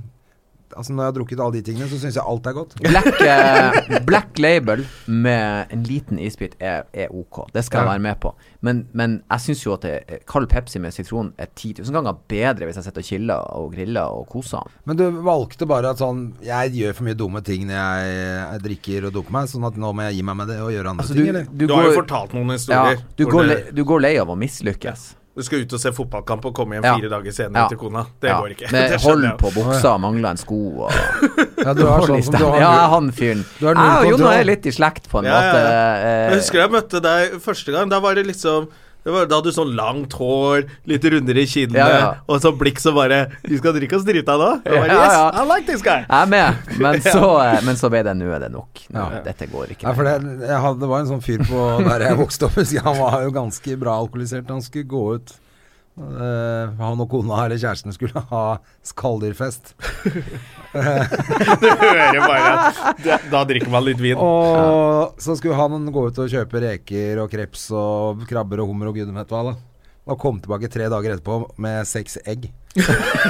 [SPEAKER 2] Altså, når jeg har drukket alle de tingene, så syns jeg alt er godt.
[SPEAKER 3] Black, eh, black label med en liten isbit er, er ok. Det skal jeg
[SPEAKER 2] Ja.
[SPEAKER 3] være med på. Men, men jeg syns jo at det, eh, kald Pepsi med sitron er 10 000 ganger bedre hvis jeg sitter og chiller og griller og koser meg.
[SPEAKER 2] Men du valgte bare at sånn Jeg gjør for mye dumme ting når jeg, jeg drikker og doper meg, sånn at nå må jeg gi meg med det og gjøre andre ting, eller?
[SPEAKER 1] Altså, Du har jo fortalt noen historier.
[SPEAKER 3] ja, du,
[SPEAKER 1] hvor
[SPEAKER 3] går
[SPEAKER 1] det-
[SPEAKER 3] le, du går lei av å mislykkes.
[SPEAKER 1] Du skal ut og se fotballkamp og komme hjem
[SPEAKER 3] Ja.
[SPEAKER 1] fire dager senere
[SPEAKER 3] Ja.
[SPEAKER 1] til kona. Det
[SPEAKER 3] Ja,
[SPEAKER 1] går ikke.
[SPEAKER 3] Med
[SPEAKER 1] Det
[SPEAKER 3] hold
[SPEAKER 1] skjønner jeg.
[SPEAKER 3] på buksa, mangler en sko og
[SPEAKER 2] Ja, du har sånn som du har
[SPEAKER 3] Ja, han fyren.
[SPEAKER 2] Du har
[SPEAKER 3] Jeg
[SPEAKER 2] null
[SPEAKER 3] og Jon
[SPEAKER 2] kontroll.
[SPEAKER 3] er litt i slekt, på en
[SPEAKER 1] Ja, ja,
[SPEAKER 3] måte.
[SPEAKER 1] ja.
[SPEAKER 3] eh,
[SPEAKER 1] Jeg husker jeg møtte deg første gang. Da var det liksom det var, Da hadde du sånn langt hår, litt rundere i kinnene,
[SPEAKER 3] Ja, ja.
[SPEAKER 1] og sånn blikk som bare 'Du skal drikke oss drita nå?' Jeg bare,
[SPEAKER 3] Ja,
[SPEAKER 1] yes,
[SPEAKER 3] ja.
[SPEAKER 1] I like this guy.
[SPEAKER 3] Jeg er med, men så, eh, men så ble det nå er det nok. Nå,
[SPEAKER 2] Ja.
[SPEAKER 3] Dette går ikke.
[SPEAKER 2] Nei, for det, jeg hadde, det var en sånn fyr på der jeg vokste opp. husker jeg. Han var jo ganske bra alkoholisert. Han skulle gå ut eh, Han og kona eller kjæresten skulle ha skalldyrfest.
[SPEAKER 1] Du hører bare at det- Da drikker man litt vin.
[SPEAKER 2] Og så skulle han gå ut og kjøpe reker og kreps og krabber og hummer og gudene vet hva. da. Og kom tilbake tre dager etterpå med seks egg.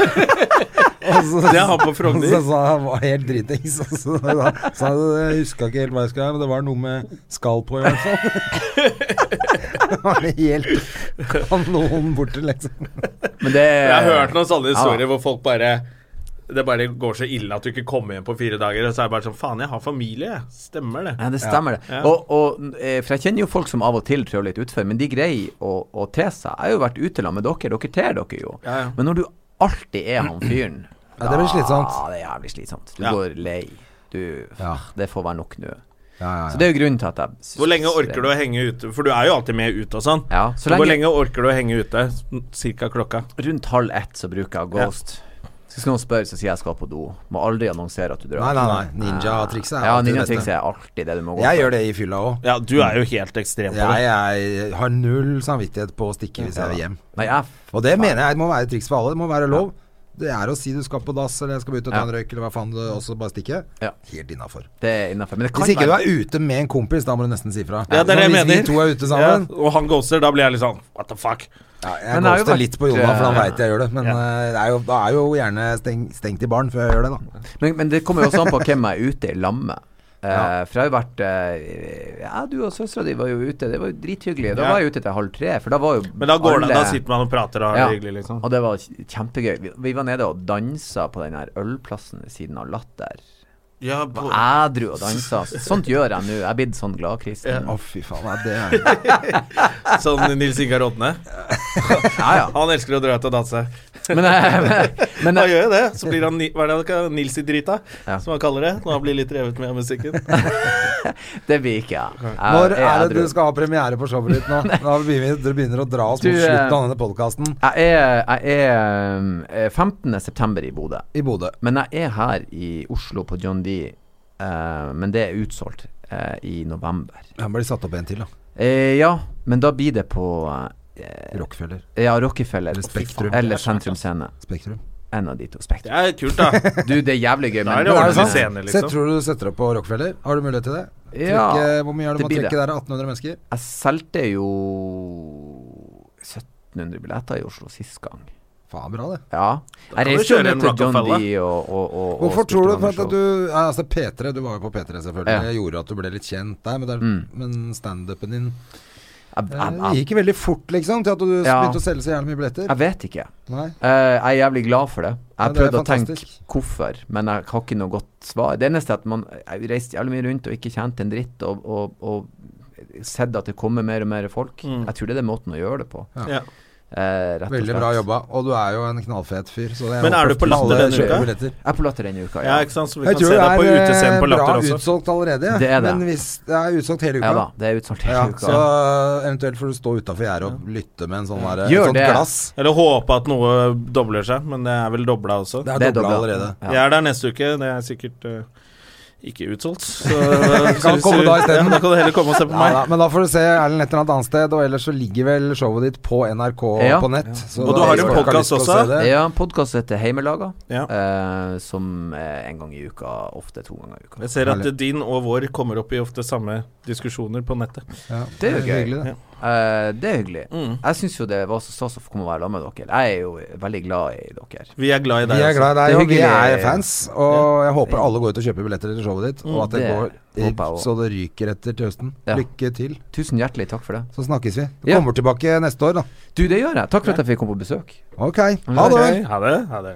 [SPEAKER 2] Og så-
[SPEAKER 1] Det er han på
[SPEAKER 2] og
[SPEAKER 1] Frogner.
[SPEAKER 2] så sa han han var helt dritings. og Så sa- sa han jeg huska ikke helt hva jeg skulle ha, men det var noe med skall på i hvert fall. Det var helt kanon borte, liksom.
[SPEAKER 3] Men det
[SPEAKER 1] Jeg har hørt noen sånne
[SPEAKER 3] Ja.
[SPEAKER 1] historier hvor folk bare det bare går så ille at du ikke kommer hjem på fire dager. Og så er det bare sånn Faen, jeg har familie, jeg. Stemmer det?
[SPEAKER 3] Ja, det stemmer det.
[SPEAKER 1] Ja.
[SPEAKER 3] Og, og, eh, for jeg kjenner jo folk som av og til trår litt utfor, men de greier å, å te seg. Jeg har jo vært ute sammen med dere, dere ter dere jo.
[SPEAKER 1] Ja, ja.
[SPEAKER 3] Men når du alltid er han fyren
[SPEAKER 2] Ja, det blir slitsomt.
[SPEAKER 3] Ja, det er jævlig slitsomt. Du
[SPEAKER 1] Ja.
[SPEAKER 3] går lei. Du
[SPEAKER 2] Ja.
[SPEAKER 3] Det får være nok nå.
[SPEAKER 2] Ja, ja,
[SPEAKER 3] Så
[SPEAKER 2] ja.
[SPEAKER 3] det er jo grunnen til at jeg
[SPEAKER 1] Hvor lenge orker du å henge ute? For du er jo alltid med ut og sånn.
[SPEAKER 3] Ja, så
[SPEAKER 1] Hvor
[SPEAKER 3] lenge-
[SPEAKER 1] lenge orker du å henge ute? Cirka klokka.
[SPEAKER 3] Rundt halv ett så bruker jeg Ghost. Hvis noen spør, så sier jeg jeg skal på do. Må aldri annonsere at du drar.
[SPEAKER 2] Nei, nei, nei. Ninja-trikset er
[SPEAKER 3] Ja,
[SPEAKER 2] alltid det
[SPEAKER 3] ninjatrikset
[SPEAKER 2] beste.
[SPEAKER 3] er alltid det du må gå
[SPEAKER 2] Jeg
[SPEAKER 3] for.
[SPEAKER 2] gjør det i fylla òg.
[SPEAKER 1] Ja, du er jo helt ekstrem på
[SPEAKER 2] Jeg,
[SPEAKER 1] det.
[SPEAKER 2] jeg har null samvittighet på å stikke hvis jeg vil hjem.
[SPEAKER 3] Nei, jeg
[SPEAKER 2] Og det mener jeg må være et triks for alle. Det må være lov. Det er å si du skal på dass, eller jeg skal ut og ta en
[SPEAKER 3] Ja.
[SPEAKER 2] røyk, eller hva faen du og så bare stikke.
[SPEAKER 3] Ja.
[SPEAKER 2] Helt innafor.
[SPEAKER 3] Det er innafor. Men det kan
[SPEAKER 2] Hvis ikke du
[SPEAKER 3] være
[SPEAKER 2] er ute med en kompis, da må du nesten si fra. Sånn,
[SPEAKER 1] Ja, det er det jeg
[SPEAKER 2] Hvis vi
[SPEAKER 1] mener.
[SPEAKER 2] to er ute sammen
[SPEAKER 1] Ja, og han ghoster, da blir jeg litt sånn What the fuck?
[SPEAKER 2] ja, Jeg
[SPEAKER 3] Men det har jo
[SPEAKER 2] ghoster
[SPEAKER 3] vært,
[SPEAKER 2] litt på Jonas, for han
[SPEAKER 3] eh,
[SPEAKER 2] veit jeg gjør det. Men
[SPEAKER 1] ja.
[SPEAKER 2] eh, det er jo, da er jo gjerne steng, stengt i baren før jeg gjør det, da.
[SPEAKER 3] Men, men det kommer jo også an på hvem jeg er ute i lam med. Eh,
[SPEAKER 2] Ja.
[SPEAKER 3] For jeg har jo vært eh, Ja, du og søstera di var jo ute. Det var jo drithyggelig. Da
[SPEAKER 1] Ja.
[SPEAKER 3] var jeg ute til halv tre, for da var jo
[SPEAKER 1] Men da går det,
[SPEAKER 3] alle-
[SPEAKER 1] da sitter man og prater og har
[SPEAKER 3] Ja.
[SPEAKER 1] det hyggelig, liksom.
[SPEAKER 3] Og det var kj- kjempegøy. Vi, vi var nede og dansa på den her ølplassen ved siden av Latter.
[SPEAKER 1] Ja,
[SPEAKER 3] Var
[SPEAKER 1] på,
[SPEAKER 3] Ædru og dansa. Sånt gjør jeg nå. Jeg er blitt sånn gladkristen.
[SPEAKER 2] Å, fy faen. Nei, det er
[SPEAKER 1] sånn Nils Ingar Odne.
[SPEAKER 3] Ja, ja.
[SPEAKER 1] Han elsker å dra ut og danse.
[SPEAKER 3] Men, eh,
[SPEAKER 1] Han
[SPEAKER 3] men, men,
[SPEAKER 1] gjør jo det. Så blir han ni- hva er det han kaller- Nils i drita,
[SPEAKER 3] Ja.
[SPEAKER 1] som han kaller det. Når han blir litt revet med av musikken.
[SPEAKER 3] det blir ikke jeg. jeg.
[SPEAKER 2] Når
[SPEAKER 3] jeg
[SPEAKER 2] er det
[SPEAKER 3] edru.
[SPEAKER 2] du skal ha premiere på showet ditt nå? Nå begynner vi- Dere begynner å dra oss
[SPEAKER 3] Du,
[SPEAKER 2] mot slutten
[SPEAKER 3] eh,
[SPEAKER 2] av denne podkasten
[SPEAKER 3] Jeg er, jeg er um, eh, 15. september i Bodø.
[SPEAKER 2] i Bodø.
[SPEAKER 3] Men jeg er her i Oslo på John D. eh, men det er utsolgt eh, i november.
[SPEAKER 2] Her blir det satt opp en til, da.
[SPEAKER 3] Eh, ja, men da blir det på eh,
[SPEAKER 2] Rockefeller.
[SPEAKER 3] ja, Rockefeller
[SPEAKER 2] Eller Spektrum.
[SPEAKER 3] eller Sentrum Scene.
[SPEAKER 2] Spektrum.
[SPEAKER 3] En av de to.
[SPEAKER 1] Det
[SPEAKER 3] Spektrum.
[SPEAKER 1] er kult, da.
[SPEAKER 3] Du, det er jævlig gøy,
[SPEAKER 1] Da er
[SPEAKER 3] men
[SPEAKER 2] Er
[SPEAKER 1] det
[SPEAKER 3] Nå
[SPEAKER 2] det sant?
[SPEAKER 1] ordentlig
[SPEAKER 3] det- sånn,
[SPEAKER 1] scene,
[SPEAKER 2] Se,
[SPEAKER 1] liksom.
[SPEAKER 2] tror du du setter opp på Rockefeller? Har du mulighet til det?
[SPEAKER 3] Ja,
[SPEAKER 2] Trekke, hvor mye er det
[SPEAKER 3] det
[SPEAKER 2] man
[SPEAKER 3] blir
[SPEAKER 2] trekker
[SPEAKER 3] det.
[SPEAKER 2] der? 1800 mennesker?
[SPEAKER 3] Jeg solgte jo 1700 billetter i Oslo sist gang.
[SPEAKER 2] Faen, bra det.
[SPEAKER 3] Ja. Jeg
[SPEAKER 1] kan du
[SPEAKER 3] reiste jo
[SPEAKER 1] kjøre
[SPEAKER 3] ned
[SPEAKER 1] en
[SPEAKER 3] til John D
[SPEAKER 1] Rockefeller.
[SPEAKER 3] og, og, og, og
[SPEAKER 2] Hvorfor
[SPEAKER 3] spilte
[SPEAKER 2] tror du
[SPEAKER 3] noen
[SPEAKER 2] for at
[SPEAKER 3] show.
[SPEAKER 2] du ja, Altså P3, du var jo på P3 selvfølgelig.
[SPEAKER 3] Ja. Mm.
[SPEAKER 2] Det gjorde at du ble litt kjent der, men, der, men standupen din
[SPEAKER 3] Jeg,
[SPEAKER 2] eh,
[SPEAKER 3] jeg, jeg,
[SPEAKER 2] gikk veldig fort, liksom, til at du
[SPEAKER 3] Ja.
[SPEAKER 2] begynte å selge så jævlig mye billetter.
[SPEAKER 3] jeg vet ikke.
[SPEAKER 2] Nei.
[SPEAKER 3] Eh, jeg er jævlig glad for det. Jeg
[SPEAKER 2] Ja, det er
[SPEAKER 3] prøvde å tenke
[SPEAKER 2] fantastisk.
[SPEAKER 3] hvorfor, men jeg har ikke noe godt svar. Det eneste er at man jeg reiste jævlig mye rundt og ikke tjente en dritt, og, og, og sett at det kommer mer og mer folk. Jeg tror det er den måten å gjøre det på.
[SPEAKER 1] Ja.
[SPEAKER 3] Eh, rett og
[SPEAKER 2] Veldig
[SPEAKER 3] slett.
[SPEAKER 2] bra jobba. Og du er jo en knallfet fyr. Så jeg
[SPEAKER 1] Men er
[SPEAKER 2] håper
[SPEAKER 1] du på
[SPEAKER 2] at
[SPEAKER 1] Latter
[SPEAKER 2] alle
[SPEAKER 1] denne
[SPEAKER 2] kjøper
[SPEAKER 1] uka?
[SPEAKER 2] billetter.
[SPEAKER 3] Jeg er på Latter denne uka,
[SPEAKER 1] ja,
[SPEAKER 3] ja.
[SPEAKER 1] ikke sant. Så vi
[SPEAKER 2] Jeg
[SPEAKER 1] kan
[SPEAKER 2] tror
[SPEAKER 1] se
[SPEAKER 2] det
[SPEAKER 1] deg på
[SPEAKER 2] er eh,
[SPEAKER 1] utescenen på
[SPEAKER 2] bra
[SPEAKER 1] Latter også.
[SPEAKER 2] utsolgt allerede. ja.
[SPEAKER 3] Det er det.
[SPEAKER 2] Men hvis det er utsolgt hele uka
[SPEAKER 3] Ja da, det er utsolgt hele
[SPEAKER 2] Ja,
[SPEAKER 3] uka.
[SPEAKER 2] så eventuelt får du stå utafor gjerdet og lytte med en sånn der,
[SPEAKER 3] Gjør
[SPEAKER 2] sånt
[SPEAKER 3] det.
[SPEAKER 2] glass.
[SPEAKER 1] Eller håpe at noe dobler seg, men det er vel dobla også.
[SPEAKER 2] Det er
[SPEAKER 3] Det er
[SPEAKER 2] dobla
[SPEAKER 3] dobla.
[SPEAKER 2] allerede.
[SPEAKER 3] Ja.
[SPEAKER 1] Jeg er der neste uke. Det er sikkert eh, ikke utsolgt. Så, så-
[SPEAKER 2] Kan komme
[SPEAKER 1] så-
[SPEAKER 2] da isteden.
[SPEAKER 1] Ja, da kan du heller komme og se på
[SPEAKER 2] Ja,
[SPEAKER 1] meg.
[SPEAKER 2] da, men da får du se Erlend et eller annet annet sted, og ellers så ligger vel showet ditt på NRK
[SPEAKER 3] Ja.
[SPEAKER 2] på nett. så
[SPEAKER 1] Og
[SPEAKER 2] da
[SPEAKER 1] du har
[SPEAKER 2] hvis
[SPEAKER 1] en
[SPEAKER 2] folk
[SPEAKER 1] podcast
[SPEAKER 2] lyst til å
[SPEAKER 1] også?
[SPEAKER 2] se det-
[SPEAKER 3] Ja, podkast heter Heimelaga,
[SPEAKER 1] Ja.
[SPEAKER 3] eh, som eh, en gang i uka, ofte to ganger i uka.
[SPEAKER 1] Jeg ser at din og vår kommer opp i ofte samme diskusjoner på nettet.
[SPEAKER 2] Ja,
[SPEAKER 3] Det er jo gøy.
[SPEAKER 2] hyggelig, det.
[SPEAKER 3] Eh, det er hyggelig.
[SPEAKER 1] Mm.
[SPEAKER 3] Jeg syns jo det var så stas å få komme og være sammen med dere. Jeg er jo veldig glad i dere.
[SPEAKER 1] Vi er glad i
[SPEAKER 2] Vi
[SPEAKER 1] deg.
[SPEAKER 2] er
[SPEAKER 1] altså.
[SPEAKER 2] glad i deg,
[SPEAKER 3] Det er
[SPEAKER 2] og vi er
[SPEAKER 3] hyggelig.
[SPEAKER 2] fans. Og jeg håper alle går ut og kjøper billetter til showet ditt, og at det,
[SPEAKER 3] Mm, det
[SPEAKER 2] går
[SPEAKER 3] håper jeg også.
[SPEAKER 2] så det ryker etter til høsten.
[SPEAKER 3] Ja.
[SPEAKER 2] Lykke til.
[SPEAKER 3] Tusen hjertelig takk for det.
[SPEAKER 2] Så snakkes vi. Du
[SPEAKER 3] Ja.
[SPEAKER 2] kommer tilbake neste år, da.
[SPEAKER 3] Du, det gjør jeg. Takk for at jeg fikk komme på besøk.
[SPEAKER 2] Ok.
[SPEAKER 3] Mm.
[SPEAKER 2] Ha det.
[SPEAKER 1] Ok, Ha det. Ha det.